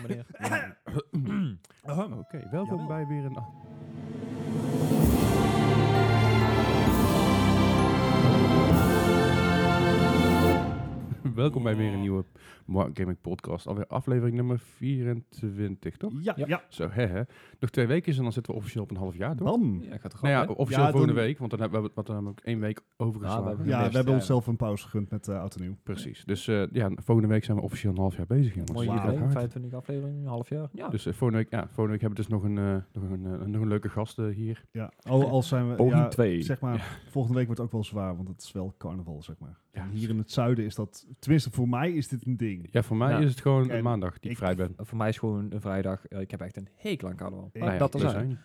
meneer. Oh, Oké, welkom Jawel. bij weer een... Welkom bij weer een nieuwe Mark Gaming Podcast. Alweer aflevering nummer 24, toch? Ja, Ja. ja. Zo, hè, hè. Nog twee weken is en dan zitten we officieel op een half jaar, toch? Bam. Ja, gaat toch nou ja, af, officieel Ja, volgende dan- week, want dan hebben we het- wat dan hebben we ook één week Ja, we overgeslagen. hebben- Ja, Best, we hebben ja. onszelf een pauze gegund met eh Oud en Nieuw. Precies. Dus eh, ja, volgende week zijn we officieel een half jaar bezig, jongens. hè? oh, Mooi Wauw. Dat gaat idee, hard. 25 afleveringen, een half jaar. Ja, Dus eh, volgende, week, ja, volgende week hebben we dus nog een, eh, nog een, eh, nog een leuke gast eh, hier. Ja, al, al zijn we... Poging ja, twee. Zeg maar, volgende week wordt ook wel zwaar, want het is wel carnaval, zeg maar. Ja, En hier in het zuiden is dat... Tenminste, voor mij is dit een ding. Ja, voor mij Ja. is het gewoon En maandag die ik ik- vrij ben. eh, voor mij is gewoon een vrijdag. eh, ik heb echt een hekel aan carnaval. Ik- Maar Nou ja, dat er er zijn.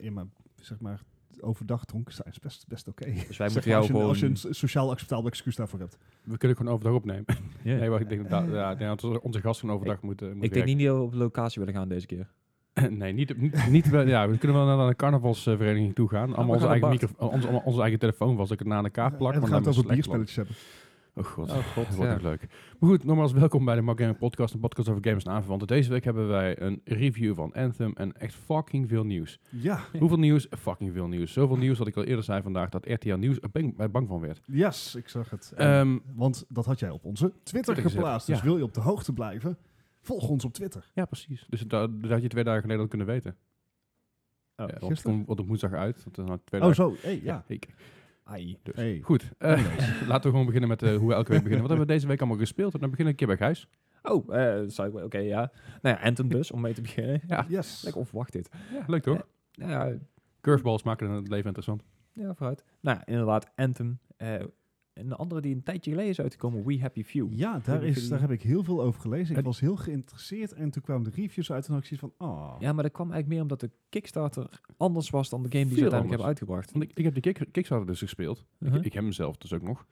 Ja, maar zeg maar, overdag dronken zijn is best, best oké. Dus wij Zeg moeten maar, jou als je, gewoon... Als je een so- sociaal acceptabel excuus daarvoor hebt. We kunnen gewoon overdag opnemen. Ja. nee, maar ik denk dat, ja, ik denk dat onze gasten overdag moeten moeten ik denk niet dat we op locatie willen gaan deze keer. werken. nee, niet, niet, niet wel- ja, we kunnen wel naar een carnavalsvereniging toe gaan. Allemaal onze gaan eigen, naar micro, onze, allemaal onze eigen telefoon was. Ik het na elkaar plak. en maar dan gaan we dan het over met Slack bierspelletjes hebben. plak. Oh god. Oh god, Dat wordt ook leuk. Maar goed, nogmaals welkom bij de Mark Gaming Podcast, een podcast over games en aanverwanten. Deze week hebben wij een review van Anthem en echt fucking veel nieuws. Ja, Hoeveel nieuws? Fucking veel nieuws. Zoveel nieuws dat ik al eerder zei vandaag dat RTL Nieuws er bang, bij bang van werd. yes, ik zag het. Ehm, want dat had jij op onze Twitter gezet, geplaatst. Dus ja. wil je op de hoogte blijven, volg ons op Twitter. ja, precies. Dus dat, dat had je twee dagen geleden al kunnen weten. Oh, ja, want het komt op woensdag uit. Want dan had twee Oh, dagen. zo. Hey, ja. ik- Ai. dus. Hey. Goed, eh, laten we gewoon beginnen met eh, hoe we elke week beginnen. Wat hebben we deze week allemaal gespeeld? En dan beginnen we een keer bij Gijs. Oh, eh, Sideway, oké, ja. Nou ja, Anthem dus, om mee te beginnen. Ja. Yes. Lekker onverwacht dit. Leuk toch? Nou ja, Curveballs maken het leven interessant. ja, vooruit. Nou ja, inderdaad, Anthem. eh, en de andere die een tijdje geleden is uitgekomen, We Happy Few. Ja, daar, Hebben is, jullie- daar heb ik heel veel over gelezen. Ik Het- was heel geïnteresseerd en toen kwamen de reviews uit en had ik zoiets van, ah, Ja, maar dat kwam eigenlijk meer omdat de Kickstarter anders was dan de game die ze Veel uiteindelijk hebben uitgebracht. Want ik, ik heb die kick, Kickstarter dus gespeeld. Uh-huh. Ik, ik heb hem zelf dus ook nog.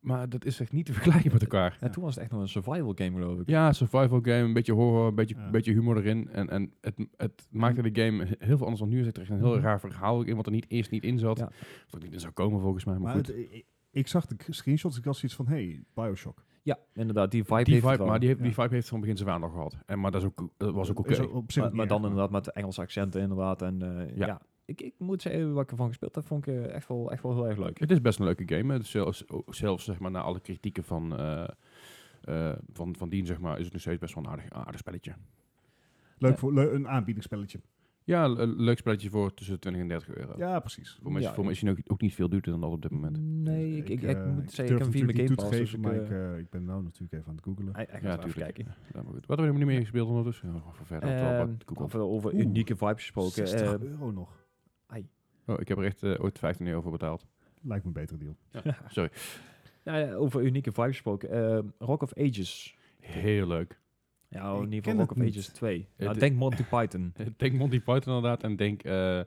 Maar dat is echt niet te vergelijken met elkaar. Ja, toen was het echt nog een survival game, geloof ik. Ja, survival game, een beetje horror, een beetje, Ja. beetje humor erin. En, en het, het maakte de game he- heel veel anders dan nu. Er zit echt een heel Mhm. raar verhaal in wat er niet, eerst niet in zat. Ja. Wat er niet in zou komen volgens mij, maar, maar goed. het- ik, ik zag de k- screenshots, ik was zoiets van, hey, Bioshock. Ja, inderdaad, die vibe die heeft het vibe, wel. maar die, heeft, die Ja. vibe heeft van begin zijn aan al gehad. En, maar dat, is ook, dat was ook oké. Is op zich maar, niet maar dan erg. inderdaad met Engelse accenten inderdaad. En eh, Ja. ja, ik, ik moet zeggen wat ik ervan gespeeld heb, vond ik eh, echt, wel, echt wel heel erg leuk. Het is best een leuke game. Het is zelfs, ook zelfs zeg maar, na alle kritieken van, eh, eh, van, van dien, zeg maar, is het nog steeds best wel een aardig, aardig spelletje. Leuk voor le- een aanbiedingsspelletje. Ja, le- leuk spelletje voor tussen de 20 en 30 euro. Ja, precies. Voor mij is Ja. Mm. voor mij is hij ook, ook niet veel duurder dan dat op dit moment. Nee, ik, ik, ik eh, moet zeggen, durf ik heb via mijn natuurlijk niet Game toe Pass. te Dus geven, ik, maar eh, ik, eh, ik ben nou natuurlijk even aan het googelen. hij- hij gaat Ja, even tuurlijk. kijken. Ja, maar goed. Wat hebben we helemaal niet meer gespeeld ondertussen? Oh, voor verder op wel Ehm, wat Google. over over Oeh, unieke vibes gesproken. 60 eh, euro nog. Oh, ik heb er echt eh, ooit 15 euro voor betaald. Lijkt me een betere deal. Sorry. nou ja, over unieke vibes gesproken. eh, Rock of Ages. Heel leuk. Ja, Ik in ieder ken geval Rock het of niet. Ages 2. Nou, Het- denk Monty Python. Denk Monty Python inderdaad en denk eh,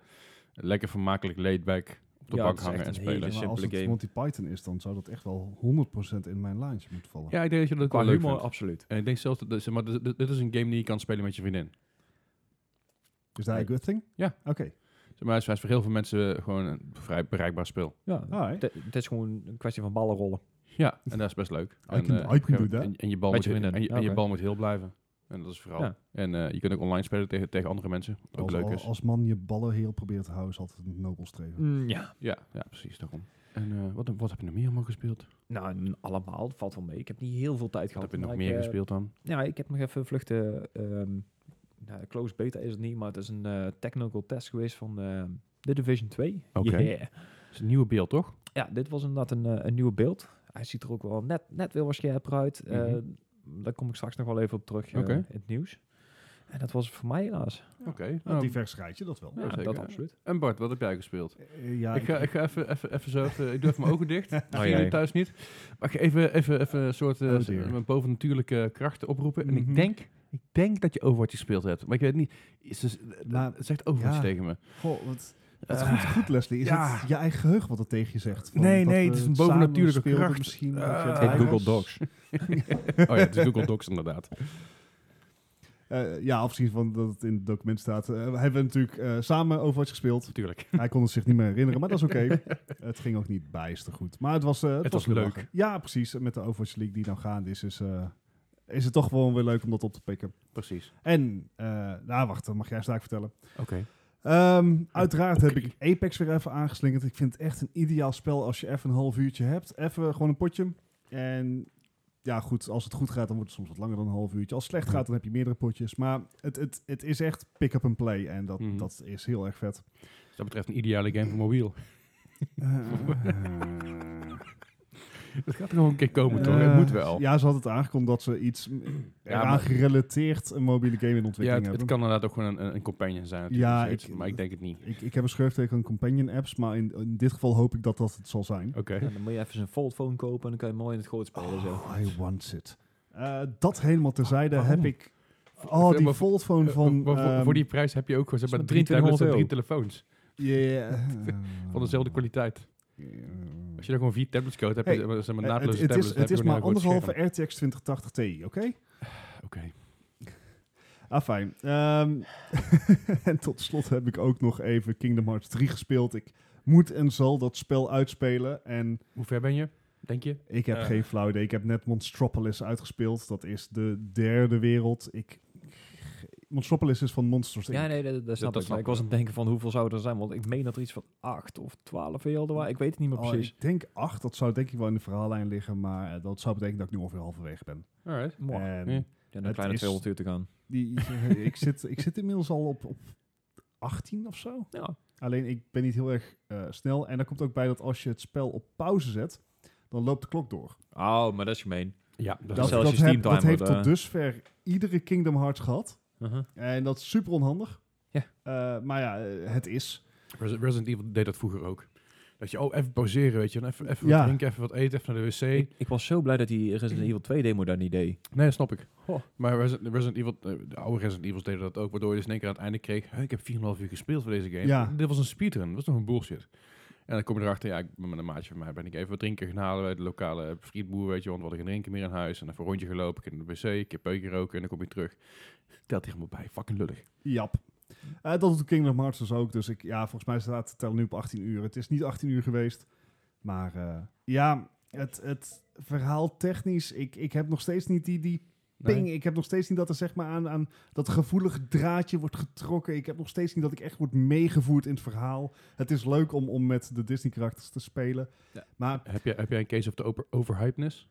lekker vermakelijk laidback op de Ja, bank het is hangen echt en een spelen. hele maar als simpele het game. Monty Python is, dan zou dat echt wel 100% in mijn lijntje moeten vallen. Ja, ik denk dat je dat ook Qua wel leuk humor, vindt. absoluut. En ik denk zelfs, dat, dat- zeg maar dit, dit- dit is een game die je kan spelen met je vriendin. Is dat een good thing? Ja. Oké. Zeg maar, hij is hij is voor heel veel mensen gewoon een vrij bereikbaar spel. Ja, Alright. het- het is gewoon een kwestie van ballen rollen. Ja, en dat is best leuk. I en, can- eh, I can do that. en, en je bal Met je moet, en, je, vriendin. en je Oké. bal moet heel blijven. En dat is vooral. Ja. En eh, je kunt ook online spelen tegen, tegen andere mensen. Wat ook Als, leuk al- is. als man je ballen heel probeert te houden, is altijd een nobel streven. Mm. ja. Ja, ja, precies, daarom. En eh, wat, wat heb je nog meer allemaal gespeeld? Nou, n- allemaal. dat Valt wel mee. Ik heb niet heel veel tijd Wat gehad. heb je nog maar meer ik, eh, gespeeld dan? Ja, ik heb nog even vluchten... ehm nou, close beta is het niet, maar het is een eh, technical test geweest van eh The Division 2. Oké. Yeah. Het is een nieuwe beeld, toch? Ja, dit was inderdaad een, eh, een nieuwe beeld. Hij ziet er ook wel net, net weer wat scherper uit. Eh, Mhm. daar kom ik straks nog wel even op terug eh, Oké. in het nieuws. En dat was het voor mij helaas. Oké. Een nou, divers rijtje, dat wel. Ja, Ja, zeker. dat absoluut. en Bart, wat heb jij gespeeld? Eh, ja, ik, ga, ik ga even, even, even zo, even, ik doe even mijn ogen dicht. Dat zien jee. jullie thuis niet. Maar ik ga even, even, even een soort eh, Oh, s- dear. mijn bovennatuurlijke krachten oproepen. En Mhm. ik denk, ik denk dat je Overwatch gespeeld hebt. Maar ik weet niet, is dus, Maar- het zegt Overwatch ja. tegen me. Goh, wat, wat Eh, goed, goed, Leslie. Is ja. het je eigen geheugen wat dat tegen je zegt? Van Nee, dat nee, we het is een samen bovennatuurlijke speelden kracht. Misschien Eh, dat je het Het heet bij heet Google Google was. Docs. Oh ja, het is Google Docs inderdaad. Eh, ja, afgezien van dat het in het document staat. eh, we hebben natuurlijk eh, samen Overwatch gespeeld. Natuurlijk. Hij kon het zich niet meer herinneren, maar dat is oké. het ging ook niet bijster goed. Maar het was, eh, het Het was, was weer leuk. lachen. Ja, precies. Met de Overwatch League die nou gaande is, is eh, is het toch gewoon weer leuk om dat op te pikken. Precies. En, eh nou wacht, dat mag jij straks vertellen. Oké. Ehm, uiteraard heb ik Apex weer even aangeslingerd. Ik vind het echt een ideaal spel als je even een half uurtje hebt. Even gewoon een potje. En ja, goed, als het goed gaat, dan wordt het soms wat langer dan een half uurtje. Als het slecht gaat, dan heb je meerdere potjes. Maar het, het, het is echt pick-up and play. En dat, Mhm. dat is heel erg vet. Dus dat betreft een ideale game voor mobiel. Dat gaat er gewoon een keer komen, toch? Eh, Het Oh, moet wel. Ja, ze had het aangekondigd dat ze iets mm, eraan maar- gerelateerd een mobiele game in Ja, ontwikkeling het, het hebben. kan inderdaad ook gewoon een, een, een companion zijn. natuurlijk, Ja, nog steeds, ik- maar ik denk het niet. Ik, ik heb een schurf tegen companion apps, maar in, in dit geval hoop ik dat dat het zal zijn. Oké. Ja, dan moet je even een foldphone kopen en dan kan je mooi in het groot spelen. zo. Oh, I want it. Eh, dat helemaal terzijde Waarom? heb ik... Oh, die maar- foldphone Eh, van... maar voor, ehm, voor die prijs heb je ook gewoon zeg maar, zo'n drie tablets en 2300 drie telefoons. Yeah. Van dezelfde kwaliteit. Als je dan gewoon vier tablets koopt, heb je Hey, zeg maar, zeg maar, Eh, het, naadloze het tablets. is, dan heb het je is gewoon maar een heel groot anderhalve RTX 2080 Ti, oké? scherm. Oké. Ah, fijn. Ehm, en tot slot heb ik ook nog even Kingdom Hearts 3 gespeeld. Ik moet en zal dat spel uitspelen. En Hoe ver ben je, denk je? ik heb Eh. geen flauw idee. Ik heb net Monstropolis uitgespeeld. Dat is de derde wereld. Ik... Monstropolis is van Monsters Inc. Ja, nee, dat, dat snap dat ik. snap Maar ik ik was wel. aan het denken van hoeveel zou er zijn. Want ik meen dat er iets van 8 of 12 werelden waren. Ik weet het niet meer Oh, precies. ik denk 8, dat zou denk ik wel in de verhaallijn liggen, maar eh, dat zou betekenen dat ik nu ongeveer halverwege ben. Alright. Mooi. En Ja. Ja, het een kleine is- 200 uur te gaan. die, eh, ik, zit, ik zit inmiddels al op, op 18 of zo. Ja. Alleen ik ben niet heel erg eh, snel. En daar komt ook bij dat als je het spel op pauze zet, dan loopt de klok door. Oh, maar dat is gemeen. Ja, dat, zelfs is je heb- Steam dat timer, heeft eh. tot dusver iedere Kingdom Hearts gehad. Uh-huh. En dat is super onhandig. Ja. Eh, maar ja, eh, het is. Res- Resident Evil deed dat vroeger ook. Dat je, oh, even pauzeren, weet je. dan Even, even Ja. wat drinken, even wat eten, even naar de wc. Ik, ik was zo blij dat die Resident Evil 2 demo daar niet deed. Nee, dat snap ik. Maar Resident, Resident Evil, eh, de oude Resident Evils deden dat ook, waardoor je dus in één keer aan het einde kreeg, "Hè, ik heb 4,5 uur gespeeld voor deze game. Ja. Dit was een speedrun, dat was nog een bullshit. En dan kom je erachter, ja, ik ben met een maatje van mij, ben ik even wat drinken gaan halen bij de lokale frietboer, weet je, want we hadden geen drinken meer in huis. En even een rondje gelopen, ik in de wc, ik heb peuken roken en dan kom je terug. Telt die helemaal bij, fucking lullig. Jap. Eh, dat doet Kingdom Hearts dus ook. Dus ik, ja, volgens mij staat het tellen nu op 18 uur. Het is niet 18 uur geweest. Maar eh, ja, het, het verhaal technisch. Ik, ik heb nog steeds niet die, die Nee? ping. Ik heb nog steeds niet dat er zeg maar aan, aan dat gevoelige draadje wordt getrokken. Ik heb nog steeds niet dat ik echt word meegevoerd in het verhaal. Het is leuk om, om met de Disney-karakters te spelen. Ja. Maar Heb, jij, heb jij een case of the over overhypeness?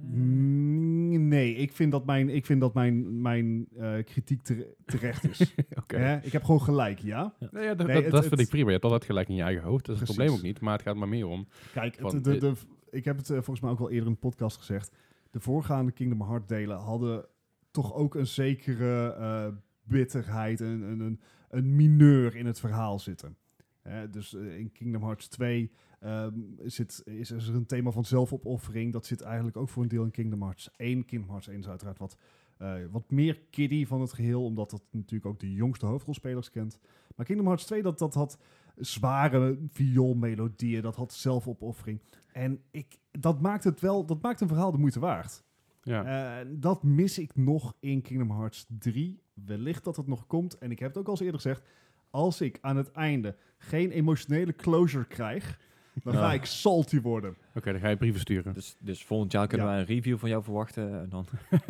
mm, nee, ik vind dat mijn, ik vind dat mijn, mijn eh, kritiek tere- terecht is. Oké. Hè? Ik heb gewoon gelijk, ja. Nou ja, dat, Nee, dat- het- dat het- vind ik prima. Je hebt altijd gelijk in je eigen hoofd. Dat is Precies. het probleem ook niet. Maar het gaat maar meer om. Kijk, het- Van de, dit- de, ik heb het eh, volgens mij ook al eerder in de podcast gezegd. De voorgaande Kingdom Hearts delen hadden toch ook een zekere eh, bitterheid, een, een, een, een mineur in het verhaal zitten. Hè, dus eh, in Kingdom Hearts 2 ehm, zit, is, is er een thema van zelfopoffering. Dat zit eigenlijk ook voor een deel in Kingdom Hearts 1. Kingdom Hearts 1 is uiteraard wat, eh, wat meer kiddie van het geheel, omdat dat natuurlijk ook de jongste hoofdrolspelers kent. Maar Kingdom Hearts 2, dat, dat had zware vioolmelodieën, dat had zelfopoffering. En ik, dat maakt het wel, dat maakt een verhaal de moeite waard. Ja. Eh, dat mis ik nog in Kingdom Hearts 3. Wellicht dat het nog komt. En ik heb het ook al eens eerder gezegd. Als ik aan het einde geen emotionele closure krijg, dan ga Ja. ik salty worden. Oké, dan ga je brieven sturen. Dus, dus volgend jaar kunnen Ja. wij een review van jou verwachten. En dan,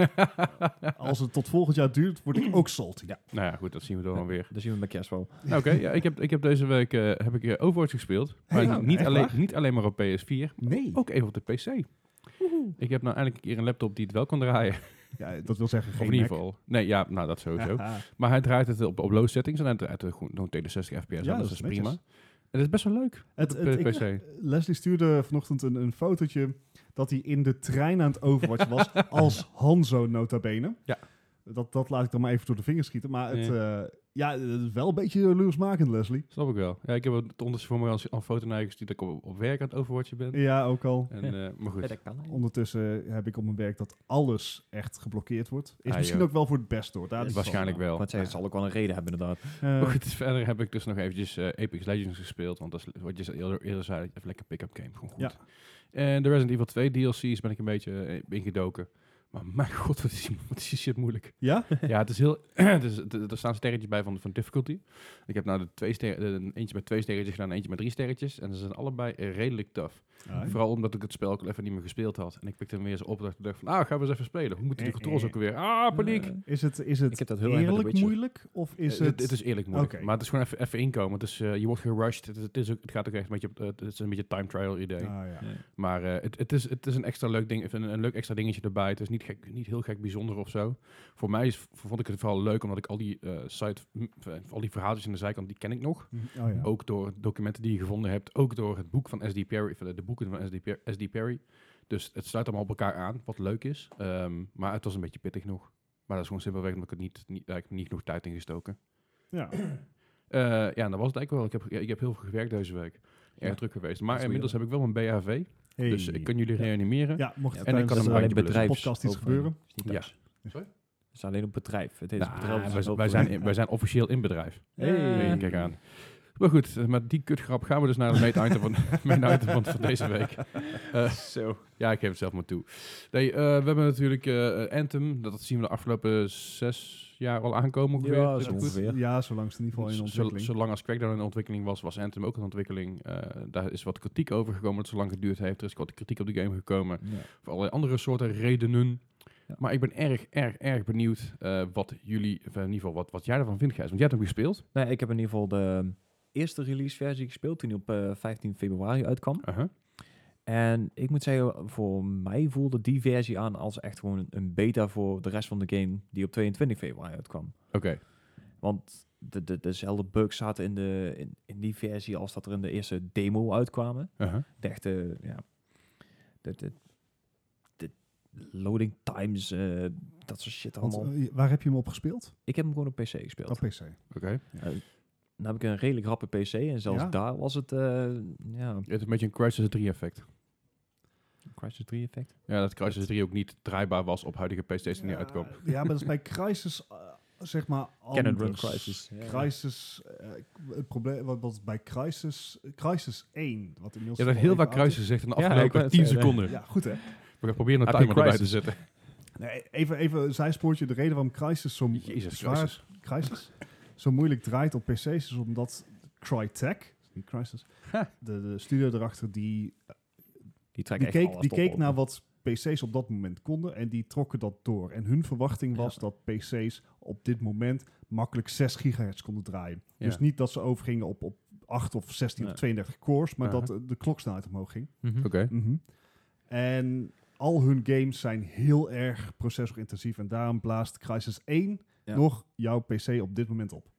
Als het tot volgend jaar duurt, word ik ook salty. Ja. Nou ja, goed. Dat zien we dan wel weer. dan zien we met kerst wel. Nou, Oké, ja, ik, heb, ik heb deze week eh, heb ik, eh, Overwatch gespeeld. Maar Hey, nou, niet, echt alleen, waar? niet alleen maar op PS4, Nee. ook even op de PC. Ik heb nou eindelijk een keer een laptop die het wel kan draaien. Ja, dat wil zeggen Of geen in ieder geval. Nee, ja, nou dat sowieso. maar hij draait het op, op low settings en hij draait het gewoon gewoon tegen de 60 fps. Ja, aan, dus dat dat is is prima. netjes. En dat is best wel leuk. Het, op de het, ik- PC. Leslie stuurde vanochtend een, een fotootje dat hij in de trein aan het Overwatch was. als Hanzo nota bene. Ja. Dat, dat laat ik dan maar even door de vingers schieten. Maar het, Nee. eh, ja, het is wel een beetje jaloersmakend, Leslie. Snap ik wel. Ja, ik heb het onderste voor me al een foto naar gestuurd dat ik op, op werk aan het Overwatchen ben. Ja, ook al. En, eh, maar goed. Ja, dat kan. Ondertussen heb ik op mijn werk dat alles echt geblokkeerd wordt. Is Ah, misschien joh. ook wel voor het best hoor. Daar Ja, is het Waarschijnlijk wel. Want zij zal ook wel een reden hebben inderdaad. wel. Eh, Maar goed, verder heb ik dus nog eventjes eh, Apex Legends gespeeld. Want dat is wat je eerder, eerder zei, even lekker pick-up game. Gewoon goed. Ja. En de Resident Evil 2 DLC's ben ik een beetje eh, ingedoken. Maar mijn god, wat is, die- wat is die shit moeilijk. Ja? ja, het is heel... het is, d- er staan sterretjes bij van, van difficulty. Ik heb nou de twee ster, de- eentje met twee sterretjes gedaan en eentje met drie sterretjes. En ze zijn allebei eh, redelijk tough. Ah, Vooral omdat ik het spel ook even niet meer gespeeld had. En ik pikte hem weer eens op en dacht van... Ah, gaan we eens even spelen. Hoe moeten de Eh, controls eh. ook weer? Ah, paniek! Eh, Is het, is ik het heb dat heel erg met The eerlijk Witcher. moeilijk of is Eh, het... het is eerlijk moeilijk. Oké. Maar het is gewoon even, even inkomen. Het is, eh, je wordt gerushed. Het, is- het, is ook, het gaat ook echt een beetje... op- eh, het is een beetje time trial idee. Ah, ja. Ja. Maar eh, het, het, is, het is een extra leuk ding, een, een leuk extra dingetje erbij. Het is niet, gek, niet heel gek bijzonder of zo. Voor mij is, vond ik het vooral leuk, omdat ik al die, eh side, m, eh, al die verhaaltjes aan de zijkant, die ken ik nog. Mm, Oh, ja. Ook door documenten die je gevonden hebt. Ook door het boek van S.D. Perry, of eh, de, de boeken van S.D. Per- S.D. Perry. Dus het sluit allemaal op elkaar aan, wat leuk is. Ehm, maar het was een beetje pittig nog. Maar dat is gewoon simpelweg omdat ik het niet, niet, daar heb ik niet genoeg tijd in gestoken. ja. Eh, ja, en dat was het eigenlijk wel. Ik heb, ja, ik heb heel veel gewerkt deze week. Erg Ja. druk geweest. moet Maar je inmiddels doen. heb ik wel een BHV. Hey. Dus ik kan jullie reanimeren. Ja, mocht Ja, er en ik tijdens kan hem is de- bij alleen de bedrijf. podcast iets hoofd- gebeuren. is niet thuis. Sorry? Het is alleen op bedrijf. Het is Nou, bedrijf. wij, wij zijn in- wij zijn officieel in bedrijf. Hey. Hey, Kijk aan. Maar goed, eh, met die kutgrap gaan we dus naar de main-item van, main item van, van deze week. Zo. Ja, ik geef het zelf maar toe. Nee, eh, we hebben natuurlijk eh, Anthem. Dat zien we de afgelopen zes jaar al aankomen ongeveer. Ja, Is zo dat goed? ongeveer. Ja, zolang ze in ieder geval in Z- ontwikkeling. Zolang als Crackdown in ontwikkeling was, was Anthem ook in ontwikkeling. Eh, daar is wat kritiek over gekomen dat het zo lang geduurd heeft. Er is wat kritiek op de game gekomen. Ja. voor allerlei andere soorten redenen. Ja. Maar ik ben erg, erg, erg benieuwd eh, wat jullie, of in ieder geval wat, wat jij ervan vindt, Gijs. Want jij hebt hem gespeeld. Nee, ik heb in ieder geval de eerste release versie gespeeld toen die op eh, 15 februari uitkwam. Uh-huh. En ik moet zeggen, voor mij voelde die versie aan als echt gewoon een- een beta voor de rest van de game die op 22 februari uitkwam. Oké, Want de, de, dezelfde bugs zaten in, de, in, in die versie als dat er in de eerste demo uitkwamen. Uh-huh. De echte, ja, de, de, de loading times, eh, dat soort shit Want, allemaal. eh, waar heb je hem op gespeeld? Ik heb hem gewoon op PC gespeeld. Op PC. oké. Nou heb ik een redelijk rappe PC en zelfs Ja. daar was het, eh ja, Het is een beetje een Crisis 3 effect. Crysis 3 effect. Ja, dat Crisis 3 ook niet draaibaar was op huidige PlayStation die Ja, uitkwam. Ja, maar dat is bij Crisis, eh, zeg maar, Ken and Run anders. Crisis. Ja. Crisis, eh, het probleem, wat, wat bij Crisis, Crisis 1, wat inmiddels... Je hebt al heel even vaak oud is. Crisis gezegd in de Ja, ik afgelopen wou het 10 zeggen. seconden. Ja, goed hè. We gaan proberen een Happy timer erbij te Crisis. zetten. Nee, even, even een zijspoortje. De reden waarom Crisis zo, Jezus, zwaar- Crisis. Crysis, zo moeilijk draait op PC's is omdat Crytek, niet Crisis, de, de studio erachter, die, Die trek die echt keek, alles die op, keek hoor. naar wat PC's op dat moment konden en die trokken dat door. En hun verwachting was Ja. dat PC's op dit moment makkelijk 6 gigahertz konden draaien. Ja. Dus niet dat ze overgingen op, op 8 of 16 Nee. of 32 cores, maar Aha. dat eh, de kloksnelheid omhoog ging. Mhm. Oké. Mhm. En al hun games zijn heel erg processorintensief. En daarom blaast Crysis 1 Ja. nog jouw PC op dit moment op.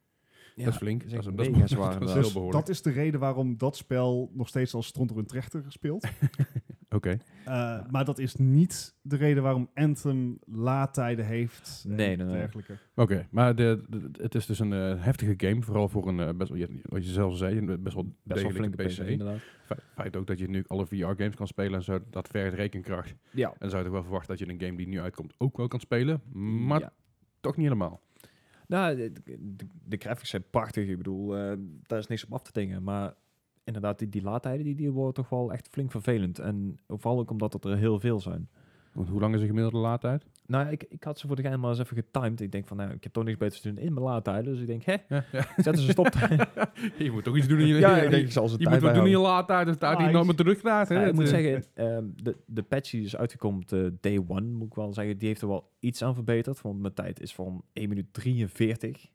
Ja, dat is flink. dat is Dat is, echt dat is, mega dat zwaar is heel inderdaad. Dus behoorlijk. dat is de reden waarom dat spel nog steeds als stront door een trechter speelt. Oké. Eh, Maar dat is niet de reden waarom Anthem laadtijden heeft. eh, en Nee, nee, nee. dergelijke. Oké, maar de, de- de- het is dus een eh, heftige game, vooral voor een eh, best wel, je- wat je zelf zei, een best wel Best wel degelijke flinke PC, PC. inderdaad. Fe- feit ook dat je nu alle VR-games kan spelen en zo, dat vergt rekenkracht. En Ja. dan zou je toch wel verwachten dat je een game die nu uitkomt ook wel kan spelen, maar Ja. toch niet helemaal. Nou, de, de- de graphics zijn prachtig. Ik bedoel, eh, daar is niks op af te dingen. Maar inderdaad, die, die laadtijden die, die worden toch wel echt flink vervelend. En vooral ook omdat het er heel veel zijn. Want hoe lang is de gemiddelde laadtijd? Nou, ik, ik had ze voor de gein maar eens even getimed. Ik denk van, nou, ik heb toch niks beters te doen in mijn laadtijden. Dus ik denk, hè, Ja, ja. zetten ze stop. je moet toch iets doen in je ja, ik denk, ik zal ze Je tijd moet wat doen in je bijhouden. laadtijd, dat staat hier Ah, nou ik- maar terug Dus- naar. Ja, ik moet zeggen, ehm, de, de patch die is uitgekomen, de day one, moet ik wel zeggen, die heeft er wel iets aan verbeterd. Want mijn tijd is van 1 minuut 43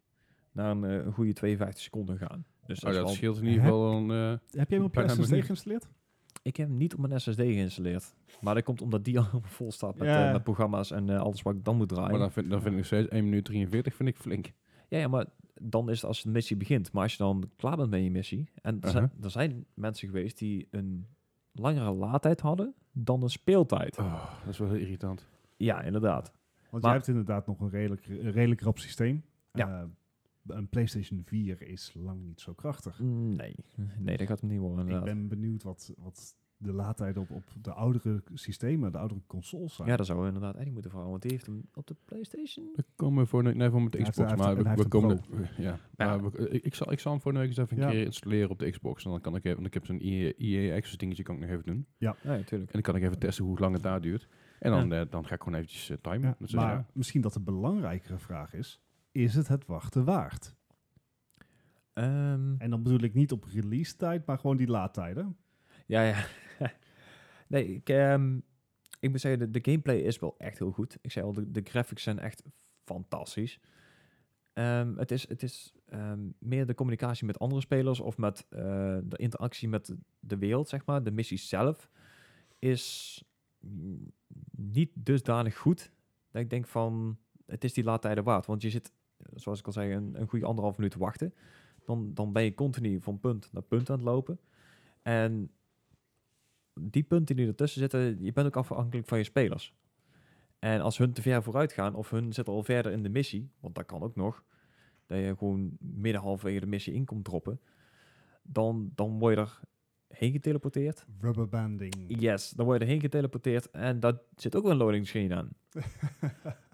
naar een eh, goede 52 seconden gaan. Dus dat, Oh, is dat wel- scheelt in ieder geval een... eh, Heb jij hem op je Bijna SSD niet. geïnstalleerd? Ik heb hem niet op mijn SSD geïnstalleerd. Maar dat komt omdat die al vol staat met, Ja. eh, met programma's en eh, alles wat ik dan moet maar draaien. dan vind, dan vind ik nog steeds 1 minuut 43 vind ik flink. ja, ja, maar dan is het als de missie begint. Maar als je dan klaar bent met je missie... En er, zijn, er zijn mensen geweest die een langere laadtijd hadden dan een speeltijd. Oh, dat is wel heel irritant. Ja, inderdaad. Want Maar- jij hebt inderdaad nog een redelijk, een redelijk rap systeem. Ja. Eh, een PlayStation 4 is lang niet zo krachtig. Mm, Nee, nee dat gaat hem niet worden, Ik inderdaad. ben benieuwd wat, wat de laadtijd op, op de oudere systemen, de oudere consoles zijn. Ja, dat zou inderdaad Eddie moeten vragen, want die heeft hem op de PlayStation. We komen voor de, nee, voor met de Hij heeft- Xbox, hij maar heeft- we, en hij we heeft een komen... de- ja, maar we- ik, ik zal, ik zal hem voor de week eens even een Ja. keer installeren op de Xbox. En dan kan ik even, want ik heb zo'n E EA, EA Access dingetje, kan ik nog even doen. Ja, natuurlijk. En dan kan ik even testen hoe lang het daar duurt. En dan, eh, dan ga ik gewoon eventjes eh, timen. Ja, Dus, eh, maar misschien dat de belangrijkere vraag is, is het het wachten waard? Ehm, En dan bedoel ik niet op release tijd, maar gewoon die laadtijden. ja, ja. nee, ik, ehm, ik moet zeggen, de, de gameplay is wel echt heel goed. Ik zei al, de, de graphics zijn echt fantastisch. Ehm, het is, het is ehm, meer de communicatie met andere spelers of met eh, de interactie met de- de wereld, zeg maar. De missie zelf is mm, niet dusdanig goed dat ik denk van, het is die laadtijden waard. Want je zit, zoals ik al zei, een, een goede anderhalf minuut te wachten. Dan, dan ben je continu van punt naar punt aan het lopen. En die punten die ertussen zitten, je bent ook afhankelijk van je spelers. En als hun te ver vooruit gaan, of hun zitten al verder in de missie, want dat kan ook nog, dat je gewoon midden halverwege de missie in komt droppen, dan, dan word je er heen geteleporteerd. Rubberbanding. Yes, dan word je erheen geteleporteerd en dat zit ook wel een loading screen aan.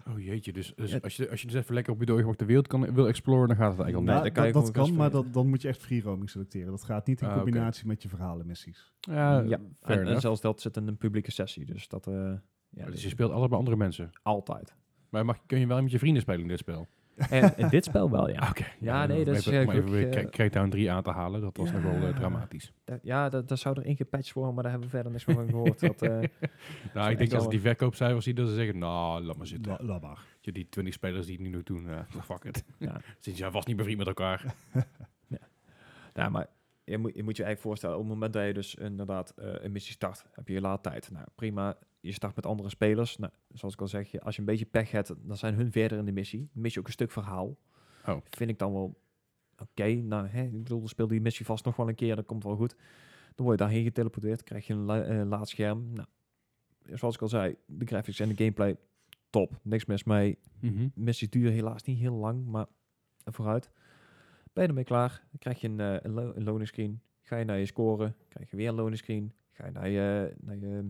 oh jeetje, dus, dus Ja. als, je, als je dus even lekker op je doorgemaakte wereld kan, wil exploren, dan gaat het eigenlijk al Nou, net. dan kan je dat, gewoon kan, best maar vergeten. dat, dan moet je echt free roaming selecteren. Dat gaat niet in Ah, oké. combinatie met je verhalenmissies. Ja, ja, fair en, en enough. zelfs dat zit in een publieke sessie, dus dat, eh, ja, Dus dat je is speelt altijd bij andere mensen. altijd. Maar mag, kun je wel met je vrienden spelen in dit spel? En in dit spel wel, ja. Ah, Oké. Ja, nee, om dat is, even, eh, om even gelukkig, weer eh, Cra- Crackdown 3 aan te halen, dat was nog wel Ja. eh, dramatisch. Dat- ja, dat, dat zou erin gepatcht worden, maar daar hebben we verder niks meer van gehoord. Dat, eh, Nou, echt ik denk als wel- ik die verkoopcijfers zie, dat ze zeggen, nou, laat maar zitten. La, laat maar. Je, die 20 spelers die het nu nog doen, eh, fuck it. Ja. Sinds jij vast niet bevriend met elkaar. nou, maar je moet, je moet je eigenlijk voorstellen, op het moment dat je dus inderdaad eh, een missie start, heb je je laadtijd. Nou, prima. Je start met andere spelers. Nou, zoals ik al zeg, je- als je een beetje pech hebt, dan zijn hun verder in de missie. Dan mis je ook een stuk verhaal. Oh. Vind ik dan wel oké. Nou, hè, ik bedoel, dan speel die missie vast nog wel een keer, dat komt wel goed. Dan word je daarheen geteleporteerd, krijg je een la- eh, laadscherm. Nou, zoals ik al zei, de graphics en de gameplay, top. Niks mis mee. Mhm. Missies duren helaas niet heel lang, maar vooruit. Ben je ermee klaar, dan krijg je een, eh een, lo- een loading screen. Ga je naar je score, krijg je weer een loading screen. Ga je naar je, naar je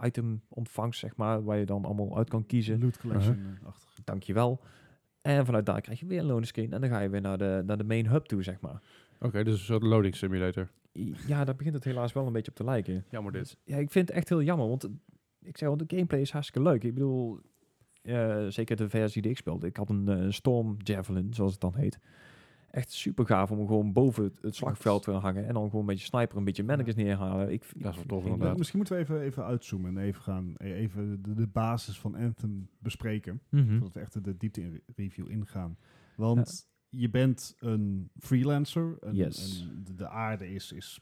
item ontvangst, zeg maar, waar je dan allemaal uit kan kiezen. Uh-huh. Loot collection eh, achter. Dankjewel. En vanuit daar krijg je weer een loading screen. En dan ga je weer naar de, naar de main hub toe, zeg maar. Oké, dus een soort loading simulator. I- Ja, daar begint het helaas wel een beetje op te lijken. Jammer dit. Dus, ja, ik vind het echt heel jammer, want eh, ik zeg al, de gameplay is hartstikke leuk. Ik bedoel, eh, zeker de versie die ik speelde. Ik had een eh, Storm Javelin, zoals het dan heet. Echt super gaaf om gewoon boven het, het slagveld te hangen en dan gewoon een beetje sniper, een beetje mannetjes neerhalen. Ik, Dat is wel ik- tof, ik- inderdaad. Eh, Misschien moeten we even, even uitzoomen en even, gaan, eh, even de, de basis van Anthem bespreken. Mhm. Voordat we echt de diepte in re- review ingaan. Want je bent een freelancer. Een, Yes. een- de, de aarde is... is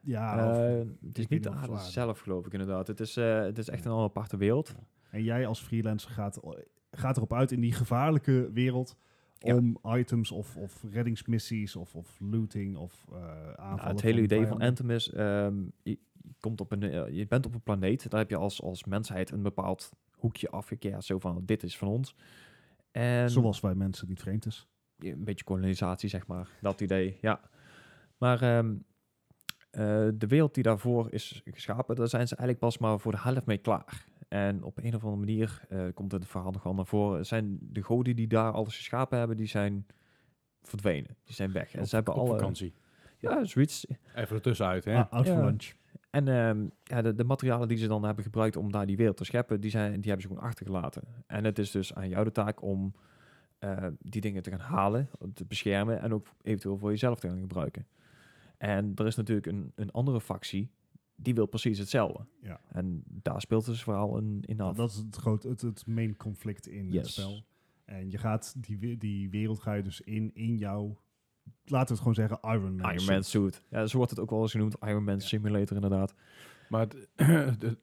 ja, Eh, of- het is weet niet niet de of aarde zwaarder. zelf, geloof ik inderdaad. Het is, eh, het is echt een al aparte wereld. en jij als freelancer gaat, gaat erop uit in die gevaarlijke wereld... Ja. om items of, of reddingsmissies of, of looting of eh aanvallen. Nou, het hele idee van vijanden. Anthem is, ehm, je, je komt op een, eh, je bent op een planeet, daar heb je als, als mensheid een bepaald hoekje afgekeerd, zo van dit is van ons. En Zoals wij mensen niet vreemd is. een beetje kolonisatie, zeg maar. Dat idee, ja. Maar ehm, eh, de wereld die daarvoor is geschapen, daar zijn ze eigenlijk pas maar voor de helft mee klaar. En op een of andere manier eh, komt het verhaal nog wel naar voren. Zijn de goden die daar alles geschapen hebben, die zijn verdwenen. Die zijn weg. En Op- ze hebben op alle. vakantie. Ja, zoiets. Even ertussenuit, hè? Ah, out for Ja. lunch. En ehm, ja, de, de materialen die ze dan hebben gebruikt om daar die wereld te scheppen, die, zijn, die hebben ze gewoon achtergelaten. En het is dus aan jou de taak om eh, die dingen te gaan halen, te beschermen en ook eventueel voor jezelf te gaan gebruiken. En er is natuurlijk een, een andere factie die wil precies hetzelfde. Ja. En daar speelt dus vooral een in af. Dat is het, groot, het, het main conflict in het Yes. spel. En je gaat die, we- die wereld ga je dus in, in jouw, laten we het gewoon zeggen, Iron Man. Iron suit. Man suit. Ja, zo wordt het ook wel eens genoemd. Iron Man Simulator inderdaad. Maar het, de-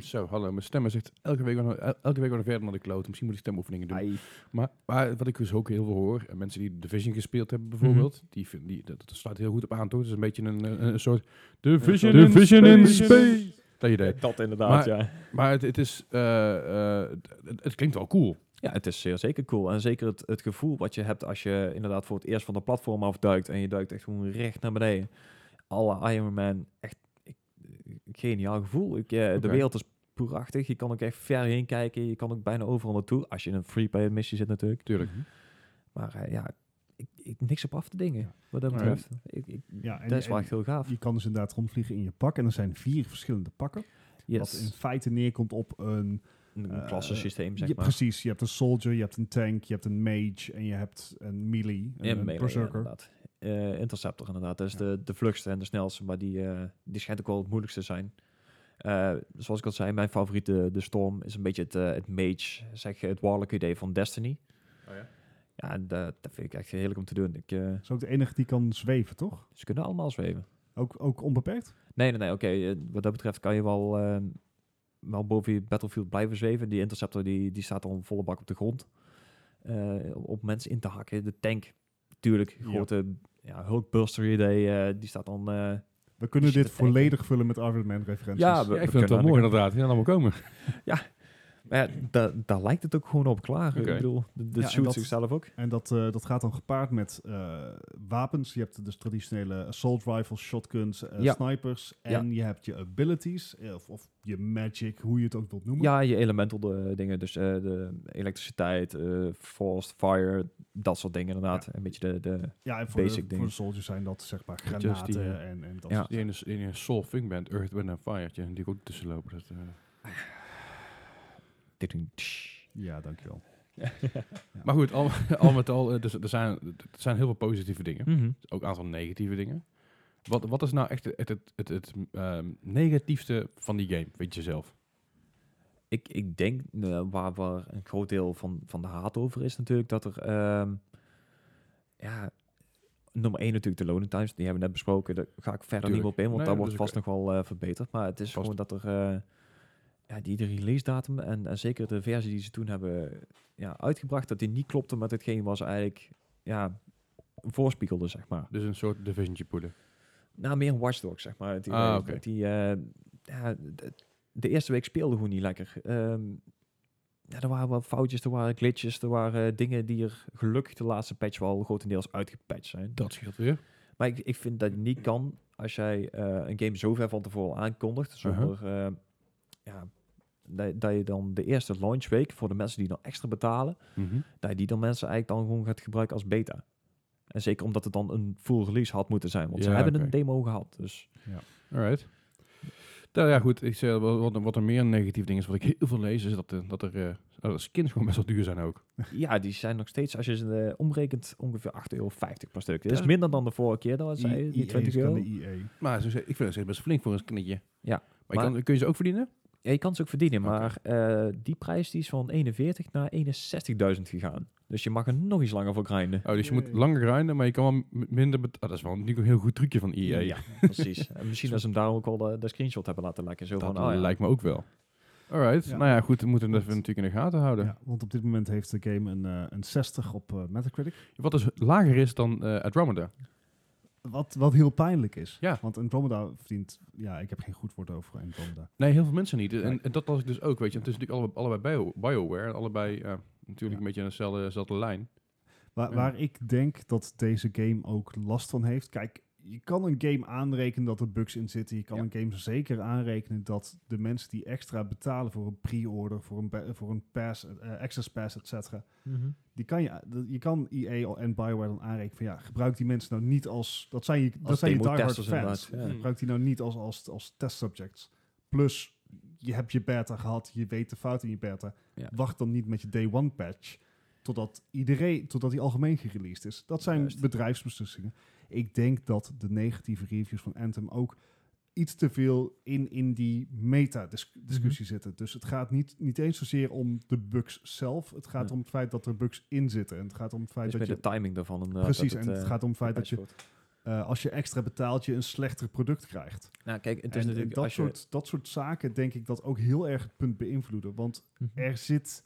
zo, hallo, mijn stem is echt elke week, wel- el- elke week weer verder naar de kloot. Misschien moet ik stemoefeningen doen. Ai. Maar, maar wat ik dus ook heel veel hoor, en mensen die The Division gespeeld hebben bijvoorbeeld, die, vinden- die, dat, dat slaat heel goed op aan, toch? Het is een beetje een, een, een soort Division, soort- Division in Space. space. Dat idee. Dat inderdaad, ja. Maar het, het is, eh, eh, het, het klinkt wel cool. Ja, het is zeer zeker cool. En zeker het, het gevoel wat je hebt als je inderdaad voor het eerst van de platform afduikt en je duikt echt gewoon recht naar beneden. Alle Iron Man, echt, ik, ik geniaal gevoel. Ik, eh, De Oké. wereld is poerachtig. Je kan ook echt ver heen kijken. Je kan ook bijna overal naartoe. Als je in een free play missie zit natuurlijk. Tuurlijk. Mhm. Maar eh, ja, ik, ik, niks op af te dingen. Wat dat Nee. betreft. Ik, ik, Ja, en, dat is wel en echt heel gaaf. je kan dus inderdaad rondvliegen in je pak. En er zijn vier verschillende pakken. Wat in Yes. feite neerkomt op een Een eh, klassensysteem, Je zeg hebt maar. Precies, je hebt een soldier, je hebt een tank, je hebt een mage en je hebt een melee, een, Ja, een melee, ja, berserker. inderdaad. Eh, interceptor inderdaad. Dat is Ja. de, de vlugste en de snelste, maar die, eh, die schijnt ook wel het moeilijkste te zijn. Eh, zoals ik al zei, mijn favoriete, de Storm, is een beetje het, eh, het mage, zeg het warlock idee van Destiny. Oh ja? Ja, en dat, dat vind ik echt heerlijk om te doen. Ik, eh, Dat is ook de enige die kan zweven, toch? ze kunnen allemaal zweven. Ook, ook onbeperkt? Nee, nee, nee, oké. eh, wat dat betreft kan je wel, eh, wel boven je battlefield blijven zweven. Die interceptor die, die staat al volle bak op de grond. eh, om- om mensen in te hakken. De tank, natuurlijk. Ja. Grote ja, hulkbuster idee. eh, die staat dan... eh, We kunnen Je zit dit te tanken. volledig vullen met Iron Man referenties. Ja, we- ik vind kunnen het wel aan mooi de kant. inderdaad. Die gaan allemaal komen. Maar ja, da- daar lijkt het ook gewoon op klaar. Ik Oké. bedoel, de, de Ja, en shoot dat- zichzelf ook. En dat, eh, dat gaat dan gepaard met eh, wapens. Je hebt dus traditionele assault rifles, shotguns, eh, Ja. snipers. En je hebt je abilities, eh, of, of je magic, hoe je het ook wilt noemen. Ja, je elemental de, dingen. Dus eh, de elektriciteit, eh force, fire, dat soort dingen inderdaad. Een beetje de... de Ja, en voor, Basic de, voor dingen. de soldiers zijn dat zeg maar Just die, granaten ja. en, en dat Ja. soort Die ene, die ene soul funk band, Earth, Wind and Fire, die die ik ook tussen lopen. Dat, eh. Ja, dankjewel. Maar goed, al, al met al, eh, dus, er, zijn, er zijn heel veel positieve dingen. Mhm. Ook een aantal negatieve dingen. Wat, wat is nou echt het, het, het, het ehm, negatiefste van die game, weet je zelf? Ik, ik denk eh, waar, waar een groot deel van, van de haat over is natuurlijk dat er ehm, ja, nummer één natuurlijk de loading times, die hebben we net besproken. Daar ga ik verder Tuurlijk. niet meer op in, want Nee, daar dat wordt is vast nog wel eh, verbeterd. Maar het is Vast. gewoon dat er eh, ja, die de release datum en, en zeker de versie die ze toen hebben ja, uitgebracht, dat die niet klopte met hetgeen was eigenlijk ja, voorspiegelde, zeg maar. Dus een soort divisiontje poelen. Nou, meer een watchdog, zeg maar. Het idee Ah, dat oké. die, eh, ja, de, de eerste week speelde gewoon niet lekker. Ehm, ja, er waren wat foutjes, er waren glitches, er waren eh, dingen die er gelukkig de laatste patch wel grotendeels uitgepatcht zijn. Dat scheelt weer. Maar ik, ik vind dat je niet kan als jij eh, een game zo ver van tevoren aankondigt, Uh-huh. zonder eh, ja, dat, dat je dan de eerste launch week voor de mensen die dan extra betalen, Mhm. dat je die dan mensen eigenlijk dan gewoon gaat gebruiken als beta. En zeker omdat het dan een full release had moeten zijn, want ze Ja, hebben oké. een demo gehad, dus... Alright. Nou ja, goed. Ik zei, wel, wat, wat er meer een negatief ding is, wat ik heel veel lees, is dat, de- dat er eh, dat de skins gewoon best wel duur zijn ook. Ja, die zijn nog steeds, als je ze eh, omrekent, ongeveer 8,50 euro per stuk. Dat Dat is is- minder dan de vorige keer, dat was I- E zei, die EA 20 is dan euro. de EA. Maar zoals ik zei, ik vind het best flink voor een skinnetje. Ja, Maar, je maar- kan, kun je ze ook verdienen? Ja, je kan ze ook verdienen, Oké. maar eh, die prijs die is van 41 naar 61.000 gegaan. Dus je mag er nog eens langer voor grinden. Oh, dus je Jee. moet langer grinden, maar je kan wel m- minder betalen. dat is wel natuurlijk een heel goed trucje van E EA. Ja, precies. en misschien dat ze hem daarom ook al de, de screenshot hebben laten lekken. Zo dat van, oh, ja. lijkt me ook wel. Alright, Ja. nou ja, goed, we moeten dat Goed. natuurlijk in de gaten houden. Ja, want op dit moment heeft de game een, eh, een 60 op eh, Metacritic. Wat dus lager is dan eh Andromeda. Wat, wat heel pijnlijk is. Ja. Want Andromeda verdient... Ja, ik heb geen goed woord over Andromeda. Nee, heel veel mensen niet. En, Nee. en dat las ik dus ook, weet je. Want het is natuurlijk allebei, allebei Bio- BioWare. en Allebei ja, natuurlijk Ja. een beetje aan dezelfde, dezelfde lijn. Waar, Ja. waar ik denk dat deze game ook last van heeft. Kijk, je kan een game aanrekenen dat er bugs in zitten. Je kan Ja. een game zeker aanrekenen dat de mensen die extra betalen voor een pre-order, voor een, ba- voor een pass, eh, access pass, et cetera. Mhm. Die kan je, dat- je kan EA al- en Bioware dan aanrekenen van ja, gebruik die mensen nou niet als... Dat zijn je, dat Als zijn je diehard demo-testers fans. inderdaad, ja. Gebruik die nou niet als, als, als testsubjects. Plus, je hebt je beta gehad, je weet de fout in je beta. Ja. Wacht dan niet met je day one patch totdat iedereen, totdat die algemeen gereleased is. Dat zijn Juist. bedrijfsbeslissingen. Ik denk dat de negatieve reviews van Anthem ook iets te veel in, in die Mhm. meta-discussie zitten. Dus het gaat niet, niet eens zozeer om de bugs zelf. Het gaat Ja. om het feit dat er bugs in zitten. En het gaat om het feit Dus met dat je... de timing daarvan. inderdaad, Precies, dat en het eh, gaat om het feit dat je gepatcht wordt. eh, als je extra betaalt, je een slechter product krijgt. Nou, kijk, het En- is en natuurlijk... dat, als je- soort, dat soort zaken denk ik dat ook heel erg het punt beïnvloeden. Want Mhm. er zit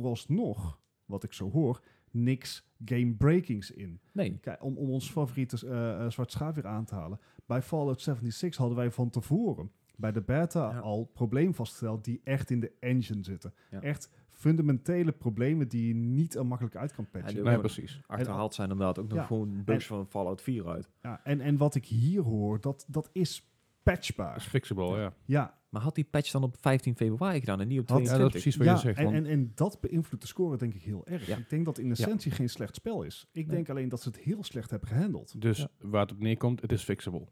vooralsnog, wat ik zo hoor, niks game-breakings in. Nee, Kijk, om, om ons favoriete eh eh, zwart schaap weer aan te halen. Bij Fallout 76 hadden wij van tevoren bij de beta Ja. al problemen vastgesteld die echt in de engine zitten. Ja. Echt fundamentele problemen die je niet er makkelijk uit kan patchen. Ja, Nee, maar- precies. achterhaald zijn inderdaad ook nog Ja. gewoon bugs van Fallout 4 uit. Ja, en, en wat ik hier hoor, dat, dat is patchbaar. Fixable, ja. Ja, Maar had die patch dan op 15 februari gedaan en niet op Had- Ja, dat 22? is precies wat je ja zegt. en, want- en, en dat beïnvloedt de score denk ik heel erg. Ja. Ik denk dat in essentie geen slecht spel is. Ik Nee. denk alleen dat ze het heel slecht hebben gehandeld. Dus Ja. waar het op neerkomt, het is fixable.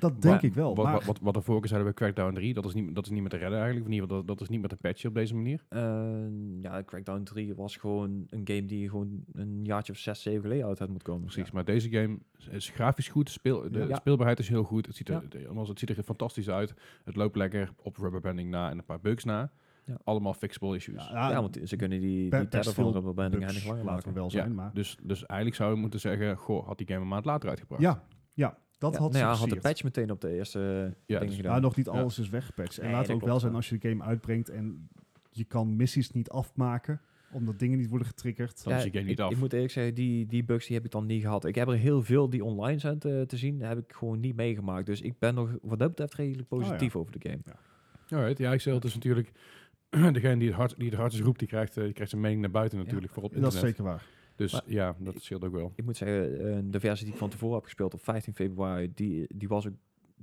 Dat denk Maar- ik wel. Wat, maar wat, wat, wat ervoor zeiden bij Crackdown 3, dat is, niet, dat is niet meer te redden eigenlijk. Of in ieder geval, dat, dat is niet meer te patchen op deze manier. Eh, ja, Crackdown 3 was gewoon een game die gewoon een jaartje of 6, 7 geleden uit had moeten komen. Precies, maar deze game is- is grafisch goed. Speel, de Ja. speelbaarheid is heel goed. Het ziet, er, Ja. de- nogmaals, het ziet er fantastisch uit. Het loopt lekker op rubberbanding na en een paar bugs na. Ja. Allemaal fixable issues. ja, ja, want ze kunnen die, be- die best derde van veel Rubber Banding bugs, eindig langer laten maken. we wel zijn. Ja, maar, Dus, dus eigenlijk zou je moeten zeggen, goh, had die game een maand later uitgebracht. ja, ja, dat Ja, had nou ze ja, had de versierd. patch meteen op de eerste Ja, ding dus- gedaan. Maar Ah, nog niet Ja. alles is weggepatcht. En Nee, laten we dat ook wel klopt, zijn ja. als je de game uitbrengt en je kan missies niet afmaken omdat dingen niet worden getriggerd. Dan is die game niet ik, af. ik moet eerlijk zeggen, die, die bugs die heb ik dan niet gehad. Ik heb er heel veel die online zijn te, te zien, heb ik gewoon niet meegemaakt. Dus ik ben nog wat dat betreft redelijk ja. positief over de game. Alright, ja, ik zeg het is natuurlijk... Degene die het, hard, die het hardst roept, die krijgt, eh, die krijgt zijn mening naar buiten natuurlijk voor op Dat is internet. zeker waar. Dus Maar- ja, dat scheelt ook wel. Ik moet zeggen, eh, de versie die ik van tevoren heb gespeeld op 15 februari, die, die was ook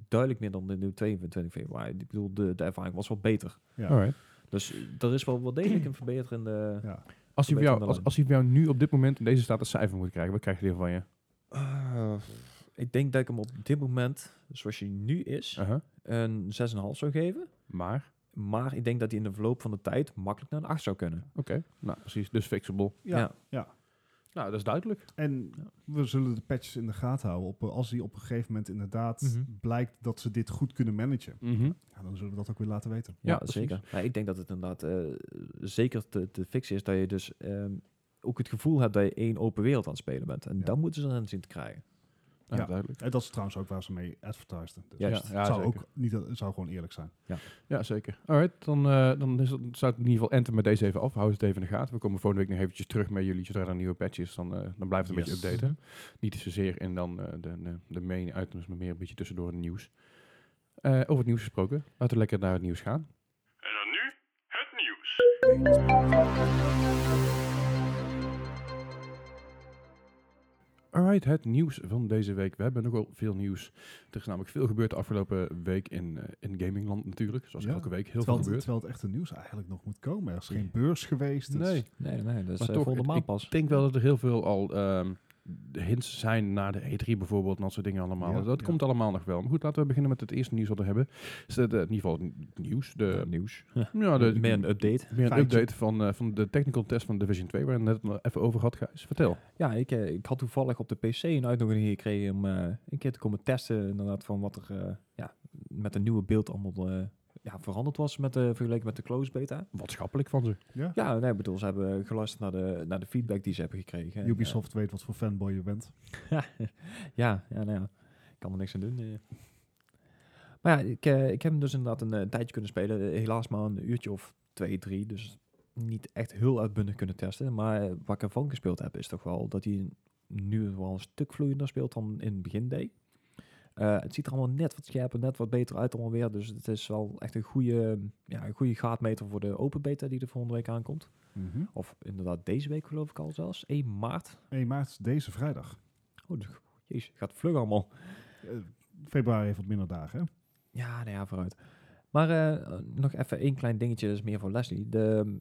duidelijk minder dan de nieuwe 22 februari. Ik bedoel, de, de ervaring was wel beter. Ja. Alright. Dus er is wel, wel degelijk een verbeterende... Ja. Als hij, voor jou, Verbeterende als, lijn. als hij voor jou nu op dit moment in deze staat een cijfer moet krijgen, wat krijg je ervan van je? Eh, ik denk dat ik hem op dit moment, zoals hij nu is, Uh-huh. een 6,5 zou geven. Maar, Maar ik denk dat hij in de verloop van de tijd makkelijk naar een 8 zou kunnen. oké, nou precies, dus fixable. Ja. Ja. Nou, dat is duidelijk. En we zullen de patches in de gaten houden. Op, eh, als die op een gegeven moment inderdaad Mhm. blijkt dat ze dit goed kunnen managen, Mhm. ja, dan zullen we dat ook weer laten weten. Ja, Ja, precies. zeker. Maar ik denk dat het inderdaad eh, zeker te, te fixen is dat je dus ehm, ook het gevoel hebt dat je één open wereld aan het spelen bent. En Ja. dat moeten ze dan zien te krijgen. Ja, Ja. duidelijk. En dat is trouwens ook waar ze mee advertiseden. Dus Juist. Ja, het zou zeker. ook niet, het zou gewoon eerlijk zijn. Ja, zeker. Alright, dan, eh dan is het, staat in ieder geval Enter met deze even af. Houd het even in de gaten. We komen volgende week nog eventjes terug met jullie zodra er een nieuwe patch is. Dan, eh, dan blijft het een Yes. beetje updaten. Niet zozeer en dan eh, de, de, de main items, maar meer een beetje tussendoor het nieuws. Eh, over het nieuws gesproken, laten we lekker naar het nieuws gaan. En dan nu het nieuws. Alright, het nieuws van deze week. We hebben nogal veel nieuws. Er is namelijk veel gebeurd de afgelopen week in, eh, in gamingland natuurlijk. Zoals Ja, elke week heel Terwijl veel het, gebeurt. terwijl het echte nieuws eigenlijk nog moet komen. Er is Ja. geen beurs geweest. dus- Nee, Nee, nee, dat is Maar eh, toch, volgende het- maand pas. ik denk wel dat er heel veel al ehm, de hints zijn naar de E3 bijvoorbeeld en dat soort dingen allemaal. Ja, Dus dat ja. komt allemaal nog wel. Maar goed, laten we beginnen met het eerste nieuws wat we hebben. Is dat, eh, in ieder geval het nieuws. De, eh, nieuws. ja, Oh, de, Meer een update. meer een Feitje. update van, eh, van de technical test van Division 2, waar we het net even over had, Gijs. Vertel. Ja, ik, eh, ik had toevallig op de PC een uitnodiging gekregen om eh, een keer te komen testen inderdaad van wat er eh, ja, met een nieuwe beeld allemaal eh, ja, veranderd was met, de vergeleken met de closed beta. Wat schappelijk van ze. Ja? Ja, nee, ik bedoel, ze hebben geluisterd naar de, naar de feedback die ze hebben gekregen. En, Ubisoft weet wat voor fanboy je bent. eh, ja, ja, nou ja, ik kan er niks aan doen. eh. Maar ja, ik, eh, ik heb hem dus inderdaad een eh, tijdje kunnen spelen. Eh, Helaas maar een uurtje of twee, drie. Dus niet echt heel uitbundig kunnen testen. Maar eh, wat ik ervan gespeeld heb, is toch wel dat hij nu wel een stuk vloeiender speelt dan in het begin deed. Eh, het ziet er allemaal net wat scherper, net wat beter uit allemaal weer. Dus het is wel echt een goede, ja, een goede gaatmeter voor de open beta die er volgende week aankomt. Of inderdaad deze week geloof ik al zelfs. 1 maart. 1 maart, deze vrijdag. Oh, dus- jezus, gaat vlug allemaal. Eh, februari heeft wat minder dagen. Hè? Ja, nou ja, vooruit. Maar eh, nog even één klein dingetje, dat is meer voor Leslie. De ehm,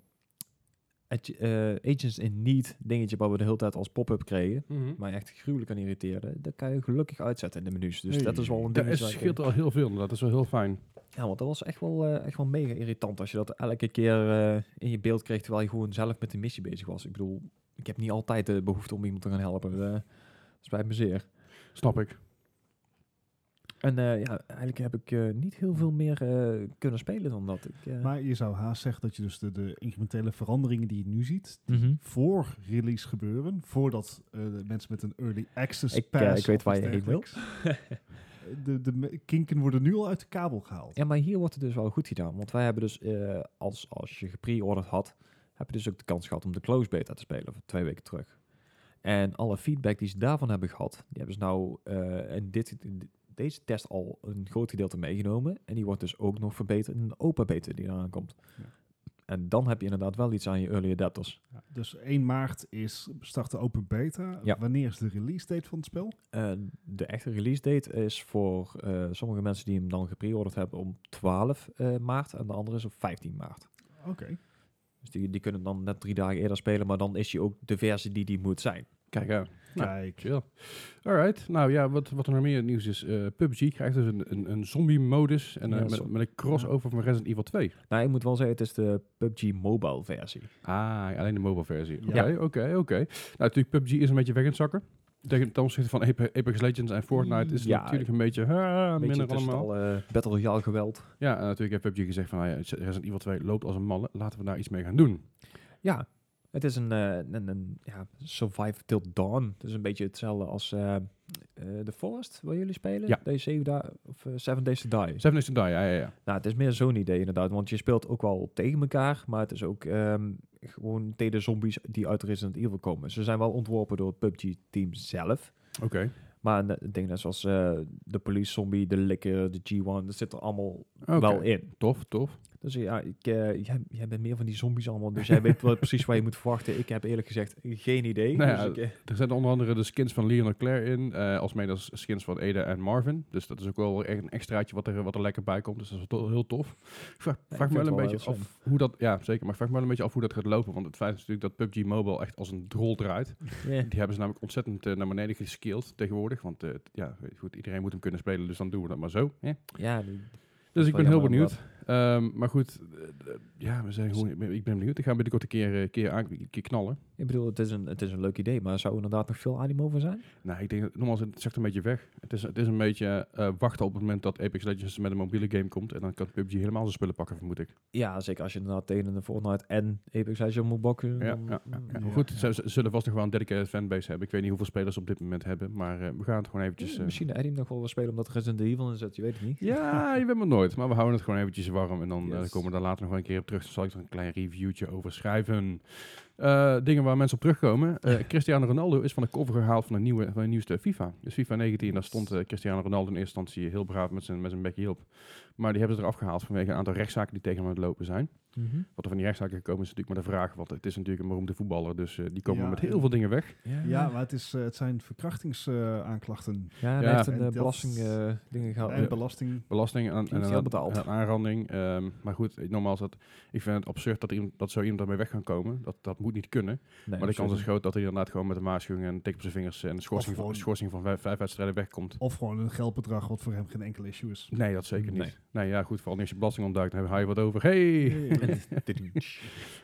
ag- eh, Agents in Need dingetje wat we de hele tijd als pop-up kregen. Maar echt gruwelijk aan irriteerde. Dat kan je gelukkig uitzetten in de menus. Dus Hey, dat is wel een Dat dingetje. is, waar ik- scheelt al heel veel, dat is wel heel fijn. Ja, want dat was echt wel, eh, echt wel mega irritant als je dat elke keer eh, in je beeld kreeg terwijl je gewoon zelf met de missie bezig was. Ik bedoel, ik heb niet altijd de behoefte om iemand te gaan helpen. eh spijt me zeer. Snap ik. En eh, ja, eigenlijk heb ik eh, niet heel veel meer eh, kunnen spelen dan dat. Ik, eh, Maar je zou haast zeggen dat je dus de, de incrementele veranderingen die je nu ziet, Mhm. voor release gebeuren, voordat eh, de mensen met een early access Ik, eh, pass... ik weet of waar iets je heen dergelijks. eh, De, de me- kinken worden nu al uit de kabel gehaald. Ja, maar hier wordt het dus wel goed gedaan. Want wij hebben dus, eh, als, als je gepreorderd had, heb je dus ook de kans gehad om de close beta te spelen van twee weken terug. En alle feedback die ze daarvan hebben gehad, die hebben ze nou eh, in dit, in deze test al een groot gedeelte meegenomen. En die wordt dus ook nog verbeterd in de open beta die eraan komt. En dan heb je inderdaad wel iets aan je early adapters. Ja, dus 1 maart is start de open beta. Ja. Wanneer is de release date van het spel? Eh, de echte release date is voor eh, sommige mensen die hem dan gepreorderd hebben om 12 eh, maart en de andere is op 15 maart. Oké. Dus die, die kunnen dan net drie dagen eerder spelen, maar dan is hij ook de versie die die moet zijn. Kijk aan. Nou, Kijk. Chill. Alright. Nou ja, wat, wat er nog meer in het nieuws is. eh, PUBG krijgt dus een, een, een zombie-modus en eh, Ja, met, zo- met een crossover van Resident Evil 2. Nou, ik moet wel zeggen, het is de PUBG Mobile versie. Ah, alleen de mobile versie. Oké, Ja. oké, oké. Nou, natuurlijk, PUBG is een beetje weg in het zakken. Tegen ten opzichte van Ape- Apex Legends en Fortnite is het Ja. natuurlijk een beetje, ah, Een beetje minder tussen allemaal. al eh battle royale geweld. Ja, en natuurlijk heeft PUBG gezegd van, nou ja, Resident Evil 2 loopt als een malle. Laten we daar iets mee gaan doen. Ja, het is een, eh, een, een ja, Survive Till Dawn. Het is een beetje hetzelfde als eh, eh, The Forest, waar jullie spelen. Ja. Day Save Da- of, eh, Seven Days to Die. Seven Days to Die, ja, ja, ja. Nou, het is meer zo'n idee inderdaad, want je speelt ook wel tegen elkaar, maar het is ook ehm, gewoon tegen de zombies die uit Resident Evil komen. Ze zijn wel ontworpen door het PUBG-team zelf, Oké. maar ne- dingen net zoals eh, de police zombie, de likker, de G1, dat zit er allemaal Oké. wel in. Tof, tof. Dus ja, ik, eh, jij, jij bent meer van die zombies allemaal, dus jij weet wel precies waar je moet verwachten. Ik heb eerlijk gezegd geen idee. Nou dus ja, ik, eh, Er zitten onder andere de skins van Leon en Claire in, eh alsmede als skins van Ada en Marvin. Dus dat is ook wel echt een extraatje wat er, wat er lekker bij komt. Dus dat is wel to- heel tof. Ik vraag, ik vraag me vind wel een het wel beetje heel af hoe dat... Ja, zeker. Maar ik vraag me wel een beetje af hoe dat gaat lopen. Want het feit is natuurlijk dat PUBG Mobile echt als een drol draait. ja. Die hebben ze namelijk ontzettend eh, naar beneden geskilled tegenwoordig. Want eh, t- ja, goed, iedereen moet hem kunnen spelen, dus dan doen we dat maar zo. hè. Ja, die- Dus ik wel ben heel jammer, benieuwd. Ehm, maar goed, eh, eh, ja, we zijn gewoon, ik ben- ik ben benieuwd. Ik ga hem binnenkort een keer, eh, keer, aan, een keer knallen. ik bedoel, het is, een, het is een leuk idee, maar zou er inderdaad nog veel animo voor zijn? Nou, ik denk, dat- nogmaals, het zegt een beetje weg. Het is, het is een beetje eh, wachten op het moment dat Apex Legends met een mobiele game komt. En dan kan PUBG helemaal zijn spullen pakken, vermoed ik. Ja, zeker als je inderdaad tegen de Fortnite en Apex Legends moet bokken. Ja, dan- ja, ja, ja. mm, Maar goed, ze, ze zullen vast nog wel een dedicated fanbase hebben. Ik weet niet hoeveel spelers ze op dit moment hebben. Maar eh, we gaan het gewoon eventjes... eh, dus, Misschien de Eddie nog wel wat spelen omdat er Resident Evil in zit, je weet het niet. ja, je weet maar nooit. Maar we houden het gewoon eventjes warm. En dan eh, Yes. komen we daar later nog wel een keer op terug. Dan zal ik er een klein reviewtje over schrijven. Eh, dingen waar mensen op terugkomen. Eh, Cristiano Ronaldo is van de cover gehaald van de, nieuwe, van de nieuwste FIFA. Dus FIFA 19, daar stond eh, Cristiano Ronaldo in eerste instantie heel braaf met zijn, met zijn bekje op. Maar die hebben ze eraf gehaald vanwege een aantal rechtszaken die tegen hem aan het lopen zijn. Wat er van die rechtszaken gekomen is natuurlijk maar de vraag. Want het is natuurlijk een beroemde voetballer. Dus eh, die komen Ja. met heel veel dingen weg. Ja, maar het, is, eh, het zijn verkrachtingsaanklachten. Ja, hij Ja. heeft een En dat- belastingdingen dingen gehad. Oh, Ja. en belasting. belasting aan, Die heeft en hij aan, al betaald. aan aanranding. Ehm, maar goed, eh, normaal is dat. Ik vind het absurd dat, iemand, dat zo iemand daarmee weg kan komen. Dat, dat moet niet kunnen. Nee, maar de kans is absoluut groot dat hij inderdaad gewoon met een waarschuwing en een tik op zijn vingers en een schorsing, van, Of gewoon- schorsing van vijf, vijf wedstrijden wegkomt. Of gewoon een geldbedrag wat voor hem geen enkel issue is. Nee, dat zeker niet. Nee. Nee, ja, goed. Vooral als je belasting ontduikt, dan hebben we wat over. Hey! niet.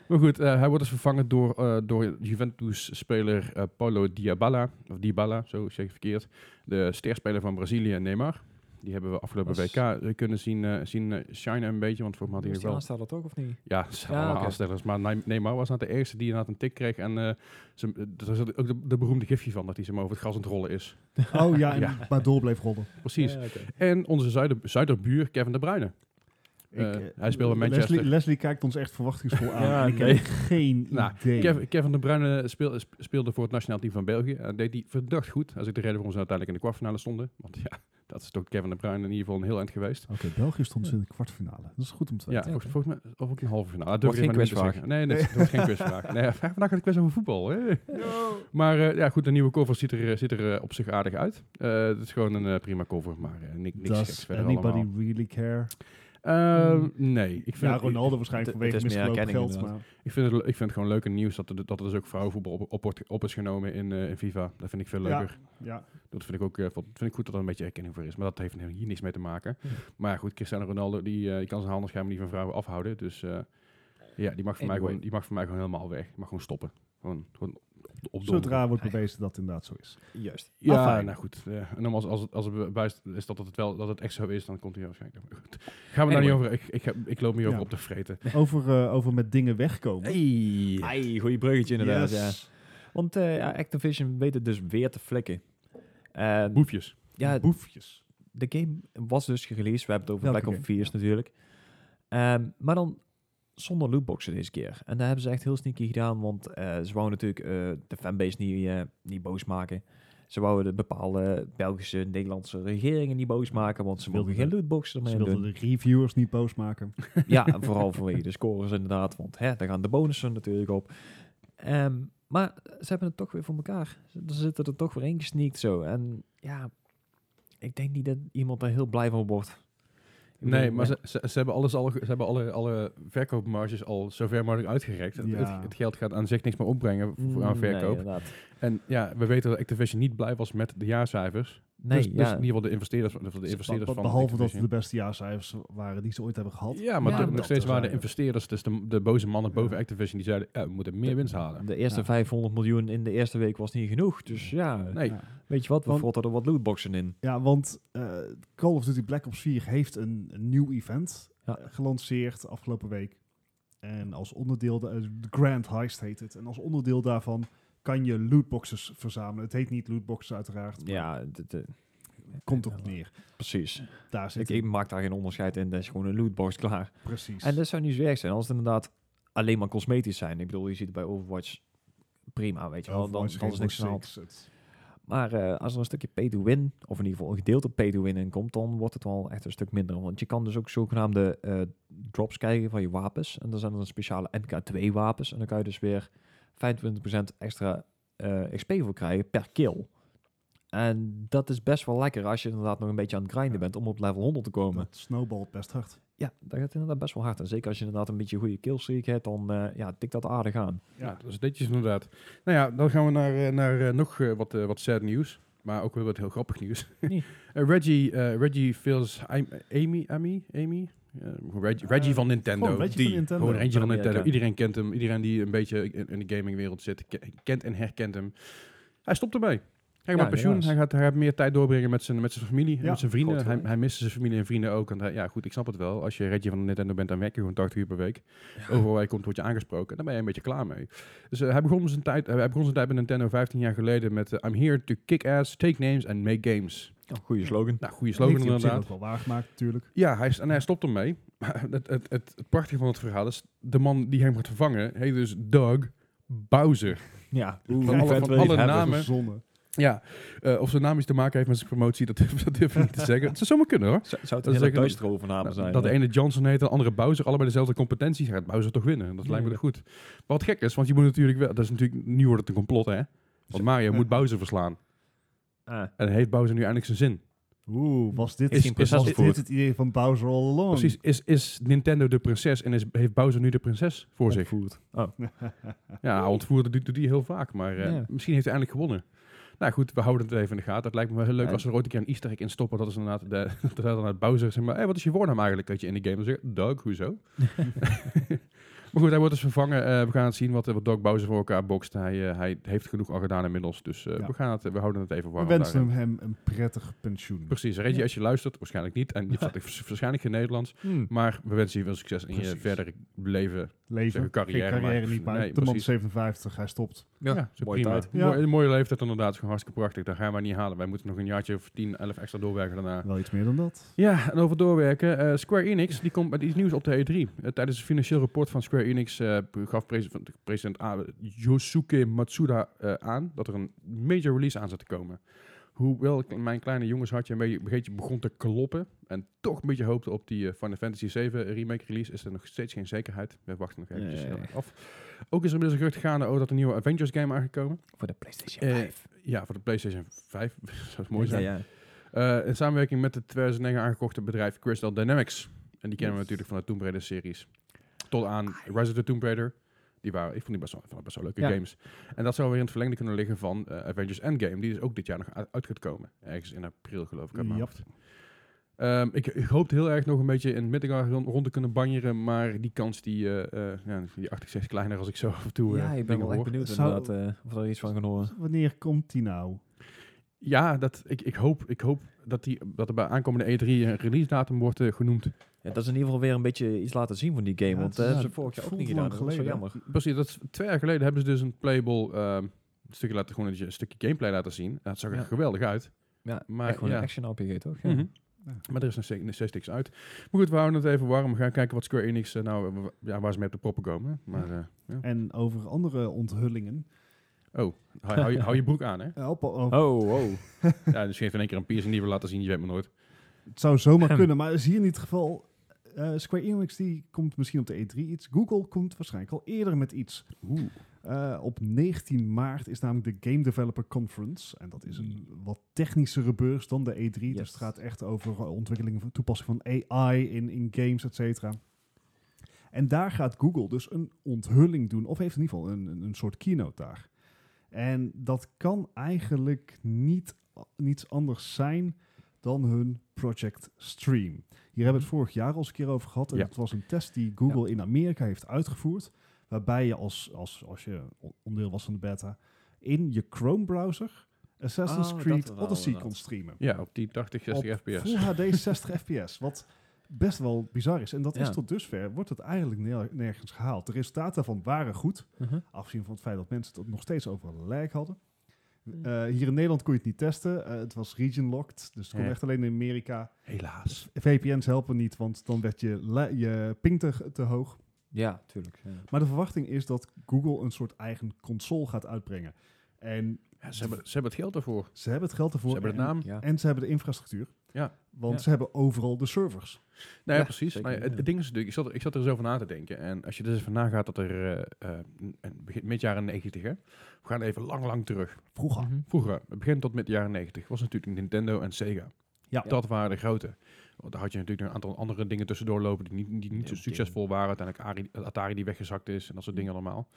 Maar goed, eh, hij wordt dus vervangen door, eh, door Juventus-speler eh, Paulo Diabala. Of Dybala, zo zeg ik verkeerd. De sterspeler van Brazilië, Neymar. Die hebben we afgelopen Was- WK eh, kunnen zien, eh, zien eh, shinen een beetje. Want volgens mij had Is hij nog die wel... aanstaat dat ook of niet? Ja, ze zijn Ja, allemaal oké. aanstellers. Maar Neym- Neymar was nou de eerste die inderdaad een tik kreeg. En eh, ze, er zat ook de, de beroemde gifje van dat hij zeg maar over het gras aan het rollen is. Oh ja, en Ja. Eh, maar door bleef rollen. Precies. Ja, oké. En onze zuider, zuiderbuur Kevin De Bruyne. Eh, Ik, eh, hij speelt bij Manchester. Leslie, Leslie kijkt ons echt verwachtingsvol aan. Ja, en ik oké. heb geen Nou, idee. Kev- Kevin De Bruyne speel- sp- speelde voor het nationaal team van België. En deed hij verdacht goed. Als ik de reden waarom ze uiteindelijk in de kwartfinale stonden. Want ja, dat is toch Kevin De Bruyne in ieder geval een heel eind geweest. Oké, België stond dus in de kwartfinale. Dat is goed om te Ja, weten. volgens, volgens mij of ook een halve finale. Dat durf Wordt ik geen helemaal niet te quizvraag. zeggen. Nee, nee, dat wordt geen quizvraag. Nee, vraag vandaag een quiz over voetbal. hè. Maar eh, ja, goed, de nieuwe cover ziet er, eh, ziet er eh, op zich aardig uit. Eh, het is gewoon een eh, prima cover, maar eh, ni- niks geks Does verder anybody allemaal. really care? Ehm, nee, ik vind, Ja, het, Ronaldo waarschijnlijk het- het vanwege is meer misgelopen erkenning geld. Maar ik, vind het, ik vind het gewoon leuk in het nieuws dat er, dat er dus ook vrouwenvoetbal op, op, wordt- op is genomen in, eh, in FIFA. Dat vind ik veel Ja. leuker. ja, Dat vind ik ook eh, vond- vind ik goed dat er een beetje erkenning voor is. Maar dat heeft hier niks mee te maken. Ja. Maar ja, goed, Cristiano Ronaldo die, eh, die kan zijn handen schijnbaar niet van vrouwen afhouden. Dus eh, ja, die mag, voor mij Anyway. gewoon, die mag voor mij gewoon helemaal weg. Die mag gewoon stoppen. Gewoon, gewoon op, op zodra wordt bewezen dat het inderdaad zo is. Juist. Ja, Afijn. nou goed. eh, en dan als, als, het, als het bewijs is dat het, wel, dat het echt zo is, dan komt hij waarschijnlijk. Maar Goed. Gaan we daar niet Anyway. over. Ik, ik, heb- ik loop me over Ja. op te vreten. Over, eh, over met dingen wegkomen. Hey. Ai, goeie bruggetje inderdaad, ja. Yes. Want eh, ja, Activision weet het dus weer te flikken. En Boefjes. ja, Boefjes. de game was dus gereleased. We hebben het over Welke Black Ops game? 4 natuurlijk. Ehm, maar dan zonder lootboxen deze keer. En dat hebben ze echt heel sneaky gedaan, want eh, ze wouden natuurlijk eh, de fanbase niet, eh, niet boos maken. Ze wouden de bepaalde Belgische en Nederlandse regeringen niet boos maken, want ze wilden Ze geen wilden lootboxen Ze ermee wilden doen. de reviewers niet boos maken. Ja, en vooral vanwege de scores inderdaad, want hè, daar gaan de bonussen natuurlijk op. Ehm, maar ze hebben het toch weer voor elkaar. Ze- Er zitten er toch weer in gesneakt zo. En ja, ik denk niet dat iemand daar heel blij van wordt. Ik Nee, bedoel, maar ja. ze, ze, ze hebben, alles al, ge- ze hebben alle, alle verkoopmarges al zover mogelijk uitgerekt. Het- Ja. Het, het geld gaat aan zich niks meer opbrengen voor- Dus- voor aan Mm, Nee, verkoop. inderdaad. en ja, we weten dat Activision niet blij was met de jaarcijfers. Nee, dus, dus in ja. Dus ieder geval de investeerders, of de investeerders van Behalve dat het de Activision. beste jaarcijfers waren die ze ooit hebben gehad. Ja, maar Ja, de- dat nog steeds er waren de zijn. investeerders, dus de, de boze mannen Ja. boven Activision, die zeiden, ja, we moeten meer winst halen. De eerste Ja. 500 miljoen in de eerste week was niet genoeg. Dus ja, Nee, Ja. weet je wat, we Want- vrotten er wat lootboxen in. Ja, want eh, Call of Duty Black Ops 4 heeft een, een nieuw event Ja. eh, gelanceerd afgelopen week. En als onderdeel, da- eh, de Grand Heist heet het. En als onderdeel daarvan kan je lootboxes verzamelen. Het heet niet lootboxes uiteraard, maar ja. Ja, d- d- komt erop neer. precies. Daar zit Ik, het ik maak daar geen onderscheid in. Dat is gewoon een lootbox klaar. precies. En dat zou niet zo erg zijn als het inderdaad alleen maar cosmetisch zijn. Ik bedoel, je ziet het bij Overwatch prima, weet je wel. Dan, Overwatch, dan is niks aan de hand. Rainbow Six, het- Maar eh, als er een stukje pay-to-win, of in ieder geval een gedeelte pay-to-win in komt, dan wordt het wel echt een stuk minder. Want je kan dus ook zogenaamde eh, drops krijgen van je wapens. En dan zijn er dan speciale MK2 wapens. En dan kan je dus weer 25% extra eh, XP voor krijgen per kill. En dat is best wel lekker als je inderdaad nog een beetje aan het grinden Ja. bent om op level 100 te komen. Dat snowballt best hard. Ja, dat gaat inderdaad best wel hard. En zeker als je inderdaad een beetje een goede killstreak hebt, dan eh ja, tikt dat aardig aan. ja, dat is netjes inderdaad. Nou ja, dan gaan we naar, eh, naar eh, nog eh, wat, eh, wat sad nieuws. Maar ook weer wat heel grappig nieuws. Nee. Eh, Reggie, eh, Reggie feels... I'm- Amy? Amy? Amy? Eh, Reggie, Reggie Eh, van Nintendo. gewoon Reggie van Die. Nintendo. Gewoon eentje van Ja, Nintendo. ja. Iedereen kent hem. Iedereen die een beetje in, in de gamingwereld zit, ke- kent en herkent hem. Hij stopt ermee. Hij gaat Ja, met pensioen. helaas. Hij gaat, hij gaat meer tijd doorbrengen met zijn, met zijn familie en Ja, met zijn vrienden. groot Hij, gelijk. hij mist zijn familie en vrienden ook. En hij- ja, goed, ik snap het wel. Als je Reggie van Nintendo bent, dan werk je gewoon 80 uur per week. Overal waar je komt, word je aangesproken. En daar ben je een beetje klaar mee. Dus eh, hij, begon zijn tijd, hij begon zijn tijd bij Nintendo 15 jaar geleden met... eh, I'm here to kick ass, take names and make games. goede slogan. Nou, goede Slogan slogan heeft hij op zich inderdaad. ook wel waargemaakt natuurlijk. Ja, hij, is- en hij stopt ermee. Maar het, het, het, het prachtige van het verhaal is... de man die hem gaat vervangen heet dus Doug Bowser. Ja, van alle- van alle namen. Zonne. Ja, eh, of zijn naam iets te maken heeft met zijn promotie... dat, dat durf ik niet te zeggen. Het zou zomaar kunnen hoor. Zou het een een hele hele Nou, duisterovernamen zijn? dat de ene Johnson heet en de andere Bowser. Allebei dezelfde competenties. Gaat Bowser toch winnen? Dat Ja, lijkt me ja. goed. Wat gek is, want je moet natuurlijk wel... Dat is natuurlijk, nu wordt het een complot hè. Want Mario moet Bowser verslaan. Ah, En heeft Bowser nu eindelijk zijn zin. Oeh, was dit, Is geen was prinses dit, voor. dit het idee van Bowser All Along? Precies, is, is Nintendo de prinses en is, heeft Bowser nu de prinses voor zich? ontvoerd. Oh. Ja, ontvoeren doet, doet hij heel vaak, maar eh, Ja. misschien heeft hij eindelijk gewonnen. Nou goed, we houden het even in de gaten. Het lijkt me wel heel leuk Ja. als we er ooit een keer een easter egg in stoppen. Dat is inderdaad de, dat hij dan uit Bowser zegt, maar hey, wat is je voornaam eigenlijk dat je in de game zegt? Doug, hoezo? maar goed, hij wordt dus vervangen. Eh, we gaan het zien wat, eh, wat Doug Bowser voor elkaar bokst. Hij, eh, hij heeft genoeg al gedaan inmiddels, dus eh, Ja. we, gaan het, we houden het even We warm. wensen daarin. hem, hem een prettig pensioen. Precies, Reggie, als je luistert, waarschijnlijk niet. En je verstaat waarschijnlijk geen Nederlands. Hmm. Maar we wensen je veel succes in je Precies. verdere leven. Leven. Zeggen carrière, Geen carrière maar- niet, maar nee, de man precies. is 57, hij stopt. Ja, zo mooie prima. tijd. Ja. Mooi- een mooie leeftijd inderdaad. is gewoon hartstikke prachtig. Daar gaan wij niet halen. Wij moeten nog een jaartje of 10, 11 extra doorwerken daarna. Wel iets meer dan dat. Ja, en over doorwerken. eh, Square Enix die komt met iets nieuws op de E3. Eh, tijdens het financieel rapport van Square Enix eh, gaf pres- van- president A- Yosuke Matsuda eh, aan dat er een major release aan zat te komen. Hoewel ik- mijn kleine jongenshartje een beetje, een beetje begon te kloppen en toch een beetje hoopte op die eh, Final Fantasy VII remake release, is er nog steeds geen zekerheid. We wachten nog eventjes Nee. eh, af. Ook is er inmiddels een gerucht gaande over dat een nieuwe Avengers game aangekomen. Voor de PlayStation Eh, 5. Ja, voor de PlayStation 5 zou het mooi zijn. Ja, ja. Eh, in samenwerking met het 2009 aangekochte bedrijf Crystal Dynamics. En die kennen we natuurlijk van de Tomb Raider series. Tot aan Rise of the Tomb Raider. Die waren, ik vond die best wel, vond het best wel leuke Ah, Ja. games. En dat zou weer in het verlengde kunnen liggen van eh, Avengers Endgame. Die dus ook dit jaar nog u- uit gaat komen. Ergens in april geloof ik. uit mijn Jap. hoofd. Ehm, ik, ik hoopte heel erg nog een beetje in Middengar rond, rond te kunnen banjeren. Maar die kans die, eh eh ja, die 80 is kleiner als ik zo af en toe eh, ja, ik ben dingen wel echt hoor. benieuwd Zou- inderdaad eh, of we er iets van gaan horen. Wanneer komt die nou? Ja, dat, ik, ik hoop, ik hoop dat, die, dat er bij aankomende E3 een release datum wordt eh, genoemd. Ja, dat is in ieder geval weer een beetje iets laten zien van die game, Ja, want het dat is- hebben ze ja, vorig jaar ook voelt niet gedaan. dus dat lang is wel geleden, jammer. Precies, dat is- twee jaar geleden hebben ze dus een playable ehm, stukje laten, gewoon een stukje gameplay laten zien. Dat zag er Ja. geweldig uit. Ja, Maar echt gewoon ja. een action RPG, toch? Ja. Mhm. Maar er is nog steeds- nog steeds niks uit. Maar goed, we houden het even warm. We gaan kijken wat Square Enix, eh, nou, eh, w- ja, waar ze mee op de proppen komen. hè. Maar eh, ja. En over andere onthullingen. Oh, hou, hou je, hou je broek aan, hè? Eh, op- op- Oh, oh. Ja, dus geef in één keer een piercing die we laten zien, je weet me nooit. Het zou zomaar kunnen, maar is hier niet het geval. Eh, Square Enix die komt misschien op de E3 iets. Google komt waarschijnlijk al eerder met iets. Oeh. Eh, op 19 maart is namelijk de Game Developer Conference. En dat is een wat technischere beurs dan de E3. Dus Yes. het gaat echt over eh, ontwikkeling van toepassing van AI in, in games, et cetera. En daar gaat Google dus een onthulling doen. Of heeft in ieder geval een, een, een soort keynote daar. En dat kan eigenlijk niet, eh, niets anders zijn dan hun Project Stream. Hier hebben we Mhm. het vorig jaar al eens een keer over gehad. En Ja. dat was een test die Google in Amerika heeft uitgevoerd. Waarbij je als, als, als je on- onderdeel was van de beta, in je Chrome browser Assassin's Oh, dat Creed wel, Odyssey inderdaad. kon streamen. Ja, op die 80, 60 Op fps. Full HD 60 fps. Wat best wel bizar is. En dat is Ja. tot dusver, wordt het eigenlijk neer- nergens gehaald. De resultaten daarvan waren goed. Mhm. Afgezien van het feit dat mensen het nog steeds overal lijk hadden. Mhm. Eh, hier in Nederland kon je het niet testen. Eh, het was region locked. Dus het kon Ja. echt alleen in Amerika. Helaas. VPN's helpen niet, want dan werd je, la- je ping te, te hoog. Ja, tuurlijk. Ja. Maar de verwachting is dat Google een soort eigen console gaat uitbrengen. En Ja, ze, hebben, ze hebben het geld ervoor. ze hebben het geld Ze ervoor. hebben de en, naam. Ja. en ze hebben de infrastructuur. Ja. Want Ja. ze hebben overal de servers. Nou ja, Ja, precies. zeker, Nou ja, het, ja. het ding is natuurlijk, ik zat, er- ik zat er zo van na te denken. En als je er dus van nagaat dat er eh, eh, een- begin mid jaren 90, hè? We gaan even lang, lang terug. Vroeger. Mhm. Vroeger, het begin tot mid jaren 90, was natuurlijk Nintendo en Sega. Ja. Dat waren de grote. Want daar had je natuurlijk nog een aantal andere dingen tussendoor lopen die niet, die niet zo Nintendo. succesvol waren. Uiteindelijk Atari, Atari die weggezakt is en dat soort dingen allemaal.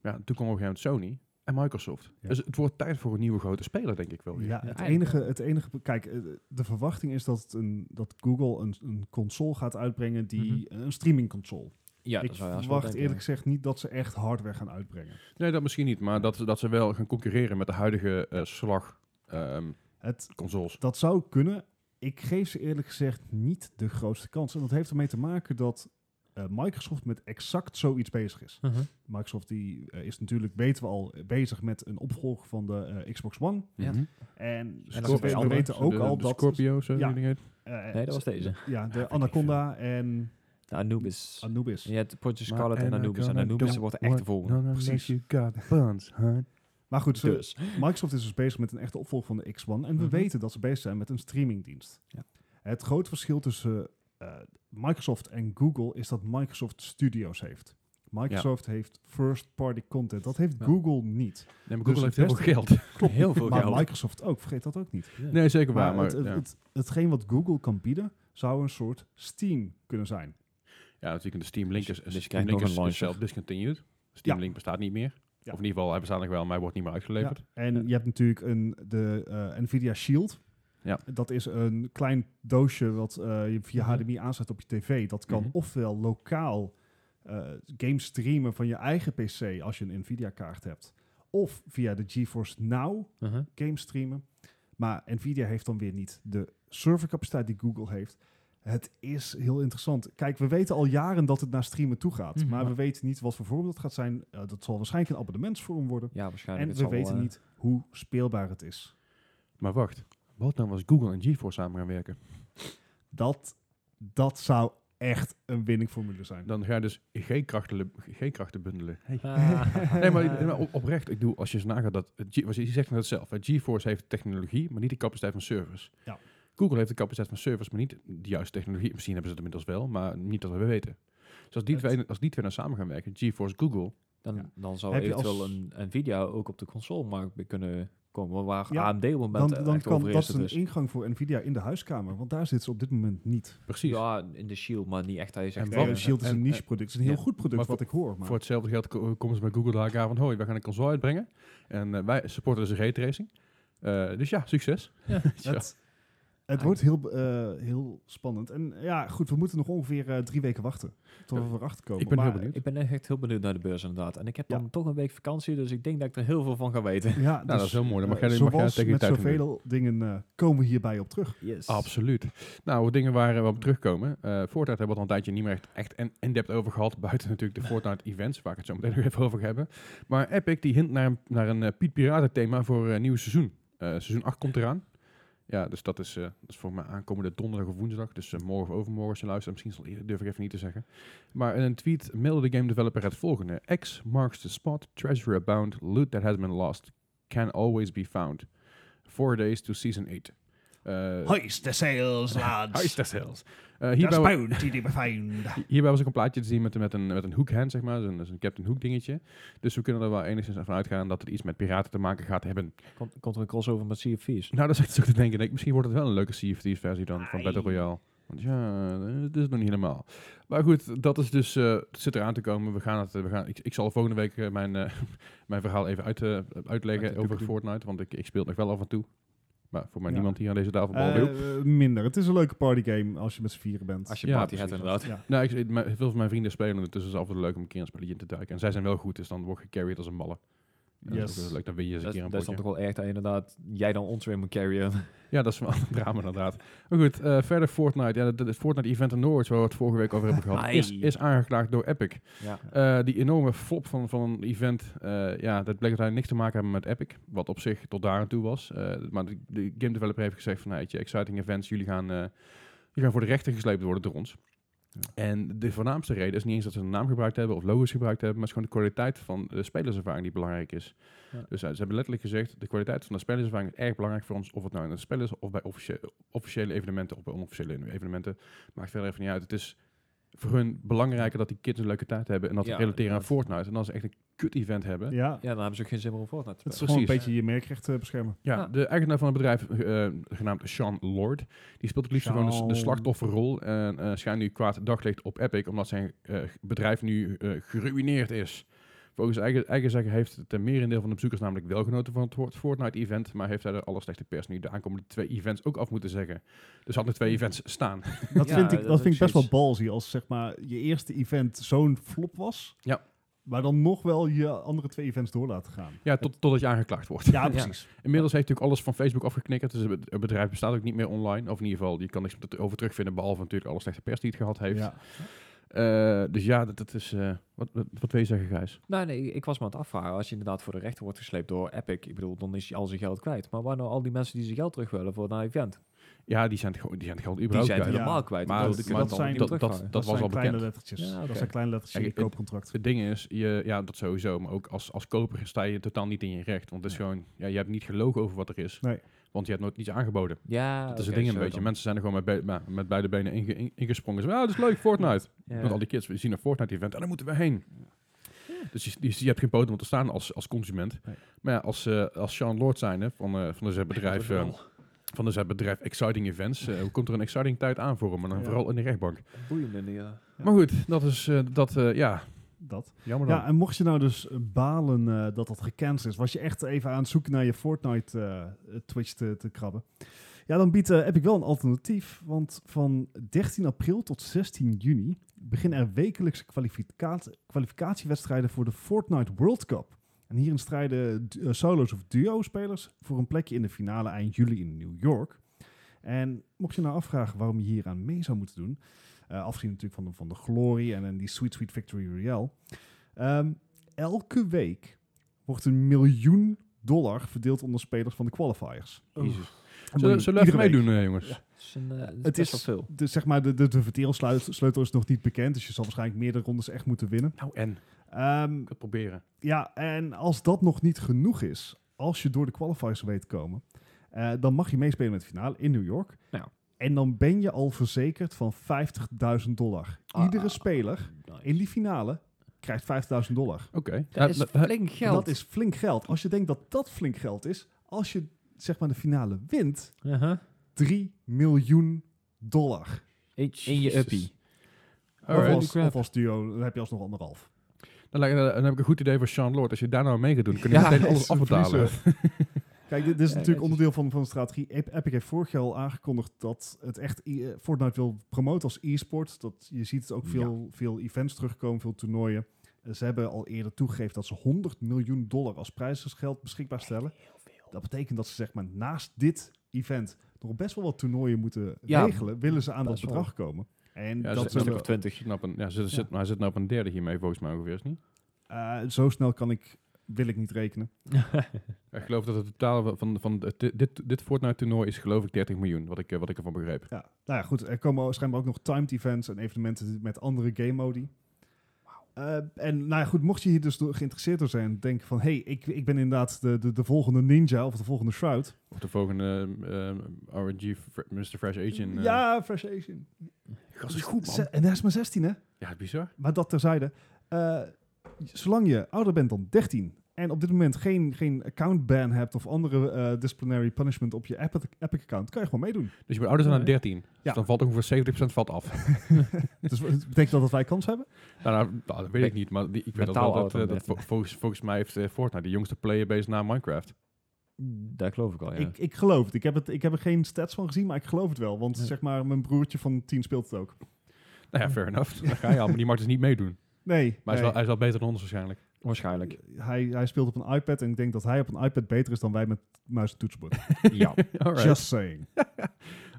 Maar ja, toen kwam op een gegeven moment Sony en Microsoft. Ja. Dus het wordt tijd voor een nieuwe grote speler, denk ik Oh, wel. weer. Ja, het eigenlijk enige, het enige. Kijk, eh, de verwachting is dat, het een, dat Google een, een console gaat uitbrengen die een streaming console. Mhm. Ja, ik dat zou je haast wel verwacht denken, eerlijk gezegd niet dat ze echt hardware gaan uitbrengen. Nee, dat misschien niet. Maar dat, dat ze wel gaan concurreren met de huidige eh, slag ehm, Het, consoles. Dat zou kunnen. Ik geef ze eerlijk gezegd niet de grootste kans. En dat heeft ermee te maken dat eh, Microsoft met exact zoiets bezig is. ja. Mhm. Microsoft die, eh, is natuurlijk, weten we al, eh, bezig met een opvolger van de eh, Xbox One. Ja. Mhm. En, dat we is weten- we andere. weten ook de, al de dat... Scorpio, zo Ja. die ding heet. eh, Nee, dat was deze. Ja, de Anaconda en De Anubis. Anubis. je hebt Project Maar Scarlet en eh, Anubis. En Anaconda Anubis don't wordt echt de want volgende. none of Precies. that you got buns, huh? Maar goed, ze- Dus. Microsoft is dus bezig met een echte opvolger van de X1 en we Mhm. weten dat ze bezig zijn met een streamingdienst. Ja. Het groot verschil tussen eh, Microsoft en Google is dat Microsoft Studios heeft. Microsoft heeft first-party content. Dat heeft Ja. Google niet. Nee, maar Dus Google heeft het heel veel geld. Klopt. Heel veel maar geld. Microsoft ook. Vergeet dat ook niet. Nee, zeker waar. Maar, het, het, ja. het- hetgeen wat Google kan bieden, zou een soort Steam kunnen zijn. ja, natuurlijk de Steam Link is, Dus je Steam krijgt nog Link is, een is launcher. self-discontinued. Steam Ja. Link bestaat niet meer. Ja. Of in ieder geval, hij bestaat nog wel, maar hij wordt niet meer uitgeleverd. Ja. En je hebt natuurlijk een, de eh, Nvidia Shield. Ja. Dat is een klein doosje wat eh, je via Mhm. HDMI aanzet op je tv. Dat kan Mhm. ofwel lokaal eh game streamen van je eigen PC als je een Nvidia kaart hebt. Of via de GeForce Now Mhm. game streamen. Maar Nvidia heeft dan weer niet de servercapaciteit die Google heeft. Het is heel interessant. Kijk, we weten al jaren dat het naar streamen toe gaat. Mhm. Maar we weten niet wat voor vorm dat gaat zijn. Eh, dat zal waarschijnlijk een abonnementsvorm worden. Ja, waarschijnlijk. En Het we zal wel, weten eh, niet hoe speelbaar het is. Maar wacht, wat nou als Google en GeForce samen gaan werken? Dat, dat zou echt een winningformule zijn. Dan ga je dus G-krachten G-krachten bundelen. Ah. Nee, maar, maar op- oprecht, ik doe als je eens nagaat dat. eh, G- want Je zegt net zelf: hè, GeForce heeft technologie, maar niet de capaciteit van servers. Ja. Google heeft de capaciteit van servers, maar niet de juiste technologie. Misschien hebben ze het inmiddels wel, maar niet dat we weten. Dus als die, Het- twee, als die twee nou samen gaan werken, GeForce, Google. Dan, dan zou Heb je eventueel als- een, een video ook op de consolemarkt weer kunnen komen. Waar Ja, AMD op het Dan, moment eh, dan echt kan over dat is. is een Dus. ingang voor Nvidia in de huiskamer. Want daar zit ze op dit moment niet. Precies. Ja, in de Shield, maar niet echt. Hij zegt, En Nee, wat- eh, de Shield is en- een en- niche product. Het is een heel ja, goed product, maar wat ik hoor. Maar Voor hetzelfde geld ko- komen ze bij Google elkaar aan van: hoi, wij gaan een console uitbrengen. En eh, wij supporten dus raytracing. Eh dus ja, succes. Ja, Ja. het, het wordt heel, eh, heel spannend. En eh, ja, goed, we moeten nog ongeveer eh, drie weken wachten. Tot we erachter komen. Ik ben heel Maar, benieuwd. Ik ben echt heel benieuwd naar de beurs inderdaad. En ik heb Ja. dan toch een week vakantie, dus ik denk dat ik er heel veel van ga weten. Ja, dus, Nou, dat is heel mooi. Dan mag eh, jij- mag jij zoals tegen die met tijd gaan zoveel dingen eh, komen we hierbij op terug. Yes. Absoluut. Nou, wat dingen waar eh, we op terugkomen. Eh Fortnite hebben we het al een tijdje niet meer echt, echt in- in-depth over gehad. Buiten natuurlijk de Fortnite-events, waar ik het zo meteen nog even over ga hebben. Maar Epic die hint naar een, naar een eh, Piet Piraten thema voor een nieuw seizoen. Eh, seizoen 8 Eh, komt eraan. Ja, dus dat is, eh, dat is voor mij aankomende donderdag of woensdag. Dus eh, morgen of overmorgen als je luistert. Misschien zal eerder, durf ik even niet te zeggen. Maar in een tweet mailde de game developer het volgende. X marks the spot, treasure abound, loot that has been lost. Can always be found. Four days to season 8. Eh Hoist the sails, lads. Heist des Heils. Eh, There's hierbij, wa- bounty to be found. hierbij was ook een plaatje te zien met, een- met een, met een hoekhand, zeg maar. Zo'n zo'n Captain Hook dingetje. Dus we kunnen er wel enigszins van uitgaan dat het iets met piraten te maken gaat hebben. Komt, komt er een crossover met Sea of Thieves? Nou, dat is echt zo te denken. Ik, misschien wordt het wel een leuke Sea of Thieves versie dan van Ai. Battle Royale. Want ja, eh, het is nog niet helemaal. Maar goed, dat is dus, eh, het zit eraan te komen. We gaan het, eh, we gaan, ik, ik zal volgende week eh, mijn, eh, mijn verhaal even uit, eh, uitleggen Uit de over doekedoe. Fortnite. Want ik, ik speel het nog wel af en toe. Maar voor mij Ja. niemand hier aan deze tafel. behalve Joep. Eh, eh, minder. Het is een leuke partygame als je met z'n vieren bent. Als je Ja, party hebt precies. inderdaad. ja. Nou, ik, ik- mijn- veel van mijn vrienden spelen het, dus het is altijd leuk om een keer een spelletje in te duiken. En zij zijn wel goed, dus dan word je carried als een malle. Ja, Dat is Yes. ook wel leuk, dan win je eens een Dat, keer een dat is potje. dan toch wel erg dat inderdaad jij dan ons weer moet carryen. Ja, dat is wel een drama inderdaad. Maar goed, eh, verder Fortnite. Ja, het Fortnite Event in Norwich, waar we het vorige week over hebben gehad, Ai. is, is aangeklaagd door Epic. Ja. Eh, die enorme flop van, van een event, eh, ja, dat bleek uiteindelijk niks te maken hebben met Epic, wat op zich tot daar aan toe was. Eh, maar de, de game developer heeft gezegd van, hey, exciting events, jullie gaan, eh, jullie gaan voor de rechter gesleept worden door ons. En de voornaamste reden is niet eens dat ze een naam gebruikt hebben of logo's gebruikt hebben, maar het is gewoon de kwaliteit van de spelerservaring die belangrijk is. Ja. Dus eh, ze hebben letterlijk gezegd, de kwaliteit van de spelerservaring is erg belangrijk voor ons, of het nou in een spel is of bij officie- officiële evenementen of bij onofficiële evenementen. Maakt verder even niet uit. Het is voor hun belangrijker dat die kids een leuke tijd hebben en dat ze Ja, relateren aan inderdaad. Fortnite. En dan ze echt een kut-event hebben. Ja, Ja, ja, dan hebben ze ook geen zin meer om Fortnite te het is spelen. gewoon een precies. beetje je merkrechten beschermen. Ja. de eigenaar van het bedrijf, eh, genaamd Sean Lord, die speelt het liefst gewoon de, s- de Sean. slachtofferrol. En eh schijnt nu kwaad daglicht op Epic, omdat zijn eh, bedrijf nu eh, geruineerd is. Volgens eigen, eigen zeggen heeft het eh, merendeel van de bezoekers namelijk wel genoten van het Fort- Fortnite-event, maar heeft hij de alle slechte pers nu de aankomende twee events ook af moeten zeggen. Dus hadden twee events staan. Dat Ja, vind ik, dat dat is vind ik ook best wel balzy als zeg maar, je eerste event zo'n flop was. Ja. Maar dan nog wel je andere twee events door laten gaan. Ja, tot, totdat je aangeklaagd wordt. Ja, precies. Inmiddels heeft natuurlijk alles van Facebook afgeknikkerd. Dus het het bedrijf bestaat ook niet meer online. Of in ieder geval, je kan niks over terugvinden. Behalve natuurlijk alle slechte pers die het gehad heeft. Ja. Eh, dus ja, dat, dat is... eh, wat, wat, wat wil je zeggen, Gijs? Nee, nee, ik was me aan het afvragen. Als je inderdaad voor de rechter wordt gesleept door Epic, ik bedoel, dan is je al zijn geld kwijt. Maar waar nou al die mensen die zijn geld terug willen voor dat event? Ja, die zijn het, gewoon- die zijn het geld Die überhaupt zijn kwijt. Ja. helemaal kwijt. Maar Ik bedoel, dat- die kunnen dat dan zijn- niet meer dat- dat- terugvangen. was zijn al kleine bekend. lettertjes. Ja, oké. Dat zijn kleine lettertjes in je Kijk, het- koopcontract. Het ding is, je, ja, dat sowieso. Maar ook als, als koper sta je totaal niet in je recht. Want het is gewoon... Ja, je hebt niet gelogen over wat er is. Nee. Want je hebt nooit iets aangeboden. Ja, Dat is het Ah, oké, ding een zo beetje. dan. Mensen zijn er gewoon met, be- maar met beide benen inge- in- ingesprongen. Zo, ah, dat is leuk, Fortnite. Ja. Want al die kids we zien een Fortnite-event en daar moeten we heen. Dus je, je, je hebt geen poten om te staan als, als consument. Nee. Maar ja, als, eh, als Sean Lord zijnde van, eh van dus het bedrijf, eh, van dus het bedrijf Exciting Events, eh, komt er een exciting tijd aan voor hem. En dan Ja. vooral in de rechtbank. Boeiende, ja. Ja. Maar goed, dat is eh, dat, eh, ja, Dat. jammer dan. Ja, en mocht je nou dus balen eh, dat dat gecanceld is, was je echt even aan het zoeken naar je Fortnite eh, eh, Twitch te, te krabben. Ja, dan biedt eh, Epic wel een alternatief, want van 13 april tot 16 juni beginnen er wekelijkse kwalificaat- kwalificatiewedstrijden voor de Fortnite World Cup. En hierin strijden du- eh, solo's of duo-spelers voor een plekje in de finale eind juli in New York. En mocht je nou afvragen waarom je hier aan mee zou moeten doen, eh, afzien natuurlijk van de, van de glorie en, en die Sweet Sweet Victory Royale, Ehm, elke week wordt een miljoen dollar verdeeld onder spelers van de qualifiers. Jezus. Een miljoen, Zullen, zullen we even iedere week. meedoen, eh, jongens? Het is, een, eh, het is Het best is- wel veel. De, zeg maar, de, de, de verdeelsleutel sleutel is nog niet bekend, dus je zal waarschijnlijk meerdere rondes echt moeten winnen. Nou, en? Ik Ehm, kan het proberen. ja, en als dat nog niet genoeg is, als je door de qualifiers weet te komen, eh, dan mag je meespelen met de finale in New York. Nou. En dan ben je al verzekerd van 50.000 dollar. Ah. Iedere speler in die finale krijgt 50.000 dollar. Oké. Ja, eh, Dat is dat- flink geld. Dat is flink geld. Als je denkt dat dat flink geld is, als je zeg maar de finale wint, Uh-huh. 3 miljoen dollar. In in je Jezus. uppie. Of Alright. als, of als duo, dan heb je alsnog anderhalf. Dan, lijkt- dan heb ik een goed idee voor Sean Lord. Als je daar nou mee gaat doen, kun je meteen alles Ze afbetalen. verliezen. Kijk, dit, dit is Ja, dat natuurlijk is- onderdeel van, van de strategie. Ep- Epic heeft vorig jaar al aangekondigd dat het echt i- eh, Fortnite wil promoten als e-sport. Dat, je ziet het ook veel, veel events terugkomen, veel toernooien. Eh, Ze hebben al eerder toegegeven dat ze 100 miljoen dollar als prijzensgeld beschikbaar stellen. Dat betekent dat ze zeg maar naast dit event nog best wel wat toernooien moeten Ja, regelen. Willen ze aan dat best wel. bedrag komen. En Ja, dat ze- Een stuk zullen, of twintig. Knap een, ja, ze, ze- maar hij zit nou op een derde hiermee, volgens mij ongeveer, is het niet? eh, zo snel kan ik wil ik niet rekenen. Ik geloof dat het totaal van, van het- dit, dit Fortnite-toernooi is geloof ik 30 miljoen, wat ik, eh, wat ik ervan begreep. Ja, nou ja, goed. Er komen schijnbaar ook nog timed events en evenementen met andere game modi. Eh, en nou ja, goed, mocht je hier dus door geïnteresseerd door zijn, denk van, hey, ik, ik ben inderdaad de, de, de volgende ninja of de volgende Shroud. Of de volgende eh, eh, RNG Fr- Mr. Fresh Agent. eh, ja, Fresh Asian. gast is goed, man. Ze- En daar is maar 16, hè? Ja, bizar. Maar dat terzijde. Eh, zolang je ouder bent dan 13 en op dit moment geen, geen account ban hebt of andere eh, disciplinary punishment op je Epic, Epic account, kan je gewoon meedoen. Dus je bent ouder dan aan Nee. 13. Ja. Dus dan valt ongeveer 70% valt af. dus het betekent dat, dat wij kans hebben. Nou, nou, nou, dat weet ik niet, maar die, ik weet dat wel Mentaal dat, eh, ouder dan dat vo- volgens, volgens mij heeft eh, Fortnite de jongste playerbase na Minecraft. Daar geloof ik al, ja. Ik, ik geloof het. Ik heb, het. ik heb er geen stats van gezien, maar ik geloof het wel. Want Ja. zeg maar, mijn broertje van 10 speelt het ook. Nou ja, fair enough. Daar ga je al, maar die mag dus niet meedoen. Nee, Maar hij, is wel, hij is wel beter dan ons waarschijnlijk. Waarschijnlijk. nee. hij, hij speelt op een iPad en ik denk dat hij op een iPad beter is dan wij met muis en toetsenbord. ja. Alright. Just saying.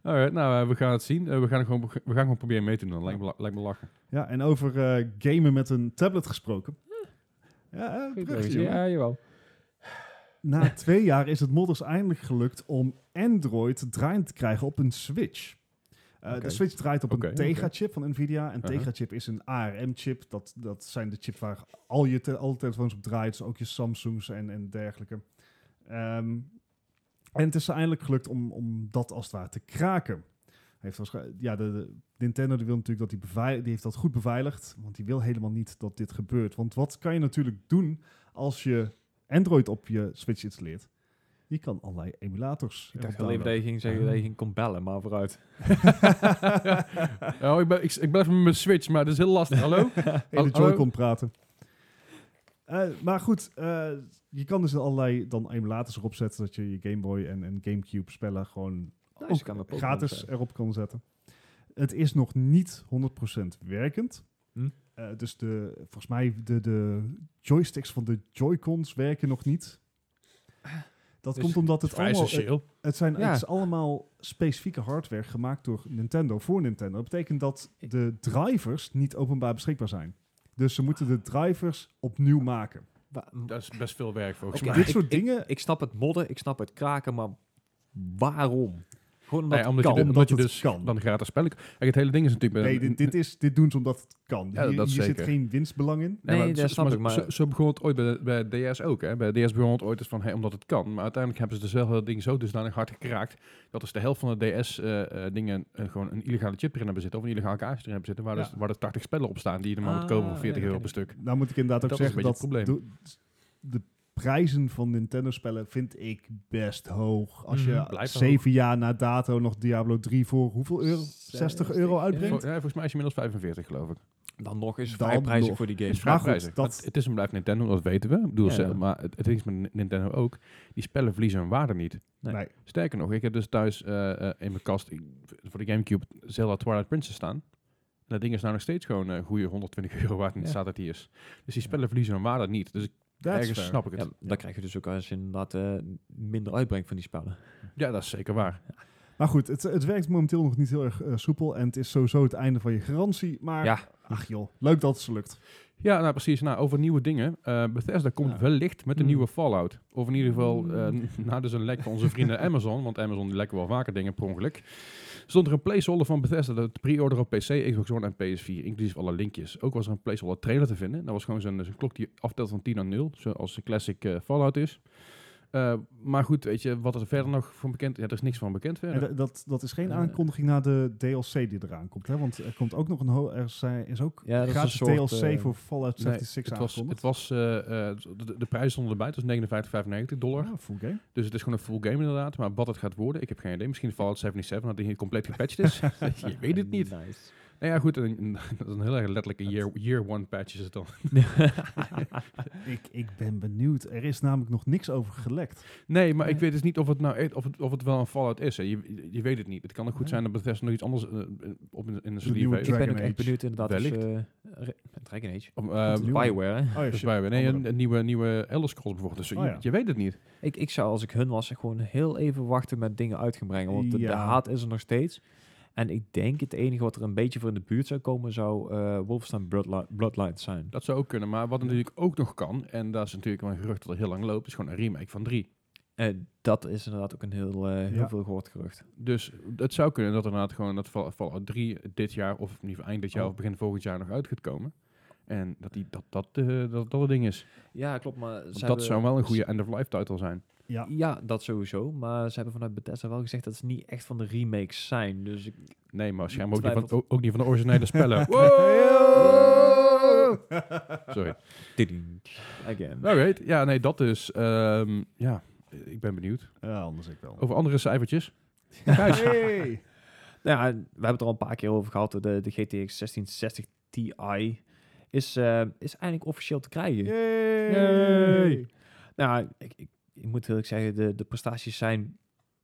Alright, nou, eh, we gaan het zien. Eh, we, gaan gewoon, we gaan gewoon proberen mee te doen. Dan lijkt me, la- lijkt me lachen. Ja, en over eh, gamen met een tablet gesproken. Ja, eh, bruggetje, jongen. Ja, jawel. Na twee jaar is het modders eindelijk gelukt om Android draaiend te krijgen op een Switch. Eh, Oké. De Switch draait op Oké, een Tegra-chip van Nvidia. En Uh-huh. Tegra-chip is een ARM-chip. Dat, dat zijn de chips waar al je te- alle telefoons op draaien. Dus ook je Samsungs en, en dergelijke. Ehm, en het is ze eindelijk gelukt om, om dat als het ware te kraken. Heeft waarschijn- ja, de, de- Nintendo die wil natuurlijk dat die, bevei- die heeft dat goed beveiligd. Want die wil helemaal niet dat dit gebeurt. Want wat kan je natuurlijk doen als je Android op je Switch installeert? Je kan allerlei emulators. Ik dacht erop wel even dat downloaden. je ging zeggen dat je ging kon bellen, maar vooruit. Oh, ik, ben, ik, ik blijf met mijn Switch, maar dat is heel lastig. Hallo? in de Oh, Hallo? Joy-Con praten. Eh, maar goed, eh, je kan dus allerlei dan emulators erop zetten... dat je je Game Boy en, en Gamecube spellen gewoon Nice, ook je kan dus, er Pokémon gratis eh, zetten. erop kan zetten. Het is nog niet 100% werkend. Hm. Eh, dus de, volgens mij de, de joysticks van de Joy-Cons werken nog niet. Dat Dus komt omdat het Vrij allemaal... het- essentieel. het, zijn, Ja. het is allemaal specifieke hardware gemaakt door Nintendo voor Nintendo. Dat betekent dat de drivers niet openbaar beschikbaar zijn. Dus ze moeten de drivers opnieuw maken. eh, Wa- Dat is best veel werk volgens Oké, mij. maar Dit soort ik- dingen... Ik snap het modden, ik snap het kraken, maar waarom? Gewoon omdat, Nee, het omdat, kan. je, de- omdat je het dus kan. dan gratis spellen... kan- Kijk, het hele ding is natuurlijk... nee, dit, dit, is, dit doen ze omdat het kan. Ja, hier dat hier zit zeker. geen winstbelang in. Nee, maar dat zo- snap maar ik, maar- Zo, zo begon het ooit bij, bij DS ook. Hè? Bij DS begon het ooit eens van, hey, omdat het kan. Maar uiteindelijk hebben ze dus wel dat ding zo dusdanig hard gekraakt... dat dus de helft van de eh, DS-dingen gewoon een illegale chip erin hebben zitten... of een illegale kaartje erin hebben zitten... waar, Ja. dus, waar er 80 spellen op staan die je normaal moet kopen voor Ah, 40 ja, euro dat per stuk. Nou moet ik inderdaad ook Dat is zeggen een dat beetje het de de prijzen van Nintendo-spellen vind ik best hoog. Als je Mhm, blijft zeven jaar na dato nog Diablo 3 voor hoeveel euro? 60 euro Vol- uitbrengt? ja, volgens mij is je inmiddels 45, geloof ik. Dan nog eens Dan vrij prijzig nog. voor die Is games. Maar vrij goed, prijzig. dat- Het, het is een bedrijf Nintendo, dat weten we. Ik bedoel, Ja, ze- ja. Maar het, het ding is met Nintendo ook... die spellen verliezen hun waarde niet. Nee. Nee. Sterker nog, ik heb dus thuis eh, eh, in mijn kast ik- voor de Gamecube Zelda Twilight Princess staan. En dat ding is nou nog steeds gewoon een goede 120 euro waard in het Ja. staat dat hij is. Dus die spellen verliezen hun waarde niet. Dus ik, That's ergens fair. snap ik het. Ja, Ja. dan krijg je dus ook als je inderdaad eh, minder uitbrengt van die spellen. dat is zeker waar. Maar goed, het, het werkt momenteel nog niet heel erg eh, soepel. En het is sowieso het einde van je garantie. Maar Ja. ach joh, leuk dat het ze lukt. Ja, nou precies. Nou, over nieuwe dingen. Eh Bethesda komt Ja. wellicht met een Hmm. nieuwe Fallout. Of in ieder geval, eh, Hmm. na dus een lek van onze vrienden Amazon. Want Amazon die lekken wel vaker dingen per ongeluk. Stond er een placeholder van Bethesda dat te pre-order op PC, Xbox One en PS4. Inclusief alle linkjes. Ook was er een placeholder trailer te vinden. Dat was gewoon zo'n zo'n klok die aftelt van 10 naar 0. Zoals de classic eh, Fallout is. Eh, maar goed, weet je, wat er verder nog van bekend... Ja, er is niks van bekend verder. En da- dat, dat is geen Eh. aankondiging naar de DLC die eraan komt. Hè? Want er komt ook nog een... ho- Er zijn- is ook Ja, dat is gratis een soort, DLC eh, voor Fallout Nee, 76 het was, het aangekondigd. was, eh, eh, de, de prijzen stonden erbij, het was 59,95 dollar. Ja, full game. Dus het is gewoon een full game inderdaad. Maar wat het gaat worden, ik heb geen idee. Misschien Fallout 77, dat die hier compleet gepatcht is. je weet het niet. Nice. Nou ja, goed. en- en dat is een heel erg letterlijke year, year one patch is het dan. Ik, ik ben benieuwd. Er is namelijk nog niks over gelekt. Nee, maar ik Nee. weet dus niet of het nou echt- of het, of het wel een Fallout is. Hè. Je, je weet het niet. Het kan ook goed Nee. zijn dat Bethesda nog iets anders eh, op in, in de nieuwe sleeve heeft. Ik ben Dragon ook echt Age. benieuwd inderdaad. Dus, Wellicht. eh, Re- Dragon Age. Of, eh, Opnieuw. Nieuwe. Bioware, hè? Oh ja, dus shit. bij- nee, een, Andere. een nieuwe, nieuwe Elder Scrolls bijvoorbeeld. Dus Oh je, ja. je weet het niet. Ik, ik zou als ik hun was gewoon heel even wachten met dingen uit gaan brengen. Want de- de Ja. haat is er nog steeds. En ik denk het enige wat er een beetje voor in de buurt zou komen, zou eh, Wolfenstein Bloodli- Bloodlines zijn. Dat zou ook kunnen, maar wat natuurlijk ook nog kan, en dat is natuurlijk wel een gerucht dat al heel lang loopt, is gewoon een remake van 3. En Eh, dat is inderdaad ook een heel, eh, heel Ja. veel gehoord gerucht. Dus het zou kunnen dat inderdaad gewoon dat Fall- Fallout 3 dit jaar, of in ieder geval eind dit jaar Oh. of begin volgend jaar nog uit gaat komen. En dat die, dat, dat, eh, dat, dat het ding is. Ja, klopt, maar... Want dat zou wel een dus goede end-of-life title zijn. Ja, Ja, dat sowieso. Maar ze hebben vanuit Bethesda wel gezegd dat ze niet echt van de remakes zijn. Dus ik, Nee, maar schijnbaar ook niet, van, Twijfelt. ook, ook niet van de originele spellen. Sorry. again. Nou, weet, ja, nee, dat is... ehm, ja, ik ben benieuwd. ja anders ik wel. Over andere cijfertjes. Hey. Nou ja, we hebben het er al een paar keer over gehad. De, de GTX 1660 Ti is, eh, is eindelijk officieel te krijgen. Yay. Yay. Nou, ik, ik, ik moet heel eerlijk zeggen, de, de prestaties zijn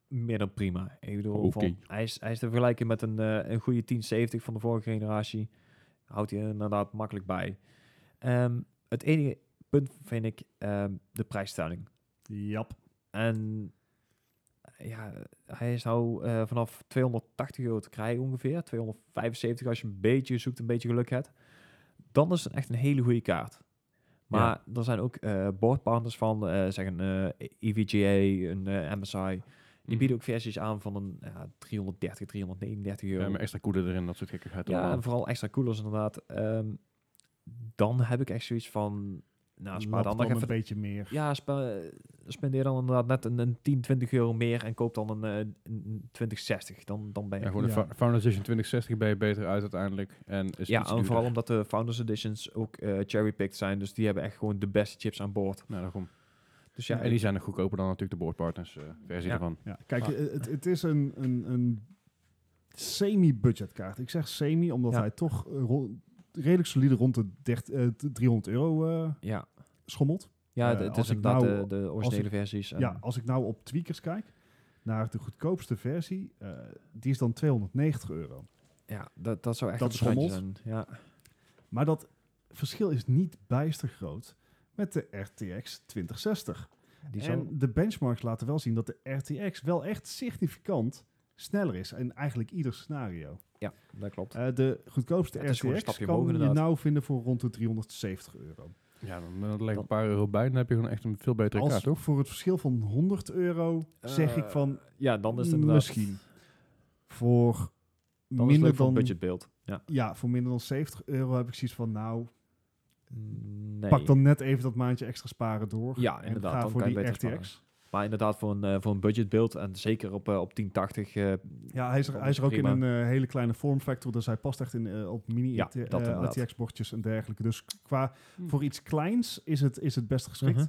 meer dan prima. Ik bedoel, Oké. van, hij, is, hij is te vergelijken met een, eh, een goede 1070 van de vorige generatie. Houdt hij inderdaad makkelijk bij. Ehm, het enige punt vind ik ehm, de prijsstelling. Jap. En eh, ja, hij is nou eh, vanaf 280 euro te krijgen ongeveer. 275 als je een beetje zoekt, een beetje geluk hebt. Dan is het echt een hele goede kaart. Maar er zijn ook eh boardpartners van, eh zeg een eh, EVGA, een eh, MSI. Mhm. Die bieden ook versies aan van een ja, 330, 339 euro. Ja, maar extra koelen erin, dat soort gekkigheid. Ja, allemaal. en vooral extra coolers inderdaad. Ehm, dan heb ik echt zoiets van... Nou, spaar dan nog een even beetje meer. ja, spe- spendeer dan inderdaad net een, een 10, 20 euro meer en koop dan een, eh, een- een 2060. Dan, dan ben je... Ja, Ja, gewoon de Ja. Fa- Founders Edition 2060 ben je beter uit uiteindelijk. En is iets en duurder. vooral omdat de Founders Editions ook eh cherrypicked zijn. Dus die hebben echt gewoon de beste chips aan boord. Nou, daarom. Dus ja, en die zijn nog goedkoper dan natuurlijk de boardpartners eh, versie Ja. ervan. Ja, kijk, eh, Maar- het, het is een, een, een semi-budgetkaart. Ik zeg semi, omdat Ja. hij toch eh, ro- redelijk solide rond de 30, eh, 300 euro eh, ja. schommelt. ja Eh, d- het als is ik inderdaad nou- de, de originele versies. en- Ja, als ik nou op tweakers kijk, naar de goedkoopste versie, eh, die is dan 290 euro. ja dat, dat zou echt Dat op het randje schommelt. zijn. Ja. Maar dat verschil is niet bijster groot met de RTX 2060. Die en zou- de benchmarks laten wel zien dat de RTX wel echt significant sneller is in eigenlijk ieder scenario. ja, dat klopt. Eh, de goedkoopste Ja, het is gewoon een RTX stapje kan omhoog, je inderdaad. nou vinden voor rond de 370 euro. Ja, dan, dan leg ik Dan- een paar euro bij. Dan heb je gewoon echt een veel betere Als kaart, toch? voor het verschil van 100 euro zeg Eh, ik van ja, dan is het inderdaad... misschien. voor Dan is het minder leuk voor een dan budgetbeeld. Ja. ja, voor minder dan 70 euro heb ik zoiets van nou Nee. pak dan net even dat maandje extra sparen door. Ja, En inderdaad. ga dan voor kan je die beter RTX. sparen. Maar inderdaad, voor een, eh, voor een budgetbeeld en zeker op, eh, op 1080. eh, Ja, hij is er, Dat hij is is er ook in prima. een eh, hele kleine form factor, dus hij past echt in, eh, op mini Ja, RT- eh, dat inderdaad. RTX bordjes en dergelijke. Dus qua Hm. voor iets kleins is het, is het best geschikt. Mhm.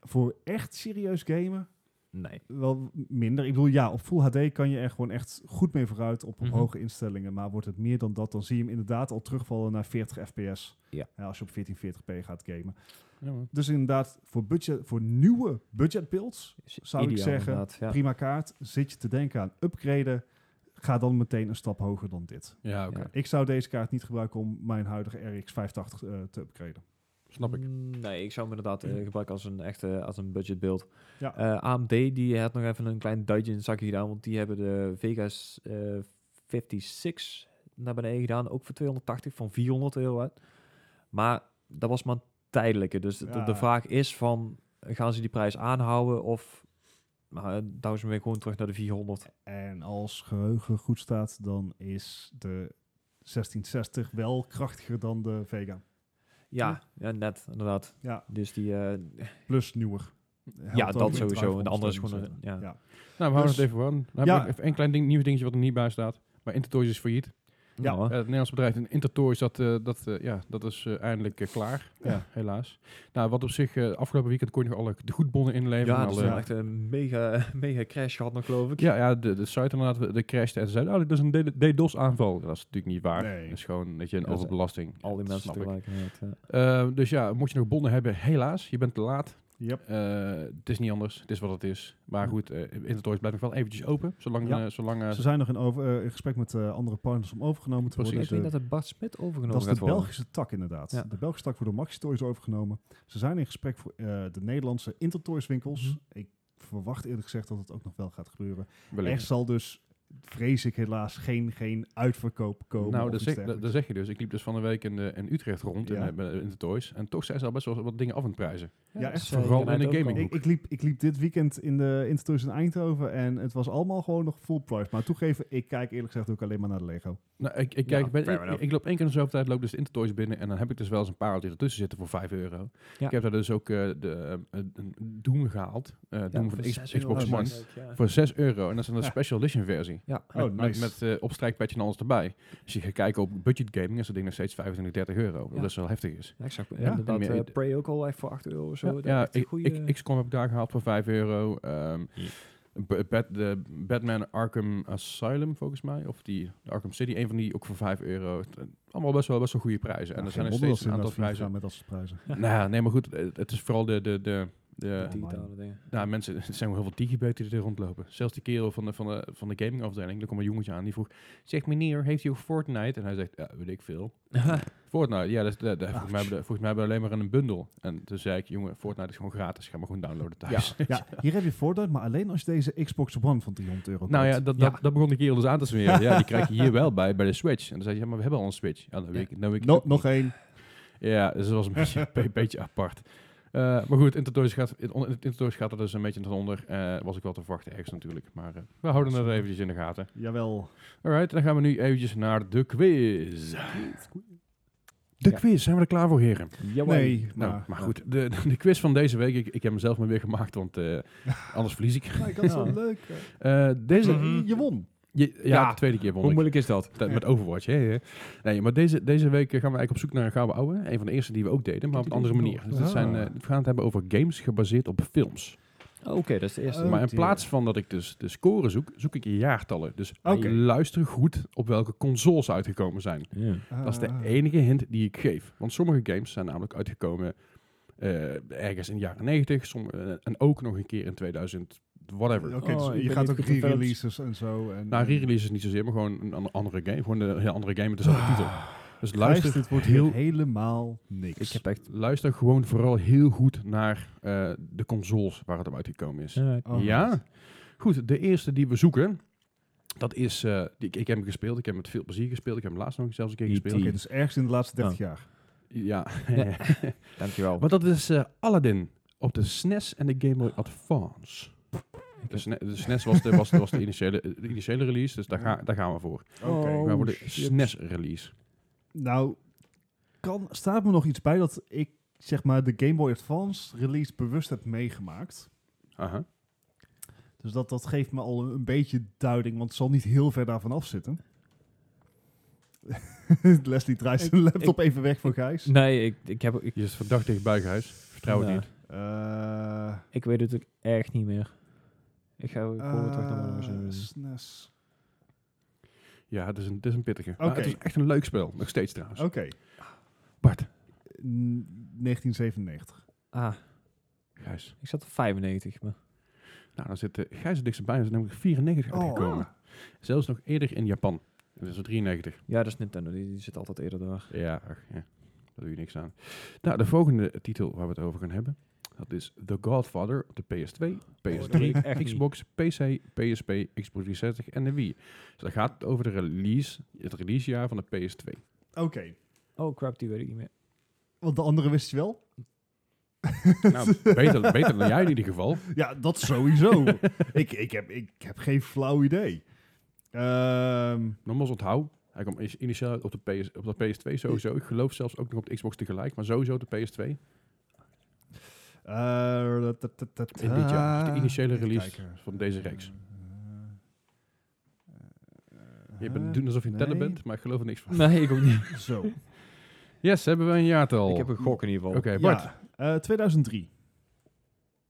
Voor echt serieus gamen nee. wel minder. Ik bedoel, ja, op Full HD kan je er gewoon echt goed mee vooruit op, op Mhm. hoge instellingen. Maar wordt het meer dan dat, dan zie je hem inderdaad al terugvallen naar 40 fps. Ja. Hè, als je op 1440p gaat gamen. Ja, man. Dus inderdaad, voor, budget, voor nieuwe budget builds, Is Zou ik ideaal zeggen, inderdaad, Ja. prima kaart. Zit je te denken aan upgraden, ga dan meteen een stap hoger dan dit. Ja, oké. Ja. Ik zou deze kaart niet gebruiken om mijn huidige RX 580 eh, te upgraden. Snap ik. Mm, Nee, ik zou hem inderdaad eh, gebruiken als een echte als een budgetbeeld. Mm. Ja. Eh, AMD die had nog even een klein duitje in het zakje gedaan, want die hebben de Vegas eh 56 naar beneden gedaan, ook voor 280 van 400 euro uit. Maar dat was maar een tijdelijke. Dus de- de, Ja. vraag is van gaan ze die prijs aanhouden of nou, douwen ze hem weer gewoon terug naar de 400? En als geheugen goed staat, dan is de 1660 wel krachtiger dan de Vega. Ja, ja net inderdaad. Ja. Dus die eh, Plus nieuwer. ja dat sowieso. En de andere is gewoon een, ja. Ja. Nou, we houden Dus- het even warm. Dan Ja. heb ik even één klein ding, nieuw dingetje wat er niet bij staat. Maar Intertoys is failliet. Ja. Nou, Ja, het Nederlands bedrijf in Intertoys, dat, eh, dat, eh, ja, dat is eh, eindelijk eh, klaar. Ja. Ja. helaas. Nou, wat op zich, eh, afgelopen weekend kon je nog alle de goedbonnen inleveren. Ja, en dat is alle- wel echt een mega, mega crash gehad nog, geloof ik. ja, ja, de, de site inderdaad, de crash. En ze zeiden, oh, dat is een D- DDoS-aanval. Dat is natuurlijk niet waar. Nee. Dat is gewoon dat je Dat een is, eh, overbelasting. Al die Dat mensen snap ik. tegelijk. inderdaad, Ja. Eh, dus ja, moet je nog bonnen hebben? Helaas, je bent te laat. Yep. Eh, het is niet anders, het is wat het is. Maar goed, eh Intertoys blijft nog wel eventjes open. Zolang, Ja. eh, zolang eh, Ze zijn nog in, over, eh, in gesprek met eh, andere partners om overgenomen te Precies. Ik worden. denk Ze- dat de Bart Smit overgenomen dat is gaat de worden. Belgische tak inderdaad. Ja. De Belgische tak wordt door Maxi Toys overgenomen. Ze zijn in gesprek voor eh, de Nederlandse Mhm. Intertoys winkels. Ik verwacht eerlijk gezegd dat het ook nog wel gaat gebeuren. wellicht. Er zal dus vrees ik helaas geen, geen uitverkoop komen. nou, of dat iets zeg, dat, dergelijks. dat zeg je dus. Ik liep dus van de week in, eh, in Utrecht rond Ja. in, eh, in de Toys. En toch zijn ze al best wel wat dingen af aan het prijzen. Ja, echt dat, eh, vooral je kan in de het ook gaming. al- Ik, ik, liep, ik liep dit weekend in de Intertoys in Eindhoven en het was allemaal gewoon nog full price. Maar toegeven, ik kijk eerlijk gezegd ook alleen maar naar de Lego. Nou, ik, ik, Ja, kijk, ik ben- fair ik, enough. ik loop één keer in de zoveel tijd, loop dus de Intertoys binnen. En dan heb ik dus wel eens een pareltje ertussen zitten voor 5 euro. Ja. Ik heb daar dus ook eh, de, eh, een Doom gehaald. eh Doom voor van de zes X- euro Xbox is dat One. leuk, ja. Voor 6 euro. En dat is dan een Ja. special edition versie. Ja, Oh, met, nice. Met, met eh, opstrijkpetje en alles erbij. Als je gaat kijken op budget gaming, is dat ding nog steeds 25, 30 euro. Wat Ja. best wel heftig is. Ja, exact. Ja, inderdaad, en meer- eh, Prey ook al echt voor 8 euro of zo. Ja, Dat ja echt een ik, goeie- ik, XCOM heb ik daar gehaald voor 5 euro. Ehm, B- Bat- de Batman Arkham Asylum, volgens mij. Of die de Arkham City, een van die ook voor 5 euro. Het- eh, Allemaal best wel, best wel goede prijzen. en er zijn er steeds een aantal prijzen. met dat soort prijzen. Nou, ja, nee, maar goed. eh, Het is vooral de... de, de de, Ja. eh, digitale dingen. nou, mensen, er zijn wel heel veel digibeten die er rondlopen. Zelfs die kerel van de, van de, van de gamingafdeling, er kwam een jongetje aan, die vroeg... Zeg meneer, heeft u ook Fortnite? En hij zegt, ja, weet ik veel. Fortnite, ja, dat, is- dat, dat- volgens, mij, hebben we- volgens mij hebben we alleen maar in een bundel. En toen zei ik, jongen, Fortnite is gewoon gratis, ga maar gewoon downloaden thuis. Ja, hier heb je Fortnite, maar alleen als je deze Xbox One van 300 euro Nou ja, koopt. dat, Ja. dat, dat begon de kerel dus aan te smeren. Ja, die krijg je hier wel bij, bij de Switch. En dan zei je, ja, maar we hebben al een Switch. Ja, dan weet ik, dan weet ik No- ook nog één. niet. Ja, dus dat was een beetje, een beetje apart. Eh, maar goed, Intertoys gaat, in- on- Intertoys gaat er dus een beetje onder. Eh, was ik wel te verwachten ergens natuurlijk. Maar eh, we houden het eventjes in de gaten. Jawel. Alright, dan gaan we nu eventjes naar de quiz. De quiz, zijn we er klaar voor, heren? Jawel. Nee, Nou, maar... maar goed, de, de, de quiz van deze week, ik, ik heb hem zelf maar weer gemaakt, want eh, anders verlies ik. Maar ik had zo Ja. leuk. Eh, deze, Je won. je- ja, Ja, de tweede keer won Hoe ik. moeilijk is dat? Tijd Met Overwatch, hè? hè. Nee, maar deze, deze week eh, gaan we eigenlijk op zoek naar een gouden ouwe. Een van de eerste die we ook deden, maar op een andere manier. Dus dit zijn, Ah. eh, we gaan het hebben over games gebaseerd op films. Oké, dat is de eerste. eh, Oh, maar in dear. plaats van dat ik dus de score zoek, zoek ik jaartallen. Dus Oké. luister goed op welke consoles ze uitgekomen zijn. Ja. Dat is Ah. de enige hint die ik geef. Want sommige games zijn namelijk uitgekomen eh, ergens in de jaren 90. somm- eh, en ook nog een keer in 2000, whatever. Oké, Oh, ik dus je ben gaat niet ook goed in re-releases en zo. En, Nou, re-release is niet zozeer, maar gewoon een an- andere game. Gewoon een heel andere game met dezelfde titel. Dus Luister, luister Ah. dit wordt heel- heel helemaal niks. Ik heb echt... Luister gewoon vooral heel goed naar eh, de consoles waar het op uitgekomen is. Ja, Oh, ja? Goed, de eerste die we zoeken, dat is... eh, die- ik, ik heb hem gespeeld, ik heb hem met veel plezier gespeeld. Ik heb hem laatst nog zelfs een keer E.T.. gespeeld. Oké, dus ergens in de laatste 30 jaar. Ja. Ja. dankjewel. maar dat is eh, Aladdin op de SNES en de Game Boy Advance. De, Sne- de SNES was de, was, de- was de, initiële, eh, de initiële release, dus daar, ga, daar gaan we voor. Oh, We gaan voor de SNES release. Nou, kan, staat me nog iets bij dat ik zeg maar de Game Boy Advance release bewust heb meegemaakt. Aha. Dus dat, dat geeft me al een, een beetje duiding, want het zal niet heel ver daarvan af zitten. Leslie draait zijn laptop even weg voor Gijs. Nee, ik, ik, heb, ik, Je zit verdacht dichtbij, Gijs. Vertrouw het Ja. niet. Eh, ik weet het ook echt niet meer. Ik ga ik hoor het terug naar mijn eh, jongens. SNES. Ja, het is een, het is een pittige. Maar Oké. het is echt een leuk spel. Nog steeds trouwens. Oké, Bart. n- 1997. Ah, Gijs. ik zat op 95. Maar. Nou, dan zit eh, Gijs het dichtst bij. Hij is namelijk 94 Oh. uitgekomen. Zelfs nog eerder in Japan. Dat is het 93. Ja, dat is Nintendo. Die, die zit altijd eerder daar. Ja, ach, ja, daar doe je niks aan. Nou, de volgende titel waar we het over gaan hebben. Dat is The Godfather op de PS2, Oh, dat weet PS3, ik echt niet. Xbox, PC, PSP, Xbox 360 en de Wii. Dus dat gaat het over de release, het releasejaar van de PS2. Oké, Oh crap, die weet ik niet meer. want de andere wist je wel? nou, beter, beter dan jij in ieder geval. Ja, dat sowieso. ik, ik, heb, ik heb geen flauw idee. Ehm, Nogmaals onthoud. Hij kwam is- initieel op de, PS, op de PS2 sowieso. Ik geloof zelfs ook nog op de Xbox tegelijk, maar sowieso op de PS2. eh, dat- dat- dat- dat- ah, In dit jaar. Dus de initiële Even release kijken. van deze reeks. Eh, Je bent doen alsof je een teller nee. bent, maar ik geloof er niks van. Nee, ik ook niet. Zo. Yes, hebben we een jaartal. Ik heb een gok in ieder geval. Oké, Bart. Ja, eh, 2003.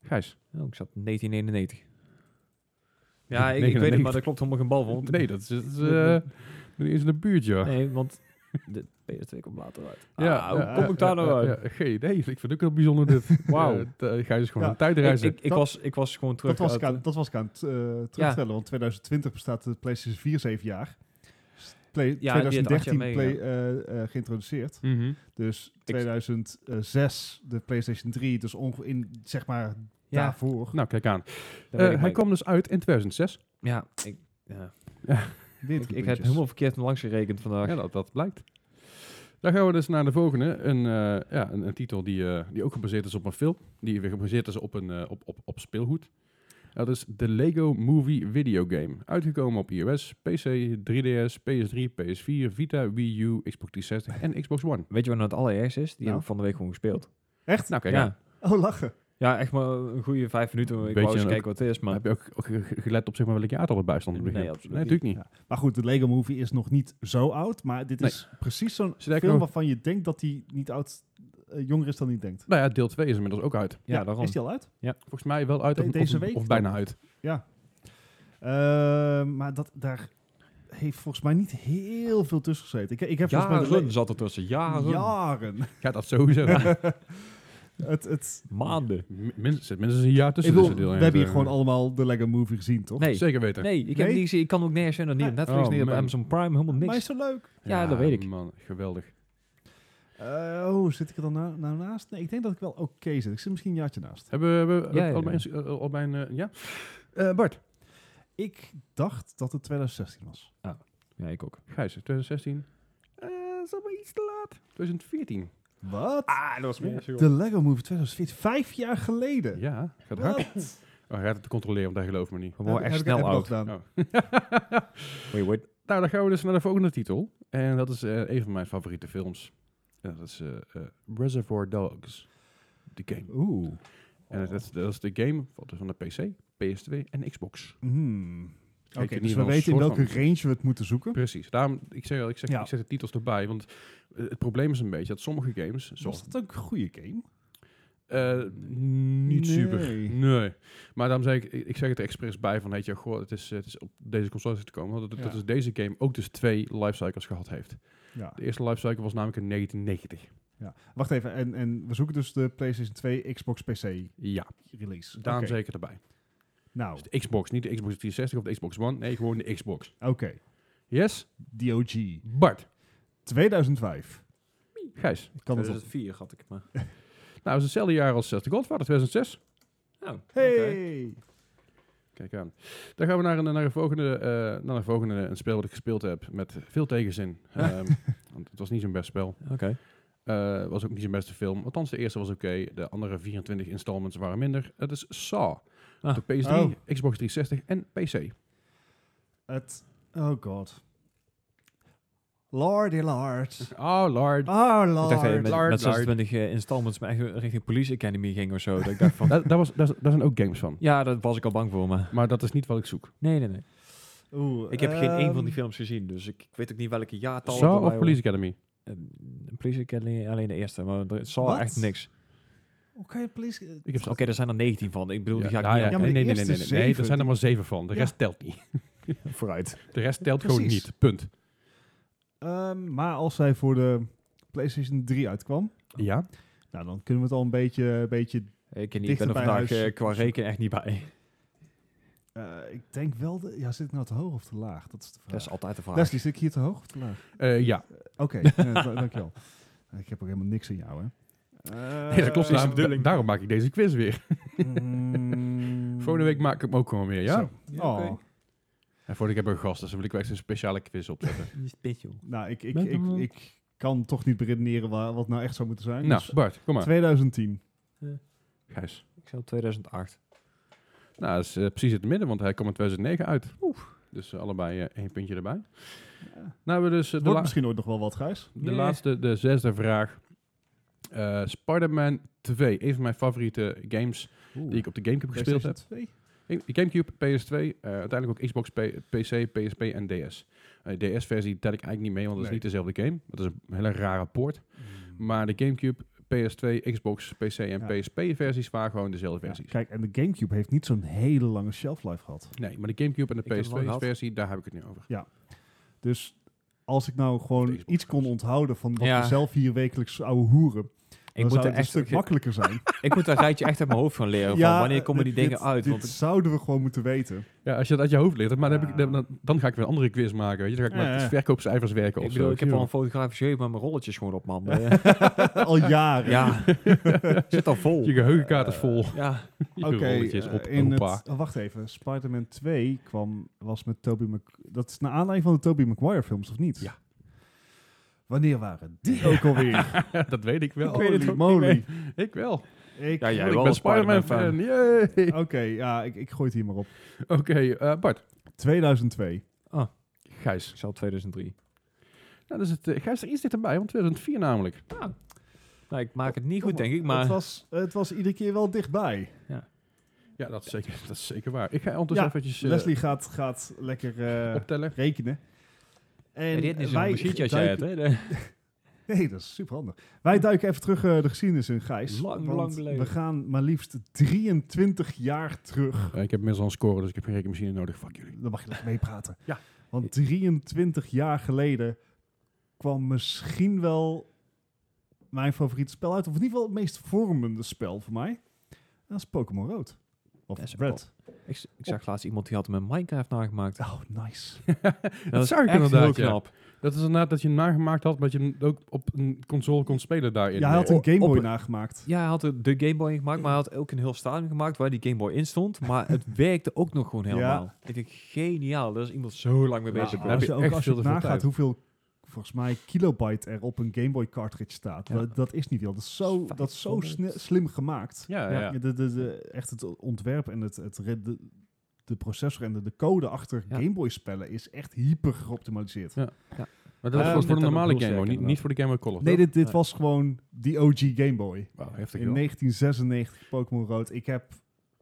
Gijs. Oh, ik zat op 1991. Ja, ik, ik weet het, 99. maar dat klopt helemaal geen bal van. want- Nee, dat is... Dat is eh, dat is in de buurt, ja. Nee, want de PS2 komt later uit. Ja, Ah, hoe ja, kom ja, ik daar nou ja, uit? ja, geen idee. Ik vind het ook heel bijzonder dit. Wauw. Eh, t- eh, Gijs is gewoon Ja, een tijdreizer. Ik, ik, ik Dat- was, ik was gewoon terug Dat was, ik uit- aan, dat was ik aan het eh, terugtellen, want 2020 bestaat de PlayStation 4 zeven jaar. S- Play, die had acht jaar 2013 mee, play, ja. eh, eh, geïntroduceerd. Mhm. Dus 2006 de PlayStation 3, dus ongeveer in, zeg maar Ja, daarvoor. Nou, kijk aan. daar weet Eh, ik hij mee. kwam dus uit in 2006. Ja, ik... Ja. Eh, Ik, ik heb helemaal verkeerd langs gerekend vandaag. Ja, dat, dat blijkt. Dan gaan we dus naar de volgende. Een, eh, ja, een, een titel die, eh, die ook gebaseerd is op een film. Die weer gebaseerd is op, een, eh, op, op, op speelgoed. Dat is de Lego Movie Video Game. Uitgekomen op iOS, PC, 3DS, PS3, PS4, Vita, Wii U, Xbox 360 en Xbox One. Weet je wat nou het allerergste is? Die Nou. heb ik van de week gewoon gespeeld. Echt? Nou, kijk, ja. ja. Oh, lachen. Ja, echt maar een goede vijf minuten. Ik Beetje wou eens een- kijken wat het is, maar maar... heb je ook, ook ge- gelet op zeg maar, welk jaartal erbij stond? Nee, begin? absoluut nee natuurlijk niet. Ja. Maar goed, de Lego Movie is nog niet zo oud. Maar dit Nee. is precies zo'n Sterker film nog- waarvan je denkt dat hij niet oud, eh, jonger is dan hij denkt. Nou ja, deel 2 is inmiddels ook uit. Ja, daarom. Is die al uit? Volgens mij wel uit De- of, of- deze week of dan? bijna uit. Eh, maar dat, daar heeft volgens mij niet heel veel tussen gezeten. Ik, ik heb volgens mij de Jaren le- zat er tussen. Jaren. jaren. Ja, dat sowieso. het, het, Maanden. Min- Minstens, minstens een jaar tussen ik bedoel, deze deel we en hebben deel hier gewoon twee. allemaal de Lego Movie gezien, toch? Nee, Zeker weten. nee, ik heb Nee? niet gezien. Ik kan ook nergens vinden. Niet op Nee. Netflix, Oh, niet op man. Amazon Prime. Helemaal Maar is niks. zo leuk. Ja, dat weet ik. Man, geweldig. Eh, oh, zit ik er dan na- nou naast? Nee, ik denk dat ik wel oké zit. Ik zit misschien een jaartje naast. Hebben we hebben we Ja, ja, al ja. mijn... eh, al mijn eh, ja? Eh, Bart. Ik dacht dat het 2016 was. Ja, ik ook. Gijs, 2016. Eh, dat is allemaal iets te laat. 2014. Wat? Ah, dat was de Lego Movie 2014. Vijf jaar geleden. Ja, gaat Wat? hard. Oh, hij gaat het controleren, want hij gelooft me niet. We worden Heb- echt heb ik- heb snel ik ook oud. gedaan. Oh. Wait, wait. nou, dan gaan we dus naar de volgende titel. En dat is eh, een van mijn favoriete films. En dat is eh, eh, Reservoir Dogs. De game. Oeh. En dat is, dat is de game van de- van de PC, PS2 en Xbox. Hmm. Oké, in ieder dus geval we een weten in soort welke van- range we het moeten zoeken. Precies. Daarom, ik zeg, al, ik zeg, Ja. ik zeg de titels erbij, want eh, het probleem is een beetje dat sommige games, zoals Was dat ook een goede game? Eh, niet Nee. super. Nee. Maar daarom zeg ik, ik zeg het er expres bij van, heet je, goh, het is, het is op deze console te komen. Dat, dat Ja. is deze game ook dus twee lifecycles gehad heeft. Ja. De eerste lifecycle was namelijk in 1990. Wacht even, en, en we zoeken dus de PlayStation 2 Xbox PC Ja, release. daarom Oké. zeg ik het erbij. Nou, Dus de Xbox, niet de Xbox 360 of de Xbox One. Nee, gewoon de Xbox. oké. Yes? DOG. Bart. 2005. Gijs. Kan dat op. 2004 had ik het maar. Nou, het is hetzelfde jaar als eh, The Godfather, 2006. Oh, oké. Hey! Kijk aan. Dan gaan we naar een, naar een volgende, eh, naar een volgende een spel wat ik gespeeld heb met veel tegenzin. Ehm, want het was niet zo'n best spel. Oké. Eh was ook niet zijn beste film. Althans, de eerste was oké. De andere 24 installments waren minder. Het is Saw. Ah. De PS3, Oh. Xbox 360 en PC. Het... Oh god. Lordy lord. Oh, lord. Oh Ik dacht dat je lord. met, Lard, met 26 eh, installments maar echt richting Police Academy ging of zo. Dat ik dacht van... Dat- dat was, dat, daar zijn ook games van. Ja, daar was ik al bang voor, maar... Maar dat is niet wat ik zoek. Nee, nee, nee. Oeh, Ik heb geen één van die ehm, films gezien, dus ik, ik weet ook niet welke jaartal het Saw erbij of Police Academy? hoort. Ehm, Police Academy alleen de eerste, maar er Saw Wat? echt niks. Hoe kan je please... eh, Ik heb Oké, er zijn er 19 van. Ik bedoel, die ga ik ja, niet ja, aan- maar nee, de nee, nee, nee, eerste nee, nee. Nee, Er zeven, zijn er maar zeven van. De Ja. rest telt niet. Vooruit. De rest telt gewoon Precies. niet. Punt. Ehm, maar als zij voor de PlayStation 3 uitkwam, Ja. nou dan kunnen we het al een beetje... Een beetje Ik, ken niet, ik Dichter ben er bij vandaag huis. eh, qua reken echt niet bij. eh, ik denk wel... De, ja, zit ik nou te hoog of te laag? Dat is de vraag. Dat is altijd de vraag. Leslie, zit ik hier te hoog of te laag? Eh, ja. Oké, eh, da- dankjewel. Ik heb ook helemaal niks aan jou, hè? Nee, dat klopt. Eh, daarom, da- daarom maak ik deze quiz weer. Mm. Volgende week maak ik hem ook gewoon weer, ja? Zo. Oh. En voor ik heb een gast, dus dan wil ik wel echt een speciale quiz opzetten. Nou, ik, ik, Met ik, hem, eh. ik kan toch niet beredeneren wa- wat nou echt zou moeten zijn. nou, Dus Bart, kom maar. 2010. Gijs. Ik zou 2008. Nou, dat is eh, precies in het midden, want hij komt in 2009 uit. Dus eh, allebei eh, één puntje erbij. Nou hebben we dus eh, de, Wordt la- misschien ooit nog wel wat, Gijs. de Nee. laatste, de zesde vraag. Eh Spider-Man 2, een van mijn favoriete games die ik op de Gamecube gespeeld heb. PlayStation 2? Ik- Gamecube, PS2, eh, uiteindelijk ook Xbox, P- PC, PSP en DS. Eh, DS-versie tel ik eigenlijk niet mee, want dat is Nee. niet dezelfde game. Dat is een hele rare poort. Mm, Maar de Gamecube, PS2, Xbox, PC en Ja. PSP-versies waren gewoon dezelfde Ja, versies. kijk, en de Gamecube heeft niet zo'n hele lange shelf life gehad. Nee, maar de Gamecube en Ik heb hem al de gehad. PS2-versie, daar heb ik het nu over. Dus als ik nou Of de gewoon Xbox iets kon onthouden van wat Ja. we zelf hier wekelijks ouwe hoeren, Ik moet, zou er het een echt, stuk makkelijker zijn. eh, ik moet dat rijtje echt uit mijn hoofd gaan leren. van wanneer komen die dit- dingen uit? Dit Want ik- zouden we gewoon moeten weten. Ja, als je dat uit je hoofd leert, maar dan, heb ik, Ja. dan, dan ga ik weer een andere quiz maken. Weet je? Dan ga ik Ja, met ja. verkoopcijfers werken ik, of bedoel, zo. ik heb al een fotografisch geheugen met mijn rolletjes gewoon op man. Eh, Al jaren. ja, zit al Eh, vol. Je geheugenkaart is vol. Ja, Je Oké, rolletjes eh, op in het- opa. oh, wacht even. Spider-Man 2 kwam, was met Tobey Mac- Dat is naar aanleiding van de Tobey Maguire films, of niet? Ja. Wanneer waren die ook alweer? dat weet ik wel. Ik weet het Holy ook niet moly. Ik wel. Ik- Ja, jij wel ik ben als Spider-Man Spider-Man fan. Oh, Yay. Oké, ja, ik, ik gooi het hier maar op. Oké, eh, Bart. 2002. Gijs. ik zal 2003. Nou, dus het, eh, Gijs er iets dichterbij, want 2004 namelijk. Nou, ik maak het niet goed, Kom denk ik, Het maar... was, het was iedere keer wel dichtbij. Ja, dat is zeker, dat is zeker waar. Ik ga ondertussen Ja, eventjes eh, Leslie gaat, gaat lekker eh, optellen. rekenen. En dit is wij een muziekje als jij het, duiken- hè? Nee, dat is super handig. Wij duiken even terug eh, de geschiedenis in, Gijs. Lang, want lang geleden. We gaan maar liefst 23 jaar terug. Eh, ik heb inmiddels al een score, dus ik heb geen rekenmachine nodig. Fuck jullie. Dan mag je lekker meepraten. Ja. Want 23 jaar geleden kwam misschien wel mijn favoriete spel uit. Of in ieder geval het meest vormende spel voor mij. En dat is Pokémon Rood. Dat is Of ook Red. Ik, ik zag laatst iemand die had met Minecraft nagemaakt. Oh, nice. Dat is zag ik echt heel inderdaad, ja. knap. Dat is inderdaad dat je hem nagemaakt had, maar dat je hem ook op een console kon spelen daarin. Ja, hij had Eh, een Game Boy op- nagemaakt. Ja, hij had de de Game Boy gemaakt, maar hij had ook een heel stadion gemaakt waar die Game Boy in stond. Maar het werkte ook nog gewoon helemaal. Ik denk, geniaal. Daar is iemand zo lang mee Nou, bezig. heb als geweest. je je, ook echt als je veel te veel nagaat tijd. hoeveel, volgens mij, kilobyte er op een Game Boy cartridge staat. Ja. Dat, dat is niet veel. Dat is zo, dat is zo 500. sne- slim gemaakt. Ja, ja. Ja. Ja, de, de, de, echt het ontwerp en het, het, re- de, de processor en de, de code achter Ja. Game Boy spellen is echt hyper geoptimaliseerd. Maar dat Ja, was voor de dat normale bedoel Game Boy, ik, niet, inderdaad. niet voor de Game Boy Color. Nee, toch? dit, dit Nee. was gewoon die OG Game Boy. Wauw, heftig In wel. 1996 Pokémon Rood. Ik heb,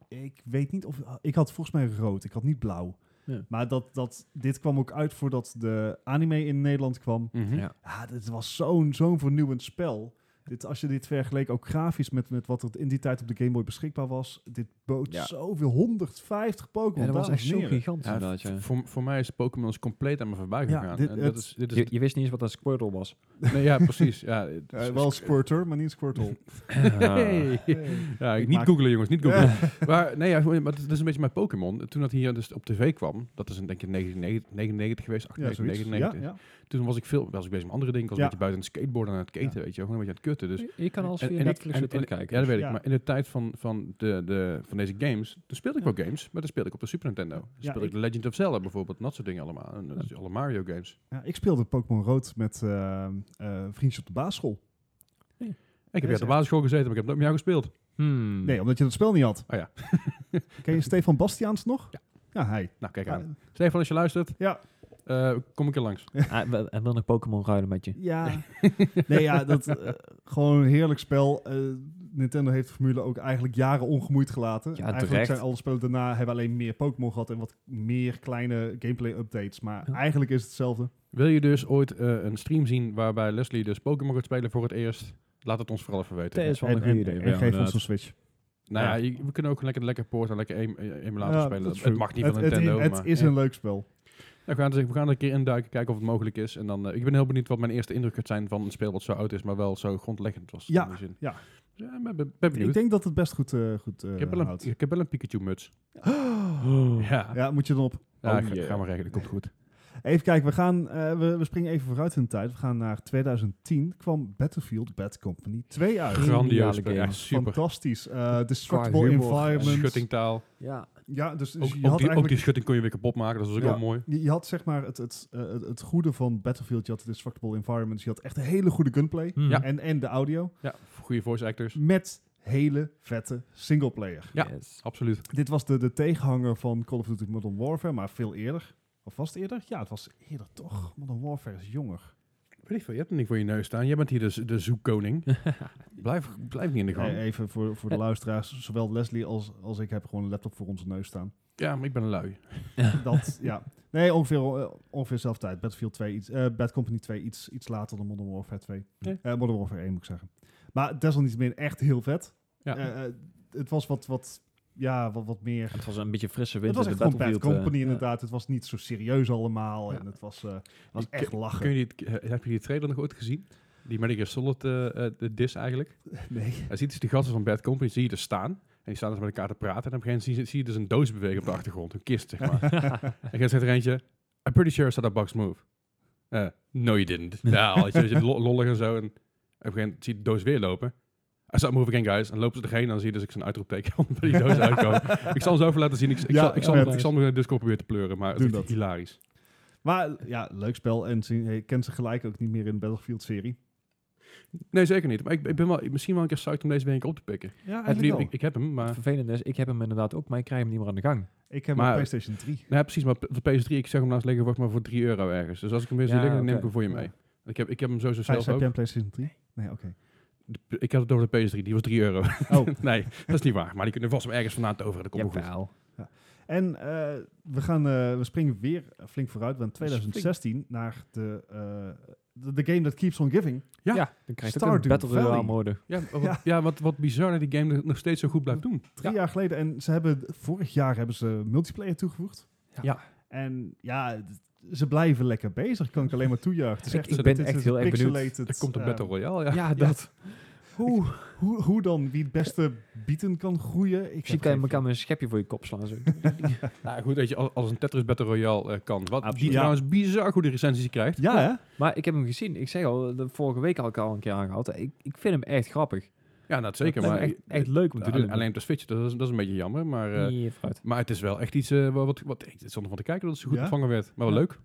ik weet niet of, ik had volgens mij rood, ik had niet blauw. Ja. Maar dat, dat, dit kwam ook uit voordat de anime in Nederland kwam. Mhm. Ja. Ja, dit was zo'n zo'n vernieuwend spel. Dit, als je dit vergeleek ook grafisch met, met wat er in die tijd op de Game Boy beschikbaar was. Dit bood Ja. zoveel, 150 Pokémon. Ja, dat was dames echt en zo heren. gigantisch Ja, inderdaad, ja. Voor, voor mij is Pokémon dus compleet aan me voorbij Ja, gegaan. dit- en dat het- is, dit is Je, je wist niet eens wat een Squirtle was. nee, ja, precies. Ja, het is- Eh, wel Squirter, maar niet Squirtle. Ah. Hey. Ja, Ik niet maak- googelen jongens, niet googelen. maar nee, ja, maar dat is dus een beetje mijn Pokémon. Toen dat hier dus op tv kwam, dat is in denk ik 1999 geweest, ja, 98, zoiets. Ja, 99. ja. Toen was ik veel, was ik bezig met andere dingen, ik was Ja. een beetje buiten het skateboarden aan het keten, Ja. weet je, wel, gewoon een beetje aan het kutten. Dus je kan alles En- via en- Netflix weer en- en- terugkijken. Ja, dat weet ik. Ja. Maar in de tijd van, van, de, de, van deze games, toen speelde ik wel games, maar dan speelde ik op de Super Nintendo. Dan Ja, speelde ik ik- The Legend of Zelda bijvoorbeeld, en dat soort dingen allemaal. En, eh, Alle Mario games. Ja, ik speelde Pokémon Rood met eh, eh, vriendjes op de basisschool. Ik heb is op de echt- basisschool gezeten, maar ik heb nooit met jou gespeeld. Hmm. Nee, omdat je dat spel niet had. Oh ja. Ken je Stefan Bastiaans nog? Ja. Ja, hij. Nou, kijk Ah, aan. Stefan, als je luistert, Ja. eh, kom ik er langs. Ah, we- en wil nog Pokémon ruilen met je. Ja. nee, ja, dat, eh, gewoon een heerlijk spel. Eh, Nintendo heeft de formule ook eigenlijk jaren ongemoeid gelaten. eigenlijk terecht. zijn alle spellen daarna hebben alleen meer Pokémon gehad en wat meer kleine gameplay updates. Maar Ja. eigenlijk is het hetzelfde. Wil je dus ooit eh, een stream zien waarbij Leslie dus Pokémon gaat spelen voor het eerst? Laat het ons vooral even weten. Dat is wel en een en- goede idee. en ja, geef ons inderdaad. een Switch. Nou ja, Ja. je- we kunnen ook lekker lekker poort en lekker em- eh, emulator Ja, spelen. dat is Het true. mag niet het, van het- Nintendo, Het, maar- is Ja. een leuk spel. Ja, we, gaan er, we gaan er een keer induiken, kijken of het mogelijk is. En dan, eh, ik ben heel benieuwd wat mijn eerste indruk gaat zijn van een speel wat zo oud is, maar wel zo grondleggend was. Ja, in die zin. ja. Dus ja, ben, ben- ben benieuwd. Ik Ik, denk dat het best goed, eh goed eh, heb wel een, houdt. ik heb wel een Pikachu-muts. Oh. Ja, ja. Ja, moet je dan op. ik ga, Oh, jee. ga maar regelen, komt goed. Even kijken, we, gaan, eh, we, we springen even vooruit in de tijd. We gaan naar 2010. kwam Battlefield Bad Company 2 uit. Geniale Grandioos spel, game. ja, super. Fantastisch. eh Qua destructible humor eh, en environment. Schuttingtaal. Ja. Ja, dus, dus Ook, je ook had die, ook die eigenlijk... schutting kon je weer kapot maken, dat was ook Ja. wel mooi. Je je had zeg maar het, het, eh, het- het goede van Battlefield, je had de destructible environments, dus je had echt een hele goede gunplay Hmm. Ja. en, en de audio Ja, goede voice actors. met hele vette singleplayer. Ja. Yes. Absoluut. Dit was de, de tegenhanger van Call of Duty Modern Warfare, maar veel eerder. Of was het eerder? Ja, het was eerder toch. Modern Warfare is jonger. Weet ik veel, je hebt hem niet voor je neus staan. Jij bent hier de, de zoekkoning. blijf, blijf niet in de gang. Eh, even voor, voor de luisteraars, zowel Leslie als, als ik heb gewoon een laptop voor onze neus staan. Ja, maar ik ben een lui. Dat, ja. Nee, ongeveer, eh, ongeveer zelfde tijd. Battlefield 2, iets, eh, Bad Company 2, iets, iets later dan Modern Warfare 2. Ja. Eh, Modern Warfare 1 moet ik zeggen. Maar desalniettemin echt heel vet. Ja. Eh, eh, het was wat, wat, ja, wat, wat meer... Het was een beetje frisse Het wind was in echt de gewoon Bad Battlefield. eh, Company ja. inderdaad. Het was niet zo serieus allemaal. Ja. En het was, eh, was Ik- echt lachen. Kun je die, eh, heb je die trailer nog ooit gezien? die Metal Gear Solid eh, eh, de dis eigenlijk. Nee. Hij ziet dus die gasten van Bad Company, zie je dus staan. En die staan dus met elkaar te praten. En op een gegeven moment zie je, zie je dus een doos bewegen op de achtergrond. Een kist, zeg maar. en dan zegt er eentje, I'm pretty sure I saw that box move. Eh, no, you didn't. Ja, al, weet je, weet je, lo- lollig en zo. En op een gegeven moment zie je de doos weer lopen. I saw it move again, guys. En dan lopen ze erheen en dan zie je dus ik zo'n uitroepteken onder die doos uitkomen. ik zal hem zo even laten zien. Ik, ik Ja, zal, ik zal, vet. ik zal mijn Discord proberen te pleuren, maar het Doe is dat. hilarisch. Maar ja, leuk spel. En ze- je kent ze gelijk ook niet meer in de Battlefield-serie. Nee, zeker niet. Maar ik, ik ben wel, misschien wel een keer psyched om deze week op te pikken. Ja, Ik, eigenlijk wel. ik, ik heb hem, maar... Het vervelende is, ik heb hem inderdaad ook, maar ik krijg hem niet meer aan de gang. Ik heb Maar- een PlayStation 3. Nou, ja, precies. Maar op de PS3, ik zeg hem naast liggen, wordt maar voor 3 euro ergens. Dus als ik hem weer zie Ja, liggen, dan neem ik oké. hem voor je mee. Ik heb, ik heb hem sowieso Gijs, zelf heb ook. jij een PlayStation 3? Nee, oké. De- Ik had het over de PS3, die was 3 euro. Oh, nee, dat is niet waar. Maar die kunnen vast wel ergens vandaan toveren, dat komt wel goed. Jawel. en eh, we, gaan, eh, we springen weer flink vooruit. Want 2016 naar de, eh, de, de game that keeps on giving. Ja, Ja. dan krijg je ook een Stardew Battle Royale Valley. mode. Ja, wat, Ja. ja. wat, wat bizar dat die game nog steeds zo goed blijft doen. Drie Ja. jaar geleden. En ze hebben, vorig jaar hebben ze multiplayer toegevoegd. Ja. En ja, d- ze blijven lekker bezig. Kan ik alleen maar toejuichen. Het is Ik- echt ik een- ben dit is echt een heel erg benieuwd. pixelated, Er komt een eh, Battle Royale, ja. Ja, dat. Oeh. Hoe, hoe dan? Wie het beste bieten kan groeien? Ik Ik zie heb kan je geen- elkaar met een schepje voor je kop slaan. Zo. Nou goed, weet je, al- als een Tetris Battle Royale eh, kan. Wat die Absoluut. trouwens bizar goede recensies krijgt. Ja, hè? maar ik heb hem gezien. Ik zeg al, de vorige week had ik al een keer aangehaald. Ik, ik vind hem echt grappig. Ja, dat zeker. Het Maar lijkt me echt, echt leuk om te alleen, doen. alleen op de Switch, dat is, dat is een beetje jammer. Maar, eh, Hier, vooruit. maar het is wel echt iets eh, wat... wat ik zat ervan te kijken dat het zo goed Ja? ontvangen werd. Maar wel Ja. leuk.